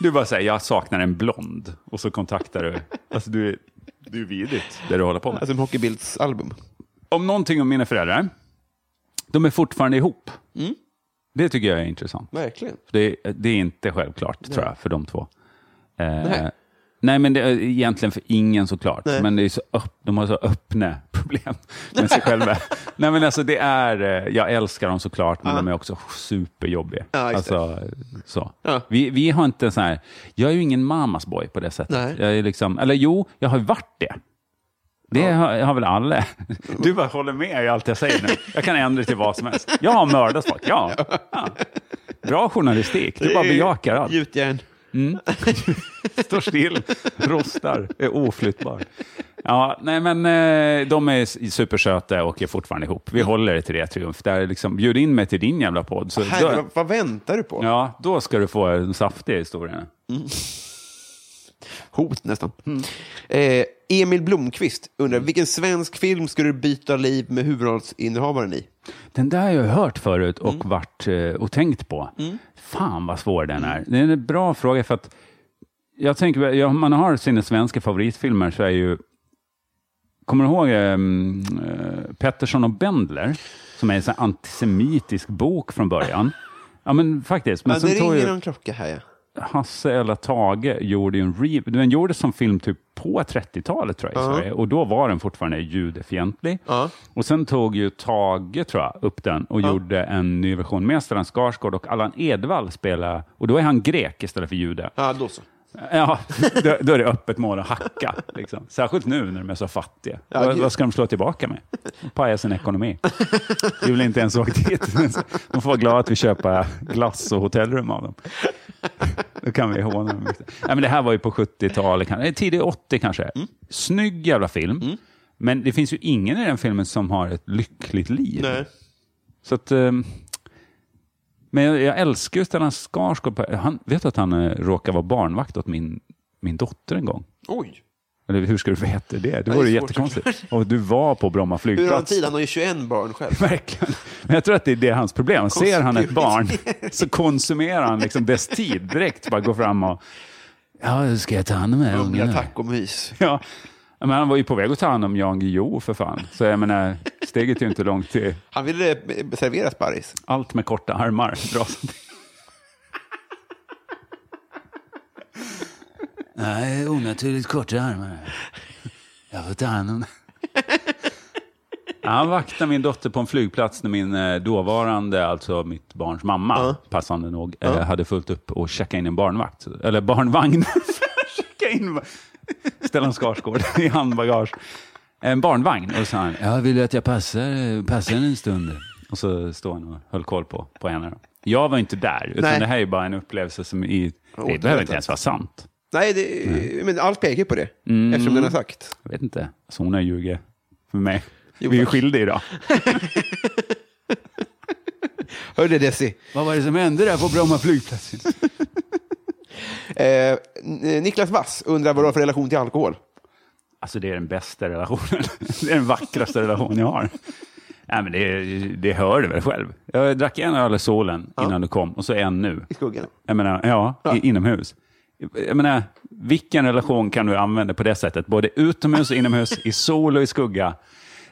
S2: Du bara säger, jag saknar en blond. Och så kontaktar du... Alltså, du är, du är vidrigt, det du håller på med.
S1: Alltså en hockeybildsalbum.
S2: om någonting om mina föräldrar. De är fortfarande ihop.
S1: Mm.
S2: Det tycker jag är intressant.
S1: Verkligen.
S2: Det, det är inte självklart, tror jag, för de två. Eh,
S1: Nej.
S2: nej. men det är egentligen för ingen såklart.
S1: Nej.
S2: Men det är så öpp, de har så öppna problem med sig själva. nej, men alltså, det är, eh, jag älskar dem såklart, men de är också superjobbiga.
S1: Ja, just det.
S2: alltså, så.
S1: Ja.
S2: Vi, vi har inte en sån här... Jag är ju ingen mammas boy på det sättet.
S1: Nej.
S2: Jag är liksom, eller jo, jag har ju varit det. Det har, har väl alla. Du bara håller med i allt jag säger nu. Jag kan ändra till vad som helst. Jag har mördat folk, ja. ja. Bra journalistik, du bara bejakar allt.
S1: Gjutjärn.
S2: Står still, rostar, är oflyttbar. Ja, nej men eh, de är s- supersöta och är fortfarande ihop. Vi håller det till det, Triumf. Där liksom, bjud in mig till din jävla podd. Så
S1: Här,
S2: då,
S1: vad, vad väntar du på?
S2: ja, då ska du få en saftig historia.
S1: Hot nästan.
S2: Mm.
S1: Eh, Emil Blomqvist undrar, vilken svensk film skulle du byta liv med huvudrollsinnehavaren i?
S2: Den där har jag hört förut och
S1: Mm.
S2: varit eh, och tänkt på. Fan vad svår den är. Det är en bra fråga för att jag tänker, ja, om man har sina svenska favoritfilmer så är ju, kommer du ihåg ehm, eh, Pettersson och Bendler? Som är en sån här antisemitisk bok från början. Ja men faktiskt. Men
S1: Men det
S2: sen tog
S1: ringer
S2: ju
S1: någon klocka här ja.
S2: Hasse eller Tage gjorde ju en re- den gjordes som film typ på 30-talet tror jag i Sverige. Och då var den fortfarande judefientlig.
S1: Ja.
S2: Och sen tog ju Tage, tror jag, upp den och gjorde en ny version med Stellan Skarsgård och Allan Edwall spela och då är han grek istället för jude.
S1: Ja, då så.
S2: Ja, då, då är det öppet mål att hacka. Liksom. Särskilt nu när de är så fattiga. vad,
S1: gud.
S2: vad ska de slå tillbaka med? Paja sin ekonomi. Vi vill inte ens åka dit. De får vara glada att vi köper glass och hotellrum av dem. Då kan vi håna dem. Nej, men det här var ju på 70-talet, kanske. Nej, tidigt 80 kanske.
S1: Mm.
S2: Snygg jävla film. Men det finns ju ingen i den filmen som har ett lyckligt liv.
S1: Nej.
S2: Så att, ehm, men jag, jag älskar ju Stellan Skarsgård. på- Han, vet du att han eh, råkar vara barnvakt åt min, min dotter en gång?
S1: Oj.
S2: Eller hur ska du veta det? Det vore ju
S1: svårt
S2: jättekonstigt. Och du var på Bromma
S1: Hur har han
S2: flygplats.
S1: tid? Han har ju 21 barn själv.
S2: Verkligen. Men jag tror att det är det hans problem. Ser han ett barn så konsumerar han liksom dess tid direkt. Bara går fram och... Ja, hur ska jag ta hand om den här ungen?
S1: Humla,
S2: nu?"
S1: tacomys.
S2: Ja. Men han var ju på väg att ta hand om Jan Guillou för fan. Så jag menar, steget är ju inte långt till
S1: Han ville eh, servera sparris.
S2: allt med korta armar. Dras till. Nej, onaturligt korta armar. Jag får ta hand om det. Ja, Han vaktade min dotter på en flygplats när min eh, dåvarande, alltså mitt barns mamma, passande nog, eh, hade fullt upp och checka in en barnvakt. Eller barnvagn. checka in Stellan Skarsgård i handbagage. En barnvagn. Och så sa han, jag vill att jag passar, eh, passar en stund. Och så står han och höll koll på, på henne. Då. Jag var inte där, utan
S1: Nej.
S2: det här är bara en upplevelse som i... Det behöver inte ens vara sant.
S1: Nej, Mm. det, men allt pekar på det. Eftersom den har sagt.
S2: Jag vet inte. Så hon har ljugit för mig.
S1: Jo,
S2: Vi är ju
S1: tack.
S2: skilda idag.
S1: Hör det, Desi.
S2: Vad var det som hände där på Bromma flygplats?
S1: Eh, N- Niklas Wass undrar vad du har för relation till alkohol.
S2: Alltså det är den bästa relationen. Det är den vackraste relationen jag har. Nej, men det, det hör du väl själv. Jag drack en öl i solen innan du kom och så en nu.
S1: I skuggan.
S2: Jag menar, ja, I, inomhus. Jag menar, vilken relation kan du använda på det sättet? Både utomhus och inomhus, i sol och i skugga.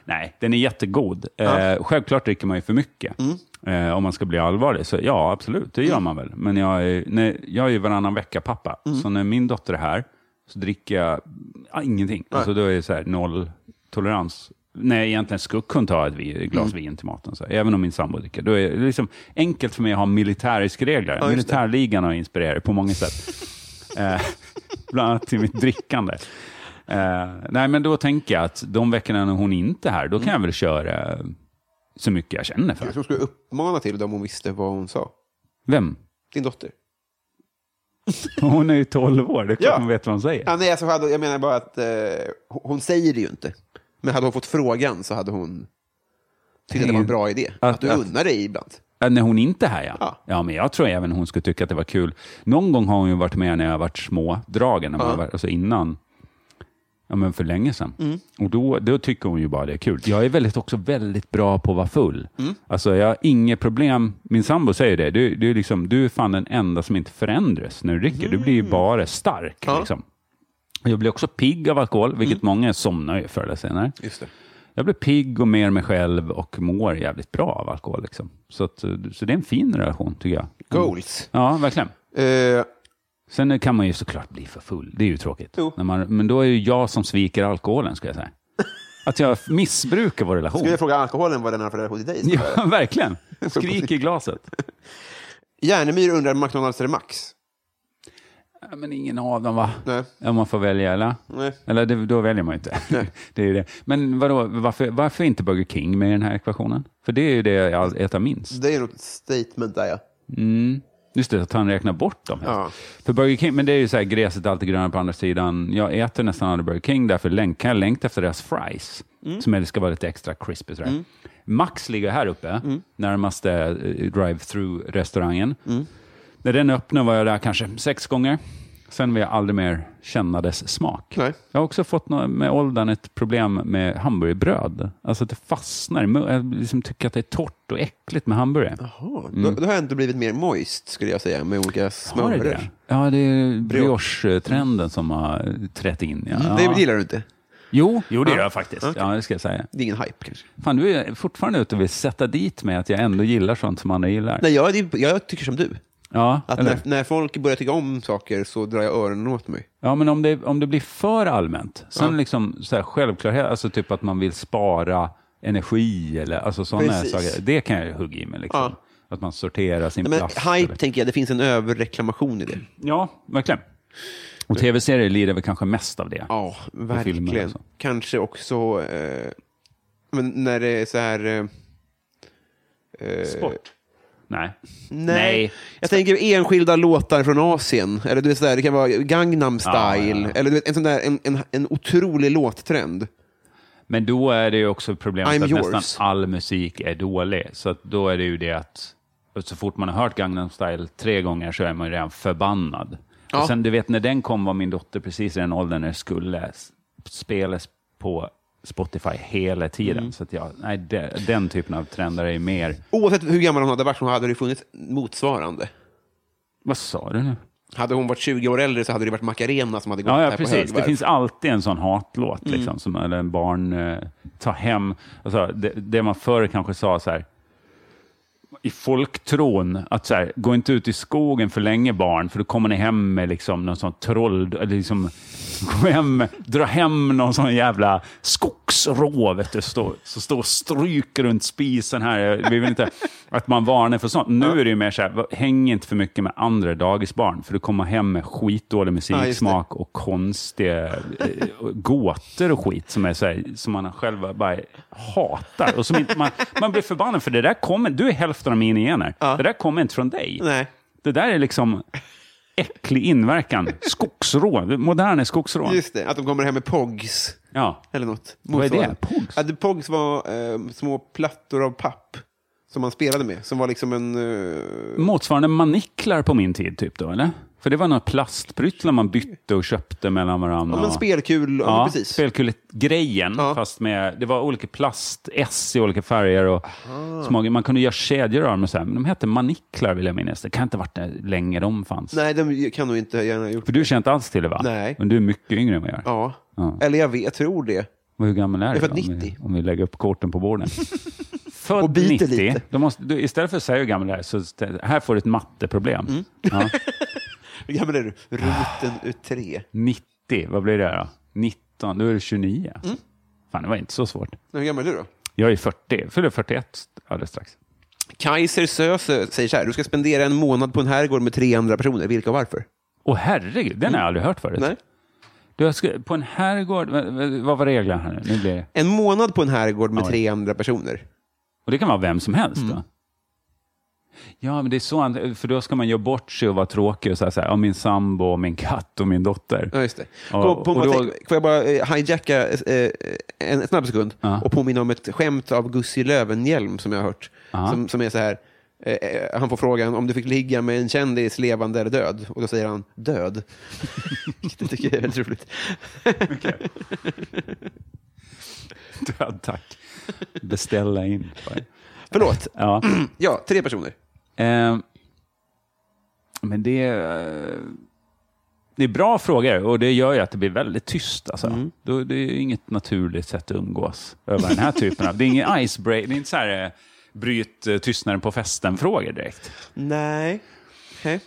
S2: Nej, den är jättegod. Eh, självklart dricker man ju för mycket. Eh, om man ska bli allvarlig, så ja, absolut, det gör man väl. Men jag är, nej, jag är ju varannan vecka-pappa, så när min dotter är här så dricker jag ja, ingenting. Alltså, då är det så här, noll tolerans. När jag egentligen skulle kunna ta ett vi- glas
S1: Mm.
S2: vin till maten, så här, även om min sambo dricker. Då är det liksom enkelt för mig att ha militäriska regler. Militärligan har inspirerat på många sätt. Eh, bland annat till mitt drickande. Eh, nej, men då tänker jag att de veckorna när hon inte är här, då kan jag väl köra så mycket jag känner för.
S1: Mm. Jag tror du skulle uppmana till det om hon visste vad hon sa.
S2: Vem?
S1: Din dotter.
S2: Hon är ju 12 år, det är klart
S1: Ja.
S2: hon vet vad hon säger.
S1: Ja, nej, alltså, hade- jag menar bara att eh, hon säger det ju inte. Men hade hon fått frågan så hade hon tyckt att det var en bra idé. Att, Mm.
S2: Att-
S1: du
S2: att-
S1: unnar dig ibland.
S2: Ja, Äh, När hon inte är här, ja.
S1: Ja.
S2: ja. men jag tror även hon skulle tycka att det var kul. Någon gång har hon ju varit med när jag har varit små, dragen, när man har varit, alltså innan. Ja, men för länge sedan.
S1: Mm.
S2: Och då, då tycker hon ju bara det är kul. Jag är väldigt, också väldigt bra på att vara full.
S1: Mm.
S2: Alltså, jag har inget problem. Min sambo säger det. Du, du, är liksom, du är fan den enda som inte förändras när du dricker. Du
S1: Mm.
S2: blir ju bara stark. Liksom. Jag blir också pigg av alkohol, vilket många somnar ju förr eller senare.
S1: Mm. Just det.
S2: Jag blir pigg och mer mig själv och mår jävligt bra av alkohol. Liksom. Så, att, eh, så det är en fin relation, tycker jag.
S1: Goals.
S2: Ja, verkligen.
S1: Eh,
S2: Sen kan man ju såklart bli för full. Det är ju tråkigt.
S1: Jo.
S2: När man, men då är ju jag som sviker alkoholen, skulle jag säga. Att jag missbrukar vår relation.
S1: skulle jag fråga alkoholen vad den har för relation till dig?
S2: Ja, verkligen. Skrik i glaset.
S1: Järnemyr undrar McDonalds eller Max.
S2: Ja, men ingen av dem va?
S7: Nej.
S2: Om man får välja eller?
S7: Nej.
S2: Eller det, då väljer man ju inte. det är ju det. Men vadå, varför, varför inte Burger King med i den här ekvationen? För det är ju det jag äter minst.
S1: Det är något statement där ja.
S2: Just det, att han räknar bort dem.
S7: Ja.
S2: För Burger King, men det är ju så här, gräset är alltid grönare på andra sidan. Jag äter nästan aldrig Burger King, därför läng- kan jag längta efter deras fries,
S7: Mm.
S2: som är- ska vara lite extra crispy. Sådär. Max ligger här uppe,
S7: Mm.
S2: närmaste eh, drive-through-restaurangen.
S7: Mm.
S2: När den öppnade var jag där kanske sex gånger. Sen vill jag aldrig mer känna dess smak.
S7: Nej.
S2: Jag har också fått nå- med åldern ett problem med hamburgerbröd. Alltså att det fastnar i mun- Jag liksom tycker att det är torrt och äckligt med hamburgare.
S1: Jaha, Då, då har jag ändå blivit mer moist skulle jag säga med olika
S2: Mm. Har
S1: smörer.
S2: det det? Ja, det är brioche-trenden som har trätt in. Ja.
S1: Mm, Det gillar du inte?
S2: Jo, jo, det gör jag faktiskt. Ja, det ska jag säga.
S1: Det är ingen hype kanske?
S2: Fan, du är fortfarande ute och vill sätta dit mig att jag ändå gillar sånt som andra gillar.
S1: Nej, jag, det- jag tycker som du.
S2: Ja,
S1: Att
S2: eller?
S1: när, när folk börjar tycka om saker så drar jag öronen åt mig.
S2: ja, men om det, om det blir för allmänt, sen liksom så här självklarhet, alltså typ att man vill spara energi eller alltså sådana
S1: Precis.
S2: saker, det kan jag ju hugga i mig. Liksom.
S1: Ja.
S2: Att man sorterar sin
S1: Nej, men
S2: plast.
S1: hype
S2: eller- Mm.
S1: tänker jag, det finns en överreklamation i det.
S2: Ja, verkligen. Och tv-serier lider väl kanske mest av det.
S1: Ja,
S2: filmer
S1: verkligen.
S2: också.
S1: Kanske också eh, men när det är så här... Eh,
S2: Sport? Eh, Nej.
S1: nej. Jag tänker enskilda låtar från Asien. Eller du vet, så där, det kan vara Gangnam style.
S2: Ja, ja, ja.
S1: Eller du vet, en, sån där, en, en, en otrolig låttrend.
S2: Men då är det ju också problemet
S1: I'm
S2: att
S1: yours.
S2: nästan all musik är dålig. Så att då är det ju det att så fort man har hört Gangnam style tre gånger så är man ju redan förbannad. Och sen du vet, när den kom var min dotter precis i den åldern när det skulle s- spelas på Spotify hela tiden.
S1: Mm.
S2: Så att jag, nej, de, den typen av trender är ju mer...
S1: Oavsett hur gammal hon hade varit så hade det funnits motsvarande.
S2: Vad sa du nu?
S1: Hade hon varit 20 år äldre så hade det varit Macarena som hade gått
S2: Ja,
S1: här
S2: ja
S1: på
S2: precis.
S1: högvarv. Mm.
S2: Det finns alltid en sån hatlåt, liksom, som eller en barn eh, tar hem. Alltså, det, det man förr kanske sa så här, i folktron, att så här, gå inte ut i skogen för länge barn, för då kommer ni hem med liksom någon sån troll, eller liksom, gå hem, dra hem någon sån jävla skogsrå, vet du, stå, så står och stryker runt spisen här. Jag- Vi vill inte att man varnar för sånt. Nu är det ju mer så här, va- häng inte för mycket med andra dagisbarn, för du kommer hem med skitdålig musiksmak och konstiga eh, och gåtor och skit som, är så här, som man själv bara hatar. Och som inte, man, man blir förbannad, för det där kommer, du är hälften av mina gener. Det där kommer inte från dig.
S1: Nej.
S2: Det där är liksom äcklig inverkan. Skogsrån, moderna skogsrån.
S1: Just det, att de kommer hem med POGs.
S2: Ja.
S1: Eller något.
S2: Vad är det?
S1: Motsvarande.
S2: Pogs?
S1: Ja, det- Pogs var eh, små plattor av papp som man spelade med. Som var liksom en... Eh,
S2: Motsvarande maniklar på min tid, typ då, eller? För det var några plastpryttlar man bytte och köpte mellan varandra.
S1: ja. men spelkul. Ja,
S2: Ja,
S1: precis.
S2: spelkulegrejen,
S1: Ja.
S2: fast med, det var olika plast-S i olika färger och små, man kunde göra kedjor av dem och så här, men de hette maniklar vill jag minnas. Det kan inte ha varit där länge de fanns.
S1: Nej, de kan nog inte gärna ha gjort.
S2: För du känner inte alls till det va?
S1: Nej.
S2: Men du är mycket yngre än vad jag är.
S1: Ja.
S2: Ja.
S1: Eller jag, vet, jag tror det.
S2: Och Hur gammal är du?
S1: är född
S2: då, Om, vi,
S1: 90.
S2: om vi lägger upp korten på borden. Född
S1: Och biter
S2: 90.
S1: lite.
S2: Då måste, du, istället för att säga hur gammal du är, så stä- här får du ett matteproblem.
S1: Mm.
S2: Ja.
S1: Hur gammal är du? Roten ut tre.
S2: 90, vad blir det då? 19, då är du 29.
S1: Mm.
S2: Fan, det var inte så svårt.
S1: Nej, Hur gammal är du då?
S2: Jag är 40, fyller 41 alldeles strax.
S1: Kaiser Söze säger så här. Du ska spendera en månad på en herrgård med tre andra personer. Vilka och varför?
S2: Åh herregud, den har jag aldrig hört förut.
S1: Nej.
S2: Du, jag ska, på en herrgård, vad- vad- vad var reglerna här nu? nu blir det.
S1: En månad på en herrgård med tre andra personer.
S2: Och det kan vara vem som helst då? Ja, men det är så, an- för då ska man göra bort sig och vara tråkig och säga så här, ja, min sambo, och min katt och min dotter.
S1: Ja, just det.
S2: Ja,
S1: Kom, på,
S2: och då-
S1: tänk- får jag bara eh, hijacka eh, en snabb sekund
S2: Ja.
S1: och påminna om ett skämt av Gussi Löwenhjelm som jag har hört.
S2: Ja.
S1: Som, som är så här, eh, eh, han får frågan om du fick ligga med en kändis levande eller död. Och då säger han död. det tycker jag är väldigt roligt.
S2: Död, tack. Beställa in.
S1: Förlåt.
S2: Ja.
S1: Ja, tre personer.
S2: Eh, men det, eh, det är bra frågor och det gör ju att det blir väldigt tyst. Alltså.
S1: Mm.
S2: Då, det är ju inget naturligt sätt att umgås över den här typen av... Det är ingen icebreaker, det är inte så här eh, bryt eh, tystnaden på festen-frågor direkt.
S1: Nej. Hä?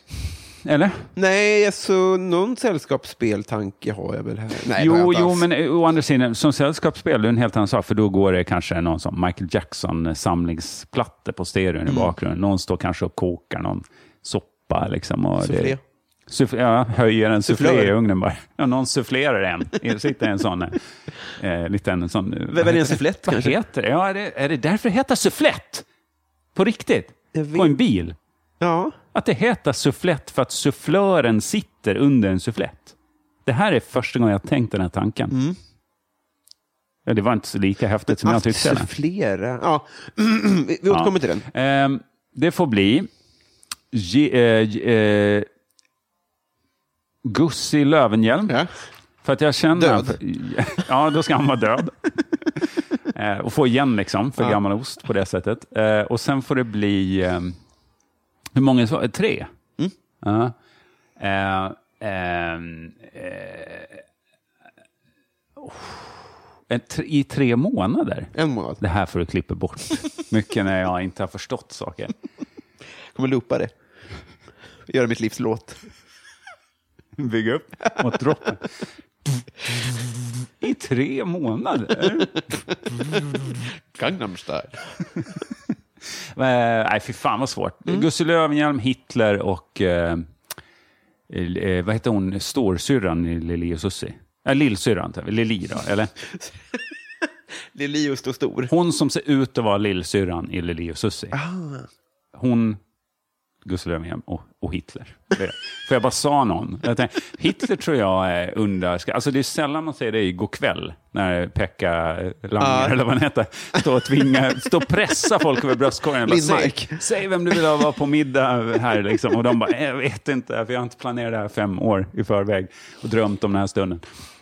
S2: Eller?
S1: Nej, alltså någon sällskapsspeltanke har jag väl här. Nej, det har jag
S2: jo,
S1: inte
S2: jo,
S1: alls.
S2: men eh, å andra sidan, som sällskapsspel, det är en helt annan sak, för då går det kanske någon som Michael
S1: Mm.
S2: Jackson-samlingsplatta på stereon i bakgrunden. Någon står kanske och kokar någon soppa. Liksom, och
S1: Soufflé.
S2: det, Suff- ja, höjer en soufflé
S1: Sufflör.
S2: i ugnen bara. Ja, någon sufflerar en. Det sitter en sån eh, liten... Sån,
S1: väl
S2: vad
S1: en
S2: heter-
S1: sufflett,
S2: vad
S1: kanske?
S2: Heter det? Ja, är, det, är det därför det heter sufflett? På riktigt?
S1: vet-
S2: På en bil?
S1: Ja.
S2: Att det heter sufflett för att sufflören sitter under en sufflett. Det här är första gången jag tänkt den här tanken. Ja, det var inte så lika häftigt som jag
S1: Mm. Att
S2: tyckte. det.
S1: flera. Ja. vi vi återkommer till den.
S2: Ehm, det får bli Ge, eh, ge- eh, Gussi Lövenhjelm.
S1: Ja.
S2: För att jag känner...
S1: Död.
S2: Ja, då ska han vara död. Eh, och få igen liksom för gammal ost på det sättet. Eh, och sen får det bli... Eh, hur många svar? Eh, Tre? Ja. Eh, ehm, eh, oh. En tre- I tre månader?
S1: En månad.
S2: Det här får du klippa bort. Mycket när jag inte har förstått saker.
S1: Kommer loopa det. Göra mitt livs låt.
S2: Bygga upp mot droppen. I tre månader?
S1: Gangnam style.
S2: Eh, Nej, fy fan vad svårt. Gussi Löwenhjelm, Hitler och... Eh, eh, vad heter hon, storsyrran i Lili och Susie? Ja, lillsyrran, typ. Lili då, eller?
S1: Lili och Stor Stor.
S2: Hon som ser ut att vara lillsyrran i Lili och Susie.
S1: Ah.
S2: Hon, Gustav Löfven och, och Hitler. Det- För jag bara sa någon. Jag tänkte, Hitler tror jag är underskattad. Alltså det är sällan man säger det i går kväll när Pekka eh,
S1: Ah.
S2: Langer, eller vad han heter, står och, tvingar, står och pressar folk över bröstkorgen. Jag bara,
S1: Lindmark.
S2: säg, säg vem du vill ha vara på middag här. Liksom. Och de bara, jag vet inte, för jag har inte planerat det här fem år i förväg och drömt om den här stunden.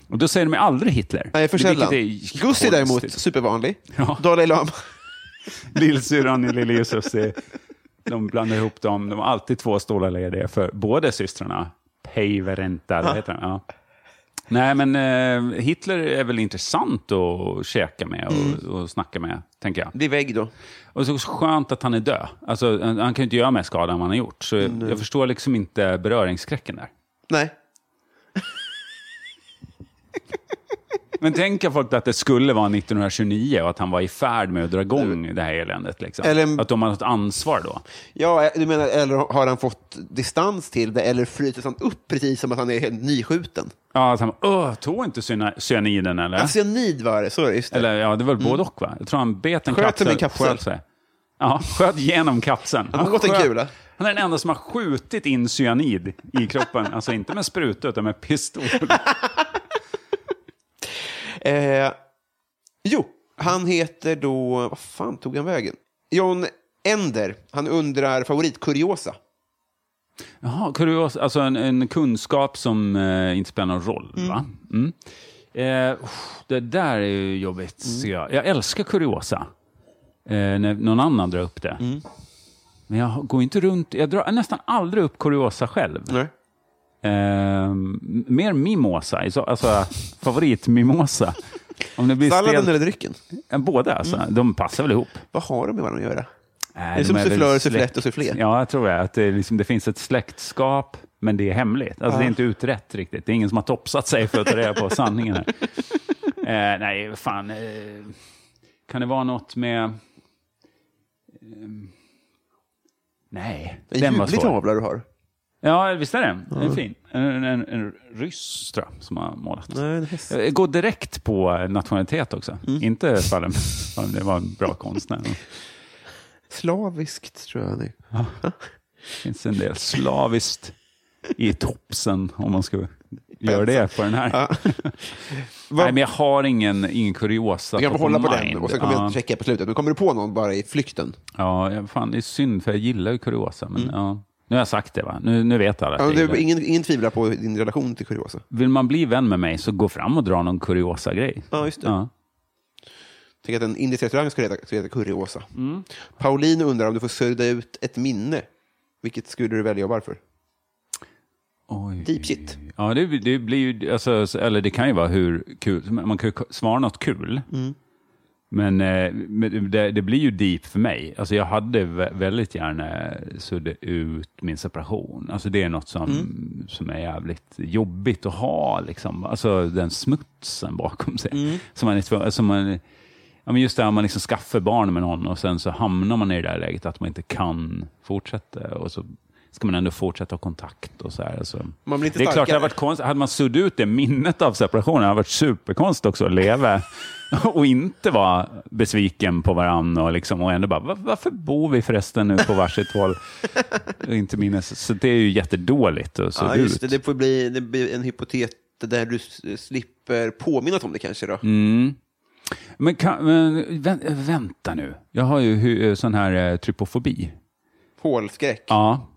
S2: Och då säger de aldrig Hitler.
S1: Nej, för sällan.
S2: Vilket är
S1: Gussi däremot,
S2: konstigt.
S1: supervanlig.
S2: Ja.
S1: Dalai Lama.
S2: Lillsyrran i Lille och Susie, de blandar ihop dem. De har alltid två stolar lediga för båda systrarna. Päiveränta, det heter den. Ja. Nej, men eh, Hitler är väl intressant att käka med och, och snacka med, tänker jag.
S1: Det är vägg då.
S2: Och så skönt att han är död. Alltså, han, han kan ju inte göra mer skada än vad han har gjort. Så jag förstår liksom inte beröringsskräcken där.
S1: Nej.
S2: Men tänk folk att det skulle vara 1929 och att han var i färd med att dra igång det här eländet. Liksom.
S1: Eller-
S2: Att de har något ansvar då.
S1: Ja, du menar, eller har han fått distans till det, eller flyter han upp precis som att han är helt nyskjuten?
S2: Ja, att han bara, "Åh, tog inte cyna- cyaniden eller?
S1: Ja. Cyanid var det, så är det, just det.
S2: Eller ja, det var väl både och va? Jag tror han bet en
S1: Mm. Sköt
S2: kapsel.
S1: som en kapsel.
S2: sköt sig. Ja, sköt genom kapseln.
S1: Han har gått en
S2: sköt-
S1: kula.
S2: Han är den enda som har skjutit in cyanid i kroppen. alltså inte med spruta utan med pistol.
S1: Eh, jo, han heter då... Vad fan tog han vägen? John Ender. Han undrar favoritkuriosa.
S2: Jaha, kurios, alltså en, en kunskap som eh, inte spelar någon roll va? Mm. Eh, det där är ju jobbigt
S1: Mm.
S2: ser jag. Jag älskar kuriosa. Eh, när någon annan drar upp det.
S1: Mm.
S2: Men jag går inte runt, jag drar nästan aldrig upp kuriosa själv.
S1: Nej.
S2: Ehm, mer mimosa, alltså- alltså favoritmimosa. Om det blir
S1: Salladen Mm.
S2: stel...
S1: eller drycken?
S2: Eh, Båda, alltså. de passar väl ihop.
S1: Vad har de med varandra att göra?
S2: Nej,
S1: Det är
S2: Äh, de
S1: som
S2: väl
S1: sufflör,
S2: släkt-
S1: sufflett och sufflé.
S2: Ja, jag tror jag. Att det, liksom, det finns ett släktskap, men det är hemligt. Alltså, Det är inte utrett riktigt. Det är ingen som har topsat sig för att ta reda på sanningen. Här. Eh, nej, fan. Eh, kan det vara något med... Ehm, nej,
S1: En
S2: den var
S1: ljuvlig
S2: svår.
S1: tavla du har.
S2: Ja, visst är den? Den är fin. En, en, en ryss, tror jag, som har målat. Eh, Gå direkt på nationalitet också.
S1: Mm.
S2: Inte fallen, fallen, det var en bra konstnär. Det
S1: Slaviskt, tror jag. Det.
S2: finns en del slaviskt i topsen, om man ska göra det på den här. Nej, men jag har ingen, ingen kuriosa.
S1: Vi kan
S2: top of
S1: behålla på
S2: mind.
S1: den och sen kommer
S2: ja,
S1: jag checka på slutet. Men kommer du på någon bara i flykten?
S2: ja, ja, fan, det är synd, för jag gillar ju kuriosa. Men, ja. Nu har jag sagt det, va? Nu, nu vet alla. att
S1: Mm. Ja,
S2: jag
S1: men det
S2: gillar
S1: är ingen, ingen tvivlar på din relation till kuriosa.
S2: Vill man bli vän med mig, så gå fram och dra någon kuriosa grej.
S1: Ja, just det.
S2: Ja.
S1: Tänk att en indisk restaurang skulle heta, skulle heta Curryosa. Pauline undrar om du får sudda ut ett minne. Vilket skulle du välja och varför?
S2: Oj.
S1: Deep shit.
S2: Ja, det, det blir ju, alltså, så- eller det kan ju vara hur kul, man kan ju k- svara något kul. Men, eh, men det, det blir ju deep för mig. Alltså jag hade vä- väldigt gärna suddat ut min separation. Alltså det är något som, som är jävligt jobbigt att ha. Liksom. Alltså den smutsen bakom sig. Som man, är tvungen- som man, ja, men just det här man liksom skaffar barn med någon och sen så hamnar man i det där läget att man inte kan fortsätta. Och så ska man ändå fortsätta ha kontakt och så här. Alltså.
S1: Man blir inte
S2: det är klart, det
S1: starkare.
S2: hade varit konstigt. Hade man suddat ut det minnet av separationen, det hade varit superkonstigt också att leva och inte vara besviken på varandra och, liksom, och ändå bara, "Va- varför bor vi förresten nu på varsitt håll? Och inte minnes. Så det är ju jättedåligt att sudda
S1: Ja, just
S2: ut.
S1: det. Det får bli det blir en hypotet där du s- slipper påminnas om det kanske då.
S2: Mm. Men, kan, men vä, vänta nu, jag har ju hu- sån här eh, trypofobi.
S1: Hålskräck.
S2: Ja.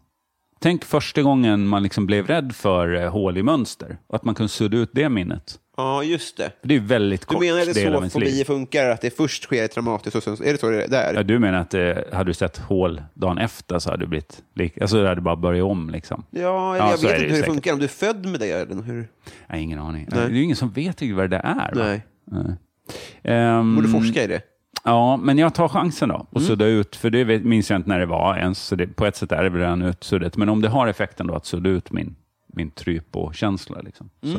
S2: Tänk första gången man liksom blev rädd för eh, hål i mönster och att man kunde sudda ut det minnet.
S1: Ja, just det.
S2: För Det är ju väldigt
S1: Du
S2: kort
S1: menar det
S2: del av
S1: är så
S2: ens liv.
S1: fobier funkar, att det först sker traumatiskt och sen är det så det är där?
S2: Ja, du menar att eh, hade du sett hål dagen efter så hade du blivit lik, alltså det hade bara börjat om liksom?
S1: Ja, eller jag
S2: så är
S1: vet
S2: det
S1: inte hur
S2: ju
S1: det
S2: säkert.
S1: funkar, om du är född med det eller hur?
S2: Nej, ingen aning. Det är ju ingen som vet riktigt vad det där är. va?
S1: Nej.
S2: Ehm,
S1: Borde forska Mm. i det.
S2: Ja, men jag tar chansen då och sudda ut, för det vet- minns jag inte när det var ens, så det, på ett sätt är det väl redan utsuddat, men om det har effekten då att sudda ut min, min trypo-känsla. Liksom. Så. då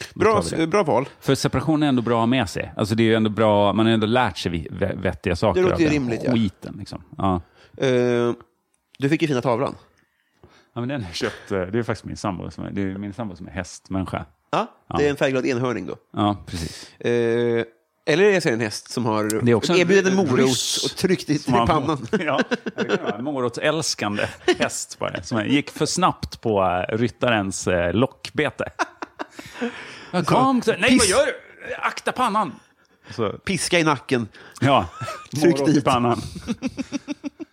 S1: Mm. Bra,
S2: tar vi det.
S1: bra val.
S2: För separation är ändå bra att ha med sig. Alltså det är ju ändå bra, man har ändå lärt sig vi- vä- vettiga saker
S1: Det låter
S2: av
S1: ju
S2: den
S1: rimligt, ja.
S2: skiten. Liksom. Ja.
S1: Eh, du fick ju fina tavlan.
S2: Ja, men den har jag köpt, eh, det är faktiskt min sambo som är, det är, min sambo som är hästmänniska.
S1: Ja, det är en färgglad enhörning då.
S2: Ja, precis.
S1: Eh, eller är det en häst som har
S2: Det är också en
S1: erbjudit en morot
S2: ryss
S1: och tryckt i, i
S2: Som har-
S1: pannan?
S2: Ja, det kan vara en morotsälskande häst var det, som gick för snabbt på eh, ryttarens eh, lockbete. Jag kom, så, nej vad
S1: Piss.
S2: gör du? Akta pannan! Så,
S1: Piska i nacken.
S2: ja,
S1: Tryck
S2: morot i
S1: dit.
S2: pannan.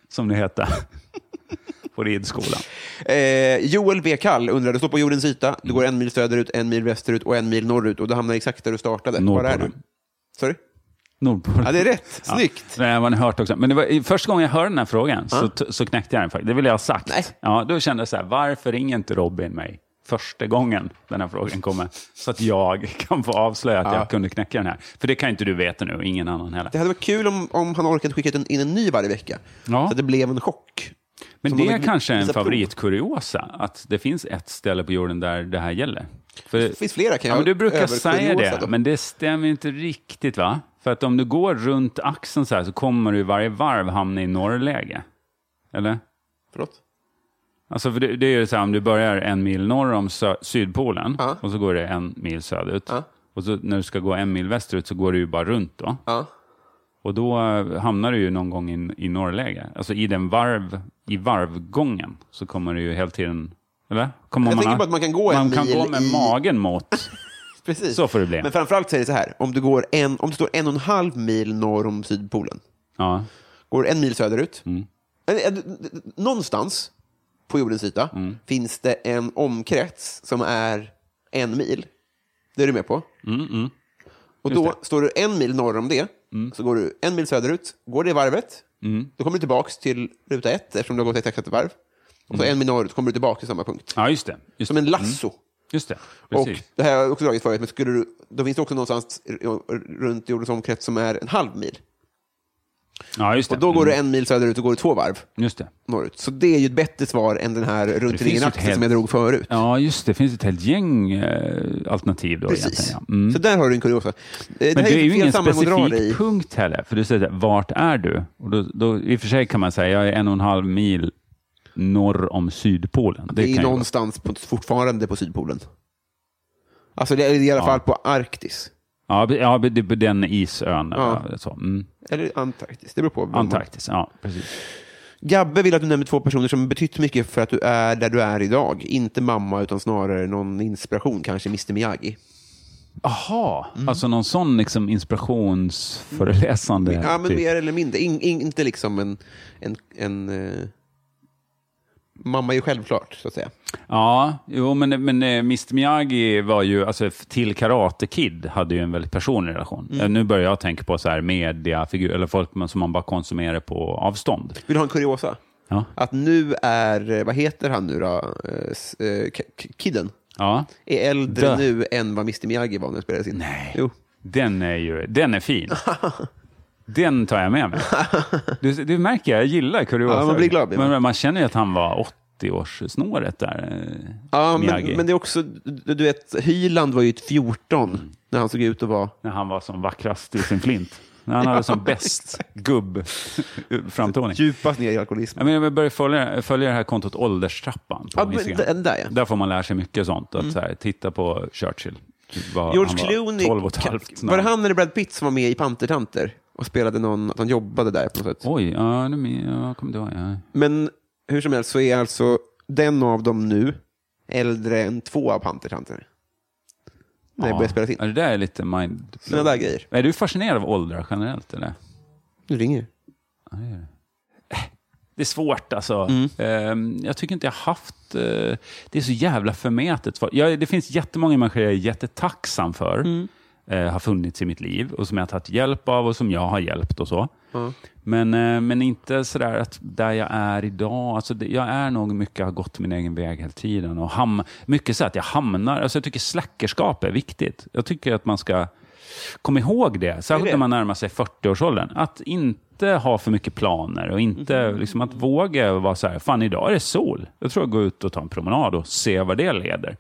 S2: Som det hette på ridskolan.
S1: Eh, Joel B. Kall undrar, du står på jordens yta, du går en mil söderut, en mil västerut och en mil norrut och du hamnar exakt där du startade. Var är du?
S2: Nordpolen.
S1: Sorry?
S2: Nordpolen.
S1: Ja, det är rätt. Snyggt.
S2: Ja, det har man hört också. Men det var, i- första gången jag hörde den här frågan så, t- så knäckte jag den faktiskt. Det ville jag ha sagt.
S1: Nej.
S2: Ja, då kände jag så här, varför ringer inte Robin mig första gången den här frågan kommer? Så att jag kan få avslöja att jag kunde knäcka den här. För det kan ju inte du veta nu, och ingen annan heller.
S1: Det hade varit kul om, om han orkat skicka ut en- in en ny varje vecka.
S2: Ja.
S1: Så att det blev en chock.
S2: Men
S1: som
S2: det
S1: man
S2: är
S1: vill
S2: kanske en
S1: visa prov.
S2: favoritkuriosa, att det finns ett ställe på jorden där det här gäller. För, det
S1: finns flera, kan
S2: ja,
S1: jag
S2: men Du brukar
S1: överkuriosa
S2: säga det,
S1: då?
S2: men det stämmer inte riktigt va? För att om du går runt axeln så här så kommer du i varje varv hamna i norrläge. Eller?
S1: Förlåt?
S2: Alltså för det, det är ju så här, om du börjar en mil norr om sö- Sydpolen
S1: Ja.
S2: och så går det en mil söderut. Och så när du ska gå en mil västerut så går du ju bara runt då.
S1: Ja.
S2: Och då eh, hamnar du ju någon gång in, i norrläge. Alltså i den varv, i varvgången så kommer du ju hela tiden, eller? Kommer
S1: Jag
S2: man
S1: tänker
S2: ha-
S1: på att man kan gå en
S2: Man kan
S1: mil
S2: gå med
S1: i-
S2: magen mot.
S1: Precis.
S2: Så får det bli.
S1: Men framförallt så är det så här, om du, går en, om du står en och en halv mil norr om Sydpolen,
S2: Ja,
S1: går en mil söderut,
S2: Mm.
S1: Eller, eh, d- d- d- någonstans på jordens yta
S2: Mm.
S1: finns det en omkrets som är en mil. Det är du med på?
S2: Mm,
S1: Och då står du en mil norr om det,
S2: Mm.
S1: så går du en mil söderut, går det varvet, då kommer du tillbaka till ruta ett eftersom du har gått exakt ett varv. Och så en mil norrut kommer du tillbaka till samma punkt.
S2: Mm. ja just det. Just,
S1: Som en lasso.
S2: just det,
S1: Och
S2: precis.
S1: det här har jag också dragit förut, men skulle du, då finns det också någonstans r- r- runt jordens omkrets som är en halv mil.
S2: ja, just det.
S1: Och då går
S2: Mm,
S1: du en mil söderut och går du två varv
S2: Just det.
S1: norrut. Så det är ju ett bättre svar än den här runt
S2: finns
S1: ringen
S2: ju ett
S1: axeln
S2: helt-
S1: som jag drog förut.
S2: Ja, just det. Det finns ett helt gäng eh, alternativ då
S1: Precis.
S2: egentligen. Ja. Mm.
S1: Så där har du en kuriosa. Eh,
S2: Men det är ju
S1: fel
S2: ingen
S1: sammanhang att dra det i.
S2: specifik punkt heller, för du säger så här, vart är du? Och då, då, I och för sig kan man säga, jag är en och en halv mil norr om Sydpolen.
S1: Det,
S2: kan
S1: är
S2: ju
S1: någonstans på, fortfarande på Sydpolen. Alltså det är i alla fall på Arktis.
S2: vara- Ja, be- ja be- det, be- den isön.
S1: Ja.
S2: Ja. Så. Mm.
S1: Eller Antarktis, det beror på. vad man-
S2: Antarktis, ja. Precis.
S1: Gabbe vill att du nämner två personer som betytt mycket för att du är där du är idag. Inte mamma, utan snarare någon inspiration, kanske Mr Miyagi.
S2: Jaha,
S1: Mm.
S2: alltså någon sån liksom inspirationsföreläsande.
S1: Ja, men
S2: typ.
S1: mer eller mindre. In, in, inte liksom en... en, en eh, Mamma är ju självklart, så att säga.
S2: Ja, jo, men, men eh, Mr Miyagi var ju, alltså f- till Karate Kid hade ju en väldigt personlig relation.
S1: Mm.
S2: Eh, Nu börjar jag tänka på så här mediafigur, eller folk man- som man bara konsumerar på avstånd.
S1: Vill du ha en kuriosa?
S2: Ja.
S1: Att nu är, eh, vad heter han nu då, Eh, s- eh, K- K- Kidden?
S2: Ja.
S1: Är äldre
S2: Dö.
S1: nu än vad Mr Miyagi var när det spelades in.
S2: Nej.
S1: Jo.
S2: Den är ju den är fin. Den tar jag med mig. Du, du märker, jag gillar kuriosa.
S1: Ja, man blir glad,
S2: Men, men man känner ju att han var 80-årssnåret där, eh,
S1: Ja, men,
S2: Miyagi.
S1: men det är också, du du
S2: Mm.
S1: vet, Hyland var ju ett 14 när han såg ut att vara...
S2: När han var som vackrast i sin flint. När han hade som bäst gubb-framtoning.
S1: Djupast ner i alkoholismen.
S2: Jag menar, jag börjar följa, följa det här kontot Ålderstrappan på
S1: Ja, men
S2: Instagram.
S1: den där, ja.
S2: Där får man lära sig mycket sånt. Att så här, titta på Churchill. Vad
S1: George
S2: han var,
S1: Clooney,
S2: 12 och ett halvt.
S1: var det han eller Brad Pitt som var med i Pantertanter och spelade någon, att han jobbade där på något sätt?
S2: Oj, ja, nu min- jag kommer inte ihåg. Ja.
S1: Men hur som helst så är alltså den av dem nu äldre än två av Pantertanter. När det
S2: Ja.
S1: började spelas
S2: Ja,
S1: in.
S2: det där är lite mind
S1: Sådana där grejer.
S2: Är du fascinerad av åldrar generellt? Eller?
S1: Nu ringer
S2: Det är svårt alltså. Ehm, Jag tycker inte jag haft... eh, Det är så jävla förmätet. svar. Jag, det finns jättemånga människor jag är jättetacksam för. eh, har funnits i mitt liv och som jag har tagit hjälp av och som jag har hjälpt och så. Men, eh, men inte sådär att där jag är idag. Alltså det, jag är nog mycket, har gått min egen väg hela tiden. Och ham, mycket så att jag hamnar... Alltså jag tycker släckerskap är viktigt. Jag tycker att man ska komma ihåg det. Särskilt när man närmar sig 40-årsåldern. Att inte ha för mycket planer och inte liksom att våga vara så här, fan idag är det sol. Jag tror jag går ut och tar en promenad och ser vad det leder.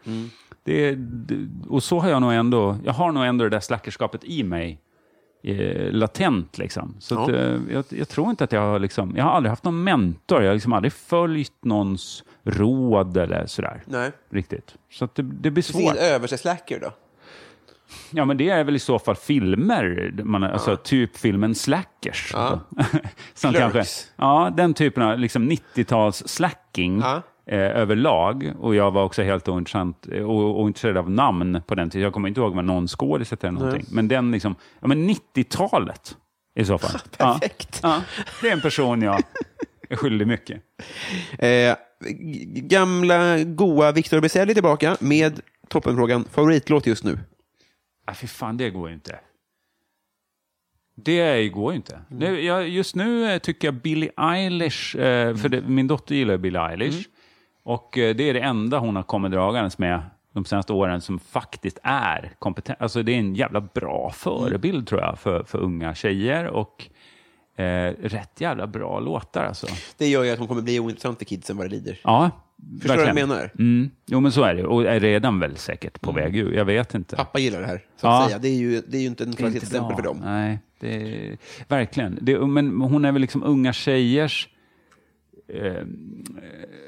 S2: Det, det, och så har jag nog ändå, jag har nog ändå det där slackerskapet i mig eh, latent. Liksom. Så att, eh, jag, jag tror inte att jag har, liksom, jag har aldrig haft någon mentor. Jag har liksom aldrig följt någons råd eller sådär.
S1: Nej.
S2: Riktigt. Så att det, det blir
S1: Finns det
S2: svårt.
S1: ingen överseslacker då?
S2: Ja, men det är väl i så fall filmer, man, alltså typ filmen Slackers. Som
S1: Clerks.
S2: kanske, ja, den typen av liksom 90-tals slacking
S1: Ja.
S2: eh, överlag. Och jag var också helt ointressant, eh, och, ointresserad av namn på den tiden. Jag kommer inte ihåg vad någon skådis hette eller någonting. Men den liksom, ja men 90-talet i så fall.
S1: Perfekt.
S2: Ja, ja, det är en person jag är skyldig mycket.
S1: Eh, g- gamla goa Victor Bezelli tillbaka med toppenfrågan favoritlåt just nu.
S2: Ah, fy fan, det går ju inte. Det går
S1: Mm.
S2: ju inte. Nu, jag, just nu eh, tycker jag Billie Eilish, eh, för det, min dotter gillar Billie Eilish,
S1: Mm.
S2: och eh, det är det enda hon har kommit dragandes med de senaste åren som faktiskt är kompetent. Alltså det är en jävla bra förebild tror jag för, för unga tjejer och eh, rätt jävla bra låtar alltså.
S1: Det gör ju att hon kommer bli ointressant för kidsen vad det lider.
S2: Ja,
S1: Förstår du vad jag menar? Mm.
S2: Mm. Jo men så är det och är redan väl säkert på väg ur. Jag vet inte.
S1: Pappa gillar det här, så att
S2: Ja.
S1: säga. Det är ju, det är ju inte en
S2: Det är inte
S1: kvalitetsstämpel
S2: bra.
S1: för dem.
S2: Nej, det är, verkligen. Det, men hon är väl liksom unga tjejers eh,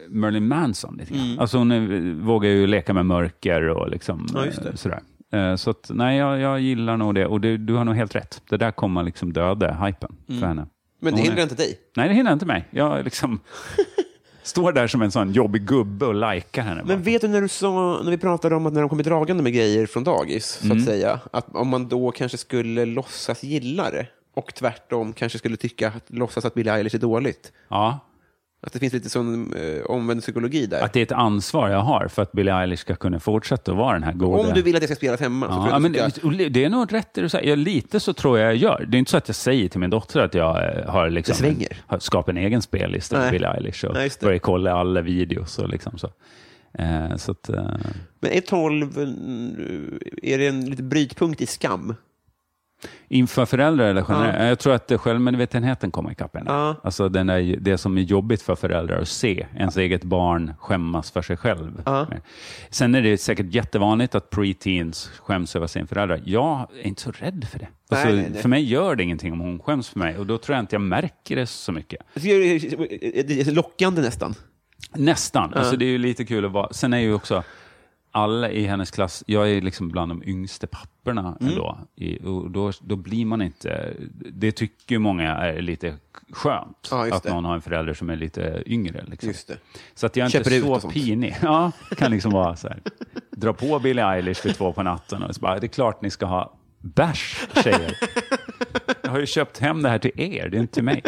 S2: Merlin Manson lite grann.
S1: Mm.
S2: Alltså hon är, vågar ju leka med mörker och liksom,
S1: Ja, just det.
S2: eh, sådär. Eh, så att, nej, jag, jag gillar nog det. Och du, du har nog helt rätt. Det där kommer liksom döda hypen
S1: Mm.
S2: för henne.
S1: Men det
S2: Hon
S1: hindrar
S2: är-
S1: inte dig.
S2: Nej, det hindrar inte mig. Jag liksom står där som en sån jobbig gubbe och likar henne. bara.
S1: Men vet du när du sa, när vi pratade om att när de kommer dragande med grejer från dagis,
S2: Mm.
S1: så att säga, att om man då kanske skulle låtsas gilla det och tvärtom kanske skulle tycka, att, låtsas att Billie Eilish är dåligt.
S2: ja,
S1: Att det finns lite sån eh, omvänd psykologi där.
S2: att det är ett ansvar jag har för att Billie Eilish ska kunna fortsätta att vara den här goda...
S1: om du vill att det ska spelas hemma så tror
S2: Ja,
S1: jag
S2: ja, men
S1: att du
S2: det,
S1: ska...
S2: det är nog rätt det du säger. Ja, Lite så tror jag jag gör. Det är inte så att jag säger till min dotter att jag eh, har, liksom,
S1: Det svänger.
S2: har skapat en egen spellista
S1: Nej.
S2: med Billie Eilish och
S1: Nej, just det.
S2: börjar kolla alla videos. Och liksom så. Eh, så att, eh,
S1: Men är 12, en- är det en liten brytpunkt i skam?
S2: inför föräldrar eller generellt. Jag tror att eh, självmedvetenheten kommer ikapp en.
S1: Ja.
S2: Alltså den där, det som är jobbigt för föräldrar att se ens eget barn skämmas för sig själv. Sen är det säkert jättevanligt att preteens skäms över sin föräldrar. Jag är inte så rädd för det.
S1: Nej,
S2: Alltså,
S1: nej, nej.
S2: För mig gör det ingenting om hon skäms för mig och då tror jag inte jag märker det så mycket.
S1: Det är det är lockande nästan.
S2: Nästan. Alltså, det är ju lite kul att vara... Sen är ju också alla i hennes klass, jag är liksom bland de yngste papperna
S1: Mm.
S2: ändå. I, och då, då blir man inte... Det tycker ju många är lite skönt,
S1: Ja, just
S2: att
S1: det.
S2: någon har en förälder som är lite yngre. Liksom.
S1: Just det.
S2: Så att jag är
S1: Köper ut
S2: inte
S1: och
S2: så
S1: sånt.
S2: pinig. Ja, kan liksom vara så här. Dra på Billie Eilish vid två på natten och så bara, det är klart ni ska ha bärs, tjejer. Jag har ju köpt hem det här till er, det är inte till mig.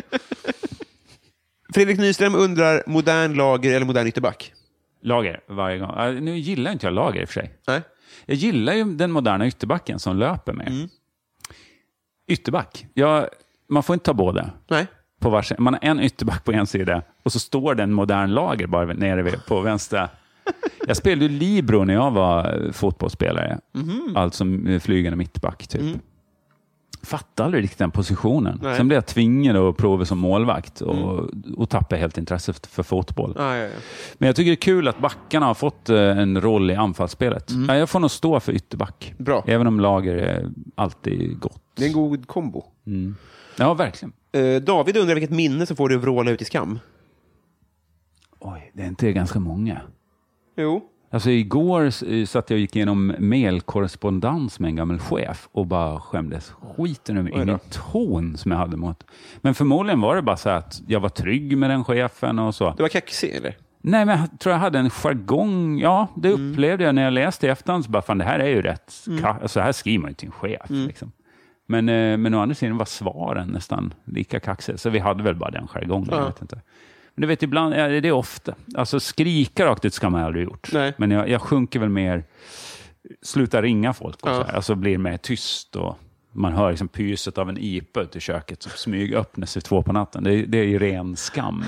S1: Fredrik Nyström undrar, modern lager eller modern ytterback?
S2: Lager varje gång. Äh, Nu gillar inte jag lager i och för sig.
S1: Nej.
S2: Jag gillar ju den moderna ytterbacken som löper mer. Ytterback. Jag, man får inte ta båda.
S1: Nej.
S2: På varsin, man har en ytterback på en sida och så står det en modern lager bara nere vid, på vänstra. Jag spelade ju libero när jag var eh, fotbollsspelare. Alltså eh, flygande mittback, typ. fattade aldrig riktigt den positionen.
S1: Nej.
S2: Sen blev jag tvingad att prova som målvakt och, och tappade helt intresset för fotboll.
S1: Ah, Ja, ja, ja.
S2: Men jag tycker det är kul att backarna har fått eh, en roll i anfallsspelet. Ja, jag får nog stå för ytterback.
S1: Mm. Bra.
S2: Även om lager är alltid gott.
S1: Det är en god kombo.
S2: Ja, verkligen.
S1: Eh, David undrar vilket minne som får dig att vråla ut i skam?
S2: Oj, det är inte ganska många.
S1: Jo.
S2: Alltså igår s- eh, satt jag och gick igenom mailkorrespondens med en gammal chef och bara skämdes skiten ur mig.
S1: Oj då.
S2: Ingen ton som jag hade mot. Men förmodligen var det bara så här att jag var trygg med den chefen och så.
S1: Du var kaxig, eller?
S2: Nej, men jag tror jag hade en jargong. Ja, det
S1: Mm.
S2: upplevde jag när jag läste i efterhand. Så bara, fan, det här är ju rätt. ka- Så här skriver man ju till en chef.
S1: Mm.
S2: Liksom. Men, eh, men å andra sidan var svaren nästan lika kaxiga. Så vi hade väl bara den jargongen. Jag vet inte. Men du vet, ibland är det- det är ofta. Alltså skrika rakt ut ska man aldrig ha gjort.
S1: Nej.
S2: Men jag, jag sjunker väl mer, sluta ringa folk och
S1: Ja.
S2: så här. Alltså blir mer tyst och man hör liksom pyset av en IPA ute i köket som smygöppnar sig två på natten. Det, är- det är ju ren skam.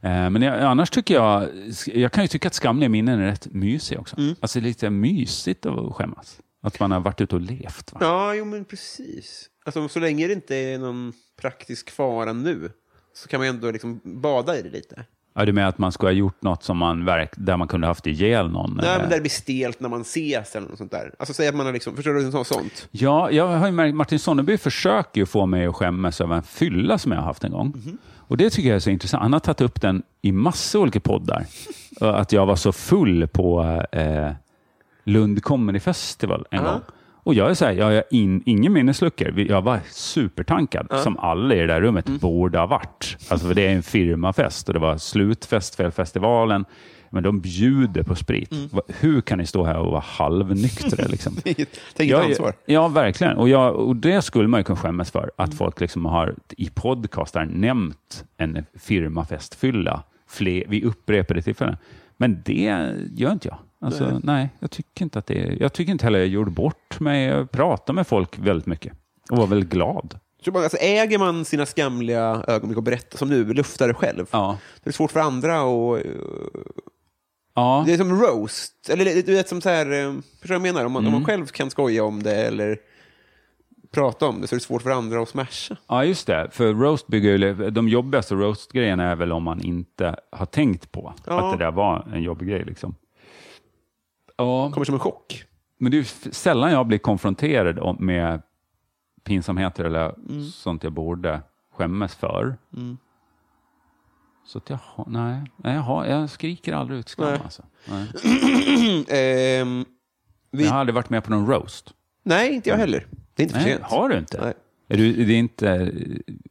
S2: Eh, Men jag, annars tycker jag, jag kan ju tycka att skamliga minnen är rätt mysiga också.
S1: Mm.
S2: Alltså det är lite mysigt att skämmas. Att man har varit ute och levt. Va?
S1: Ja, jo men precis. Alltså, så länge det inte är någon praktisk fara nu så kan man ju ändå liksom bada i det lite.
S2: Ja, du menar att man skulle ha gjort något som man verk, där man kunde haft ihjäl någon?
S1: Nej,
S2: eller?
S1: men där det blir stelt när man ses eller något sånt där. Alltså säg att man har liksom, förstår du, något sånt.
S2: Ja, jag har ju märkt, Martin Sonneby försöker ju få mig att skämmas över en fylla som jag har haft en gång. Och Det tycker jag är så intressant. Han har tagit upp den i massa olika poddar. Eh, att jag var så full på eh, Lund Comedy Festival en gång. Och jag är så här, jag har in, ingen minnesluckor. Vi- Jag var supertankad, som alla i det där rummet borde ha varit. Alltså, för det är en firmafest och det var slutfest för festivalen. Men de bjuder på sprit. Va- Hur kan ni stå här och vara halvnyktra? Liksom?
S1: Tänk ett ansvar.
S2: Ja, verkligen. Och, jag, och det skulle man ju kunna skämmas för, att folk liksom har i podcastar nämnt en firmafestfylla fler, vid upprepade tillfällen. Men det gör inte jag. Alltså, nej. jag tycker inte att det är, Jag tycker inte heller jag gjorde bort mig. Jag pratade med folk väldigt mycket och var väldigt glad.
S1: Tror man, alltså, äger man sina skamliga ögonblick och berättar som du, luftar det själv.
S2: Ja.
S1: Det är svårt för andra och eh,
S2: Ja,
S1: Det är som roast. Eller det- du vet, som så här, eh, förstår du vad jag menar? Om man,
S2: Mm.
S1: om man själv kan skoja om det eller prata om det så är det svårt för andra att smasha.
S2: ja, just det. För roast bygger ju, de jobbigaste roast-grejerna är väl om man inte har tänkt på
S1: Ja.
S2: att det där var en jobbig grej. Liksom. Ja.
S1: kommer som en chock.
S2: Men det är ju f- sällan jag blir konfronterad om- med pinsamheter eller
S1: Mm.
S2: sånt jag borde skämmas för. Så att jag har, nej, nej jag, har, jag skriker aldrig ut skam.
S1: Nej.
S2: Alltså. Nej.
S1: Ehm, Vi-
S2: Jag har aldrig varit med på någon roast.
S1: nej, inte jag heller. Det är inte för
S2: Mm. Nej,
S1: sent.
S2: har du inte?
S1: Nej.
S2: Är du, det är inte?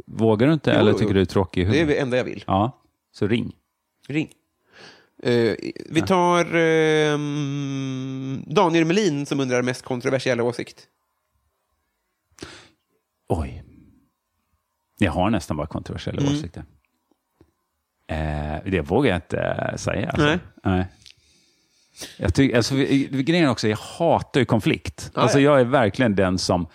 S2: Vågar du inte
S1: Jo,
S2: eller
S1: jo.
S2: tycker du är tråkig i
S1: Det är
S2: huvudet?
S1: det enda jag vill.
S2: Ja, så ring.
S1: Ring. Eh, vi tar ehm, Daniel Melin som undrar mest kontroversiella åsikt.
S2: Oj. Jag har nästan bara kontroversiella
S1: Mm.
S2: åsikter. Eh, det vågar jag inte eh, säga. Alltså.
S1: Nej.
S2: Jag tycker, alltså, vi- vi- grejen är också, jag hatar ju konflikt. alltså, Jag är verkligen den som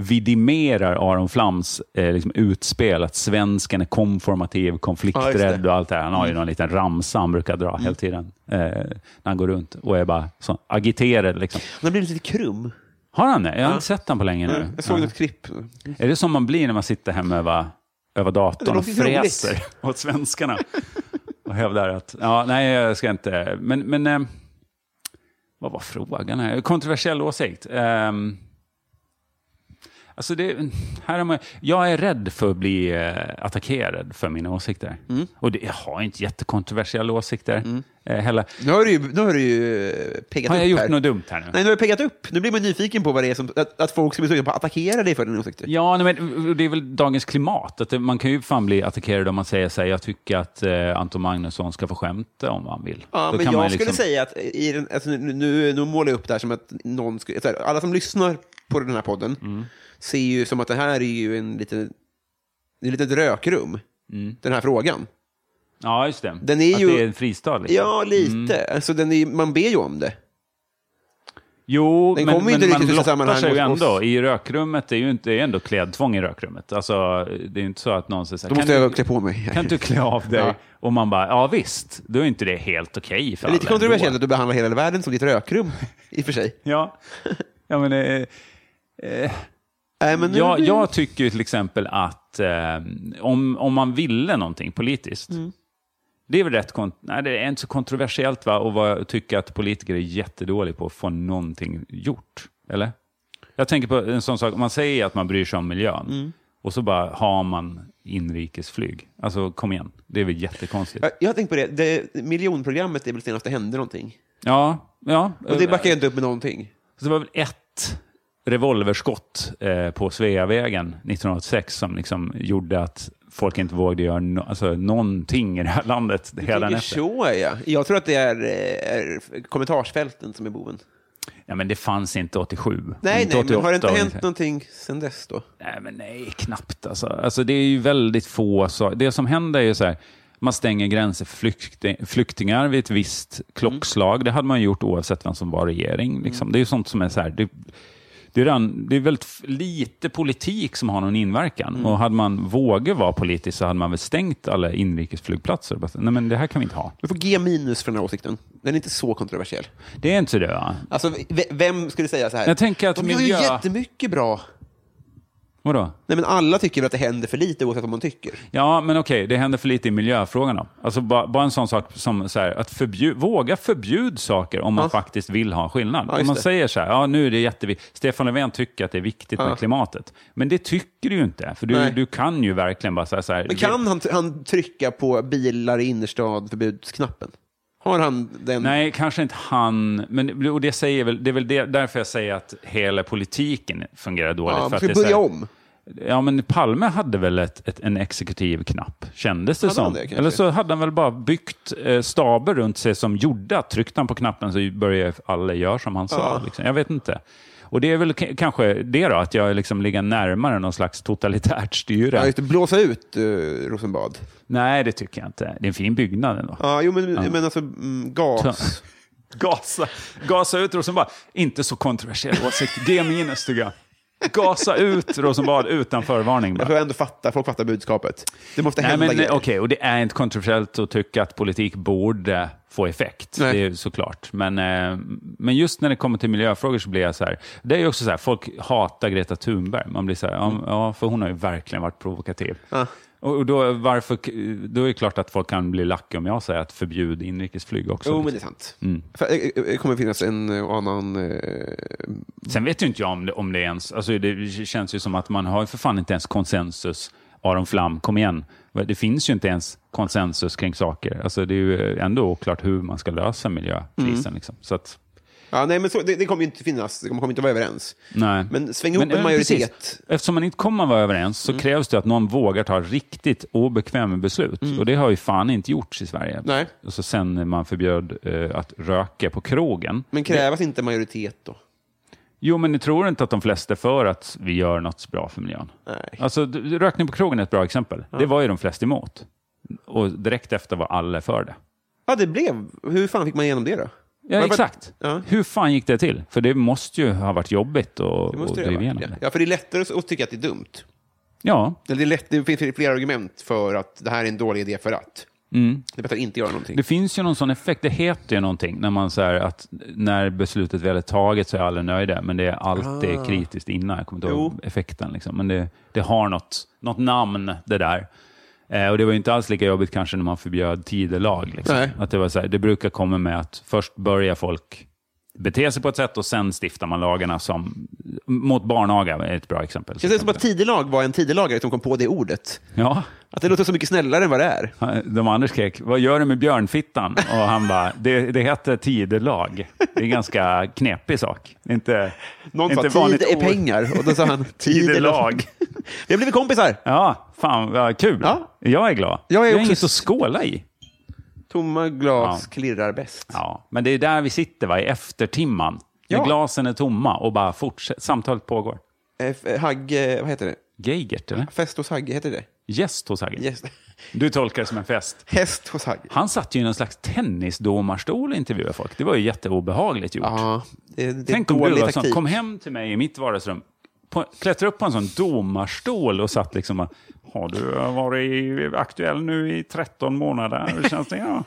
S2: vidimerar Aron Flams eh, liksom, utspel att svensken är konformativ,
S1: Ja, just
S2: konflikträdd
S1: det. Mm.
S2: och allt det här. Han har ju någon liten ramsa han brukar dra hela tiden eh, när han går runt och är bara så agiterad. Liksom.
S1: Han har blivit lite krum.
S2: Har han det? Jag har inte sett han på länge nu.
S1: Mm. Jag såg
S2: Ja.
S1: något klipp.
S2: Är det som man blir när man sitter hemma över, över
S1: Det
S2: datorn och
S1: låter inte roligt.
S2: fräser åt svenskarna och hävdar att, ja, nej, jag ska inte, men, men eh, vad var frågan här? Kontroversiell åsikt. Ehm, alltså det, här är man, jag är rädd för att bli eh, attackerad för mina åsikter.
S1: Mm.
S2: Och det, jag har inte jättekontroversiella åsikter eh, heller.
S1: Nu har du ju, nu har du ju eh, peggat
S2: Har
S1: Mm. upp
S2: jag gjort
S1: här.
S2: något dumt här nu?
S1: Nej, nu har du peggat upp. Nu blir man nyfiken på vad det är som, att, att folk ska bli sugna på att attackera dig för dina åsikter.
S2: Ja, nej, men det är väl dagens klimat. Att det- man kan ju fan bli attackerad om man säger så här, jag tycker att eh, Anton Magnusson ska få skämta om han vill.
S1: Ja,
S2: Då
S1: men
S2: kan
S1: jag
S2: man ju
S1: skulle
S2: liksom-
S1: säga att i den, alltså, nu, nu, nu målar jag upp det här som att någon skulle, så här, alla som lyssnar på den här podden
S2: Mm.
S1: ser ju som att det här är ju en liten, det är ett litet rökrum,
S2: Mm.
S1: den här frågan.
S2: Ja, just det.
S1: Den är
S2: att
S1: ju-
S2: det är en fristad. Liksom.
S1: Ja, lite. Alltså, den är, man ber ju om det.
S2: Jo,
S1: Den
S2: men,
S1: kommer ju
S2: men
S1: inte
S2: man
S1: riktigt i
S2: blottar
S1: sammanhang
S2: sig ju
S1: hos oss.
S2: ändå. I rökrummet, det är ju inte, det är ändå klädtvång i rökrummet. Alltså, det är ju inte så att någon säger så här,
S1: Då måste
S2: kan,
S1: jag
S2: du,
S1: klä på mig.
S2: kan du klä av dig?
S1: Ja.
S2: Och man bara, ja visst, då är inte det helt okej
S1: det
S2: för
S1: är lite
S2: alla ändå.
S1: kontroversiellt att du behandlar hela världen som ditt rökrum, i och för sig.
S2: Ja, ja men... Eh, eh,
S1: Nej, men nu-
S2: Jag, jag tycker ju till exempel att eh, om, om man ville någonting politiskt,
S1: Mm.
S2: det är väl rätt kont- nej, det är inte så kontroversiellt va, att vara, tycka att politiker är jättedåliga på att få någonting gjort. Eller? Jag tänker på en sån sak, om man säger att man bryr sig om miljön,
S1: Mm.
S2: och så bara har man inrikesflyg. Alltså kom igen, det är väl jättekonstigt.
S1: Jag- Jag har tänkt på det. det miljonprogrammet är väl senast det hände någonting.
S2: Ja, ja.
S1: Och det backar ju inte upp med någonting.
S2: Så det var väl ett revolverskott eh, på Sveavägen 1986 som liksom gjorde att folk inte vågade göra no- alltså, någonting i det här landet
S1: Jag
S2: hela
S1: tänker
S2: nätter.
S1: så, ja. Jag tror att det är, eh, är kommentarsfälten som är boven.
S2: Ja, men det fanns inte 87.
S1: Nej,
S2: inte
S1: nej, men har det inte
S2: och
S1: hänt någonting sen dess då?
S2: Nej, men nej, knappt alltså. alltså. Det är ju väldigt få saker. Det som händer är ju så här, man stänger gränser för flykting, flyktingar vid ett visst klockslag. Det hade man gjort oavsett vem som var regering. Liksom. Det är ju sånt som är så här, det, det är, redan, det är väldigt f- lite politik som har någon inverkan. Och hade man vågat vara politisk så hade man väl stängt alla inrikesflygplatser. Bara, Nej, men det här kan vi inte ha.
S1: Du får G minus för den här åsikten. Den är inte så kontroversiell.
S2: Det är inte så det, va?
S1: Alltså, v- vem skulle säga så här?
S2: Jag tänker att
S1: De
S2: miljö-
S1: gör ju jättemycket bra.
S2: Vadå?
S1: Nej, men alla tycker väl att det händer för lite oavsett vad man tycker.
S2: Ja, men okej, det händer för lite i miljöfrågan då. Alltså bara, bara en sån sak som så här, att förbju- våga förbjud saker om man
S1: Ja.
S2: faktiskt vill ha skillnad.
S1: Ja, just
S2: om man
S1: det.
S2: säger så här, ja nu är det jätteviktigt. Stefan Löfven tycker att det är viktigt med klimatet. Men det tycker du ju inte, för du,
S1: Nej.
S2: du kan ju verkligen bara säga så här.
S1: Men kan han, han trycka på bilar i innerstad, förbudsknappen? Har han den?
S2: Nej, kanske inte han. Men, och det, säger väl, det är väl det, därför jag säger att hela politiken fungerar dåligt.
S1: ja,
S2: för
S1: man
S2: att
S1: ska
S2: det är så
S1: börja
S2: här-
S1: om.
S2: Ja, men Palme hade väl ett, ett, en exekutiv knapp, kändes det
S1: Hade
S2: som.
S1: han det, kanske?
S2: Eller så hade han väl bara byggt eh, staber runt sig som gjorde att tryckte han på knappen så började alla göra som han sa. Liksom. Jag vet inte. Och det är väl k- kanske det då, att jag liksom ligger närmare någon slags totalitärt styre.
S1: Ja, just det, blåsa ut eh, Rosenbad.
S2: Nej, det tycker jag inte. Det är en fin byggnad ändå.
S1: Ja, jo, men, men alltså mm, gas.
S2: Gasa, gasa ut Rosenbad. Inte så kontroversiell åsikt. G minus tycker jag. Gasa ut Rosenbad utan förvarning. bara.
S1: Jag tror ändå fattar, folk fattar budskapet. Det måste
S2: Nej,
S1: hända
S2: men okej,
S1: grejer.
S2: och det är inte kontroversiellt att tycka att politik borde få effekt.
S1: Nej.
S2: Det är ju såklart. Men, eh, men just när det kommer till miljöfrågor så blir jag så här. Det är ju också så här, folk hatar Greta Thunberg. Man blir så här,
S1: Mm.
S2: ja, ja för hon har ju verkligen varit provokativ. Och och då, varför, då är det klart att folk kan bli lacka om jag säger att förbjud inrikesflyg också.
S1: Jo, men det är sant.
S2: Mm.
S1: För, eh, eh, det kommer finnas en eh, och annan... eh,
S2: Sen vet ju inte jag om det, om det ens... Alltså det känns ju som att man har ju för fan inte ens konsensus. Aron Flam, kom igen. Det finns ju inte ens konsensus kring saker. Alltså det är ju ändå oklart hur man ska lösa miljökrisen.
S1: Mm.
S2: Liksom. Så att,
S1: Ja, nej, men så, det, det kommer ju inte finnas. Det kommer kommer inte vara överens.
S2: nej.
S1: Men sväng ihop en
S2: eh,
S1: majoritet. Mm.
S2: precis. Eftersom man inte kommer vara överens så krävs det att någon vågar ta riktigt obekväma beslut. Och det har ju fan inte gjorts i Sverige.
S1: Mm. Nej.
S2: Och så sen man förbjöd eh, att röka på krogen.
S1: Men krävas inte majoritet då?
S2: Jo, men ni tror inte att de flesta är för att vi gör något bra för miljön?
S1: Nej.
S2: Alltså, d- rökning på krogen är ett bra exempel. Det var ju de flesta emot. Och direkt efter var alla för det.
S1: Ja, det blev. Hur fan fick man igenom det då?
S2: Ja,
S1: Var det bara-
S2: exakt.
S1: Ja.
S2: Hur fan gick det till? För det måste ju ha varit jobbigt att
S1: Det
S2: att
S1: måste det
S2: driva
S1: vara.
S2: igenom
S1: Ja.
S2: det.
S1: ja, för det är lättare att- att tycka att det är dumt.
S2: Ja,
S1: Eller det, är lätt, det finns flera argument för att det här är en dålig idé för att.
S2: Mm.
S1: Det är bättre att inte göra någonting.
S2: det finns ju någon sån effekt. Det heter ju någonting när man säger att när beslutet väl är taget så är alla nöjda, men det är
S1: Ah.
S2: alltid kritiskt innan. Jag kommer inte ihåg effekten. Liksom. Men det, det har något, något namn, det där. Eh, och Det var ju inte alls lika jobbigt kanske när man förbjöd tidelag. Liksom.
S1: Nej.
S2: Att det, var så här, det brukar komma med att först börjar folk bete sig på ett sätt och sen stiftar man lagarna som... Mot barnaga är ett bra exempel.
S1: Det känns som att tidelag var en tidelagare som kom på det ordet.
S2: Ja.
S1: Att det låter så mycket snällare än vad det är.
S2: De andra skrek, vad gör du med björnfittan? Och han bara, det, det heter tidelag. Det är en ganska knepig sak. Det är Inte,
S1: Någon
S2: inte
S1: sa tid
S2: vanligt
S1: är
S2: ord.
S1: pengar och då sa han tidelag. Vi har blivit kompisar.
S2: Ja, fan vad kul.
S1: Ja.
S2: Jag är glad.
S1: Jag är
S2: Vi har
S1: också-
S2: inget att skåla i.
S1: Tomma glas klirrar bäst.
S2: Ja, men det är där vi sitter va, i eftertimman. När
S1: Ja.
S2: glasen är tomma och bara fortsätter. Samtalet pågår.
S1: Eh, f- Hagge, vad heter det?
S2: Geigert, eller?
S1: Fest hos Hagge, heter det
S2: Gäst hos Hagge.
S1: Yes.
S2: Du tolkar det som en fest.
S1: Häst hos Hagge.
S2: Han satt ju i någon slags tennisdomarstol och intervjuade folk. Det var ju jätteobehagligt gjort.
S1: Ja, det, det är
S2: Tänk om du
S1: dålig
S2: var sån,
S1: taktik.
S2: kom hem till mig i mitt vardagsrum, på, klättrade upp på en sån domarstol och satt liksom och, har du varit aktuell nu i 13 månader? Hur känns det? Ja.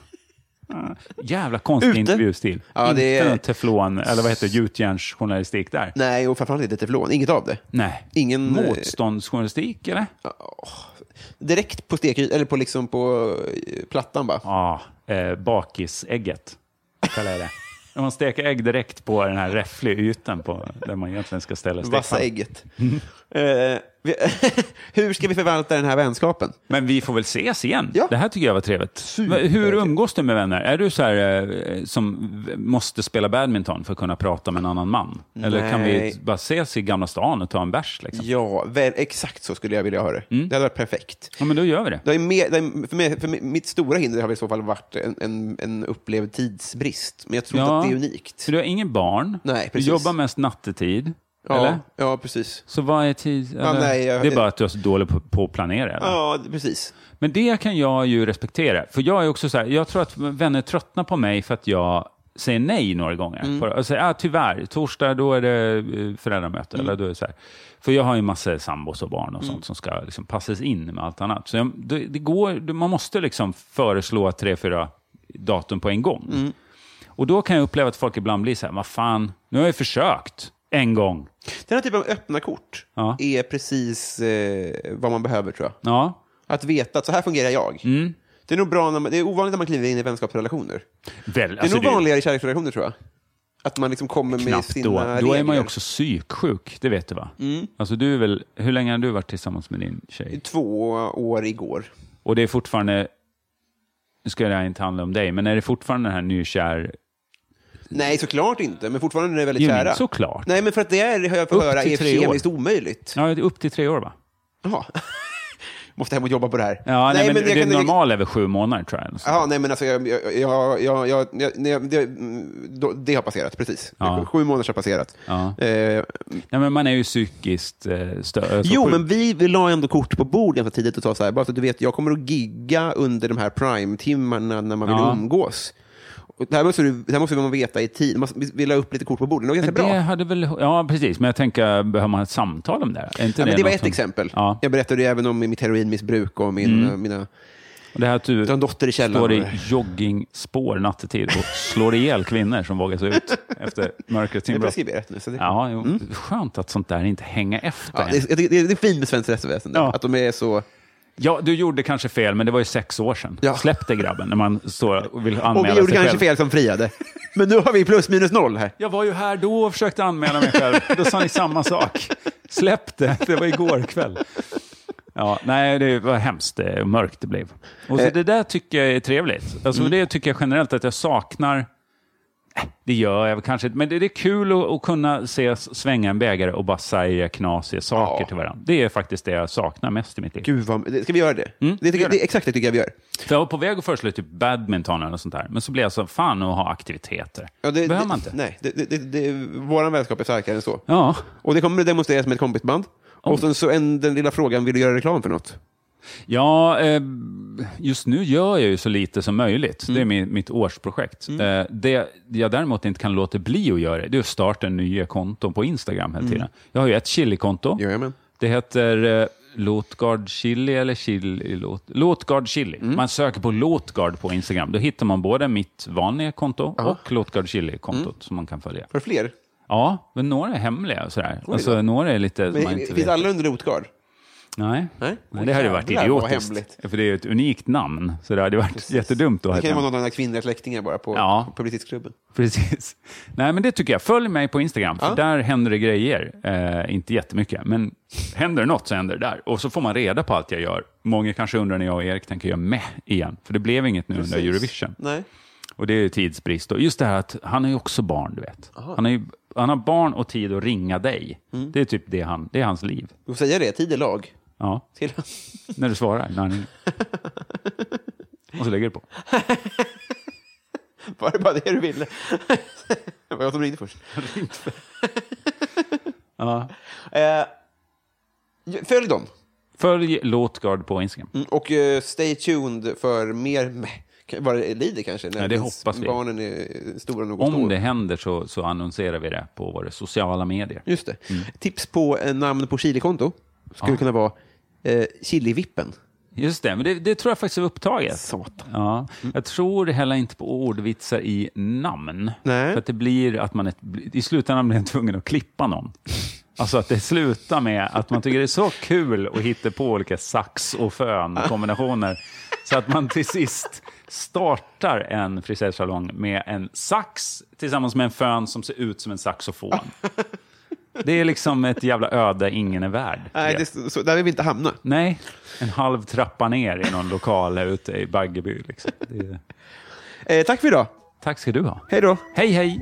S2: Jävla konstig
S1: Ute.
S2: intervjustil.
S1: Ja, det
S2: Inte
S1: är-
S2: någon teflon eller vad heter det, gjutjärnsjournalistik där.
S1: Nej, och framförallt inte teflon. Inget av det.
S2: Nej.
S1: Ingen- eh,
S2: Motståndsjournalistik, eller?
S1: Direkt på stekytan, eller på, liksom på eh, plattan bara.
S2: Ja, eh, bakisägget kallar jag det. När man steker ägg direkt på den här räffleytan på där man egentligen ska ställa
S1: Vassa
S2: stekpannan.
S1: ägget. Eh, vi- Hur ska vi förvalta den här vänskapen?
S2: Men vi får väl ses igen.
S1: Ja.
S2: Det här tycker jag var trevligt. Men Hur umgås du med vänner? Är du så här eh, som v- måste spela badminton för att kunna prata med en annan man? Eller kan vi
S1: Nej.
S2: bara ses i Gamla stan och ta en bärs? Liksom?
S1: Ja, väl, exakt så skulle jag vilja ha det.
S2: Mm.
S1: Det hade varit perfekt.
S2: Ja, men då gör vi det.
S1: Det är mer, det är, för mig, för mig, mitt stora hinder har väl i så fall varit en, en, en upplevd tidsbrist. Men jag tror inte
S2: Ja.
S1: att det är unikt.
S2: För du har ingen barn.
S1: Nej,
S2: du
S1: precis.
S2: jobbar mest nattetid.
S1: Ja,
S2: Eller?
S1: ja precis.
S2: Så vad är tid? Eller?
S1: nej, jag-
S2: det är bara att du är så dålig på, på att planera. Eller?
S1: Ja, precis.
S2: Men det kan jag ju respektera. För jag är också så här, jag tror att vänner tröttnar på mig för att jag säger nej några gånger.
S1: Mm.
S2: På- Och säger, ah, tyvärr, torsdag då är det eh, föräldramöte.
S1: Mm.
S2: Eller då är det så här. För jag har ju massa sambos och barn och sånt som ska liksom passas in med allt annat. Så jag, det, det går, man måste liksom föreslå tre, fyra datum på en gång.
S1: Mm.
S2: Och då kan jag uppleva att folk ibland blir så här, vad fan, nu har jag försökt en gång.
S1: Den här typen av öppna kort
S2: Ja.
S1: är precis eh, vad man behöver, tror jag.
S2: Ja,
S1: Att veta att så här fungerar jag.
S2: Mm.
S1: Det, är nog bra när man, det är ovanligt när man kliver in i vänskapsrelationer.
S2: väl, alltså,
S1: Det är nog vanligare i kärleksrelationer, tror jag. Att man liksom kommer med
S2: Knappt
S1: sina
S2: då.
S1: regler. Mm.
S2: Då är man ju också psyksjuk, det vet du va? Alltså du är väl, hur länge har du varit tillsammans med din tjej?
S1: Två år igår.
S2: Och det är fortfarande, nu ska det här inte handla om dig, men är det fortfarande den här nykär...
S1: Nej, såklart inte. Men fortfarande är det väldigt
S2: Jo,
S1: kära.
S2: såklart.
S1: Nej, men för att det är, har jag fått
S2: Upp
S1: höra,
S2: till
S1: är
S2: tre år.
S1: kemiskt omöjligt.
S2: Ja, upp till tre år va?
S1: Jaha. Måste hem och jobba på det här.
S2: Ja, nej, men,
S1: jag
S2: det
S1: kan-
S2: normala är väl sju månader tror jag.
S1: Ja, nej, men alltså, jag, jag, jag, jag, jag, nej, det, mm, då- det har passerat, precis.
S2: Ja.
S1: Sju månader har passerat.
S2: Ja.
S1: Eh,
S2: Nej, men man är ju psykiskt eh, stö- så
S1: jo,
S2: sjuk.
S1: men vi, vi la ändå kort på bord ganska tidigt och sa så här, bara så att du vet, jag kommer att gigga under de här prime-timmarna när man vill
S2: Ja.
S1: umgås. Och det, här måste du, det här måste man veta i tid. Man, vi- vi la upp lite kort på bordet, det var ganska
S2: Men
S1: bra.
S2: det hade väl, ja, precis. Men jag tänker, behöver man ett samtal om det? här? Är inte
S1: Ja, men det var
S2: något
S1: ett
S2: som-
S1: exempel.
S2: Ja. Mm.
S1: Jag berättade ju även om mitt heroinmissbruk och min, mina...
S2: Och Det här att du
S1: Du har en dotter i källaren.
S2: står i joggingspår nattetid och slår ihjäl kvinnor som vågar sig ut efter mörkrets
S1: Det är
S2: inbrott.
S1: preskriberat nu. Så det, ja.
S2: Ja, jo. Skönt att sånt där inte hänger efter.
S1: det,
S2: en.
S1: är- jag tycker det, är, det är fint med svenskt rättsväsende,
S2: Ja.
S1: att de är så...
S2: ja, du gjorde kanske fel, men det var ju sex år sedan.
S1: Ja.
S2: Släpp det grabben när man står och vill anmäla
S1: Och vi
S2: sig
S1: gjorde kanske
S2: själv.
S1: fel som friade. Men nu har vi plus minus noll här.
S2: Jag var ju här då och försökte anmäla mig själv. Då sa ni samma sak. Släpp det, det var igår kväll. Ja, nej, det var hemskt eh, mörkt det blev. Och
S1: Eh.
S2: så Det där tycker jag är trevligt. Alltså,
S1: Mm.
S2: Det tycker jag generellt att jag saknar. Eh, Det gör jag väl kanske inte, men det, det är kul att, att kunna ses svänga en bägare och bara säga knasiga saker
S1: Ja.
S2: till varandra. Det är faktiskt det jag saknar mest i mitt liv.
S1: Gud, vad, ska vi göra det? det, tycker,
S2: Mm, gör
S1: det.
S2: det.
S1: är exakt det tycker jag vi gör.
S2: För jag var på väg att föreslå typ badminton eller något sånt där, men så blev jag så fan att ha aktiviteter.
S1: Ja, det
S2: behöver
S1: det,
S2: man inte.
S1: Nej, det, det, det, det, vår vänskap är starkare än så.
S2: Ja.
S1: Och det kommer att demonstreras med ett kompisband. Och sen så en, den lilla frågan, vill du göra reklam för något?
S2: Ja, eh, just nu gör jag ju så lite som möjligt.
S1: Mm.
S2: Det är min, mitt årsprojekt. Eh, det jag däremot inte kan låta bli att göra det är att starta nya konton på Instagram
S1: Mm.
S2: hela tiden. Jag har ju ett chilikonto.
S1: Jajamän.
S2: Det heter eh, Låtgard Chili eller Chili Låt... Låtgard Chili.
S1: Mm.
S2: Man söker på Låtgard på Instagram. Då hittar man både mitt vanliga konto och Låtgard Chili-kontot
S1: Mm.
S2: som man kan följa.
S1: Har du fler?
S2: Ja, men några är hemliga och sådär. Alltså, några är lite... som man
S1: Men,
S2: inte
S1: finns
S2: vet.
S1: alla under Rotgard?
S2: Nej.
S1: Nej?
S2: Nej, det hade ju varit
S1: Jävlar, vad
S2: idiotiskt.
S1: hemligt.
S2: För det är ju ett unikt namn, så det hade varit jättedumt att
S1: Det kan ju
S2: heta.
S1: vara någon av dina kvinnliga släktingar bara på,
S2: Ja.
S1: på Publicistklubben.
S2: Precis. Nej, men det tycker jag. Följ mig på Instagram, för
S1: Ja.
S2: där händer det grejer. Eh, inte jättemycket, men händer det något så händer det där. Och så får man reda på allt jag gör. Många kanske undrar när jag och Erik tänker göra med igen, för det blev inget nu under Eurovision.
S1: Nej.
S2: Och det är ju tidsbrist. Och just det här att han är ju också barn, du vet. Han, är ju, han har barn och tid att ringa dig.
S1: Mm.
S2: Det är typ det, han, det är hans liv.
S1: Du får säga det, tid är lag.
S2: Ja.
S1: Till.
S2: När du svarar, när han ringer. Och så lägger du på.
S1: Var det bara det du ville? det var jag som ringde först. Eh, följ dem.
S2: Följ Låtgard på Instagram.
S1: Mm, Och eh, stay tuned för mer meh, kan- vad det lider kanske. När
S2: Ja, det
S1: ens
S2: hoppas vi.
S1: Barnen är stora nog att stå
S2: Om
S1: upp.
S2: det händer så, så annonserar vi det på våra sociala medier.
S1: Just
S2: Mm.
S1: det. Tips på eh, namn på chilikonto skulle kunna vara eh, Chilivippen.
S2: Just det, men det, det tror jag faktiskt är upptaget.
S4: Satan.
S2: Ja. Jag tror heller inte på ordvitsar i namn.
S4: Nej.
S2: För att det blir att man är, i slutändan blir man tvungen att klippa någon. Alltså att det slutar med att man tycker det är så kul att hitta på olika sax och fön kombinationer. Så att man till sist startar en frisersalong med en sax tillsammans med en fön som ser ut som en saxofon. Det är liksom ett jävla öde ingen är värd.
S4: Nej, det, så, där vill vi inte hamna.
S2: Nej, en halv trappa ner i någon lokal här ute i Baggeby. Liksom. Det är...
S4: Eh, tack för idag.
S2: Tack ska du ha.
S4: Hej då.
S2: Hej, hej!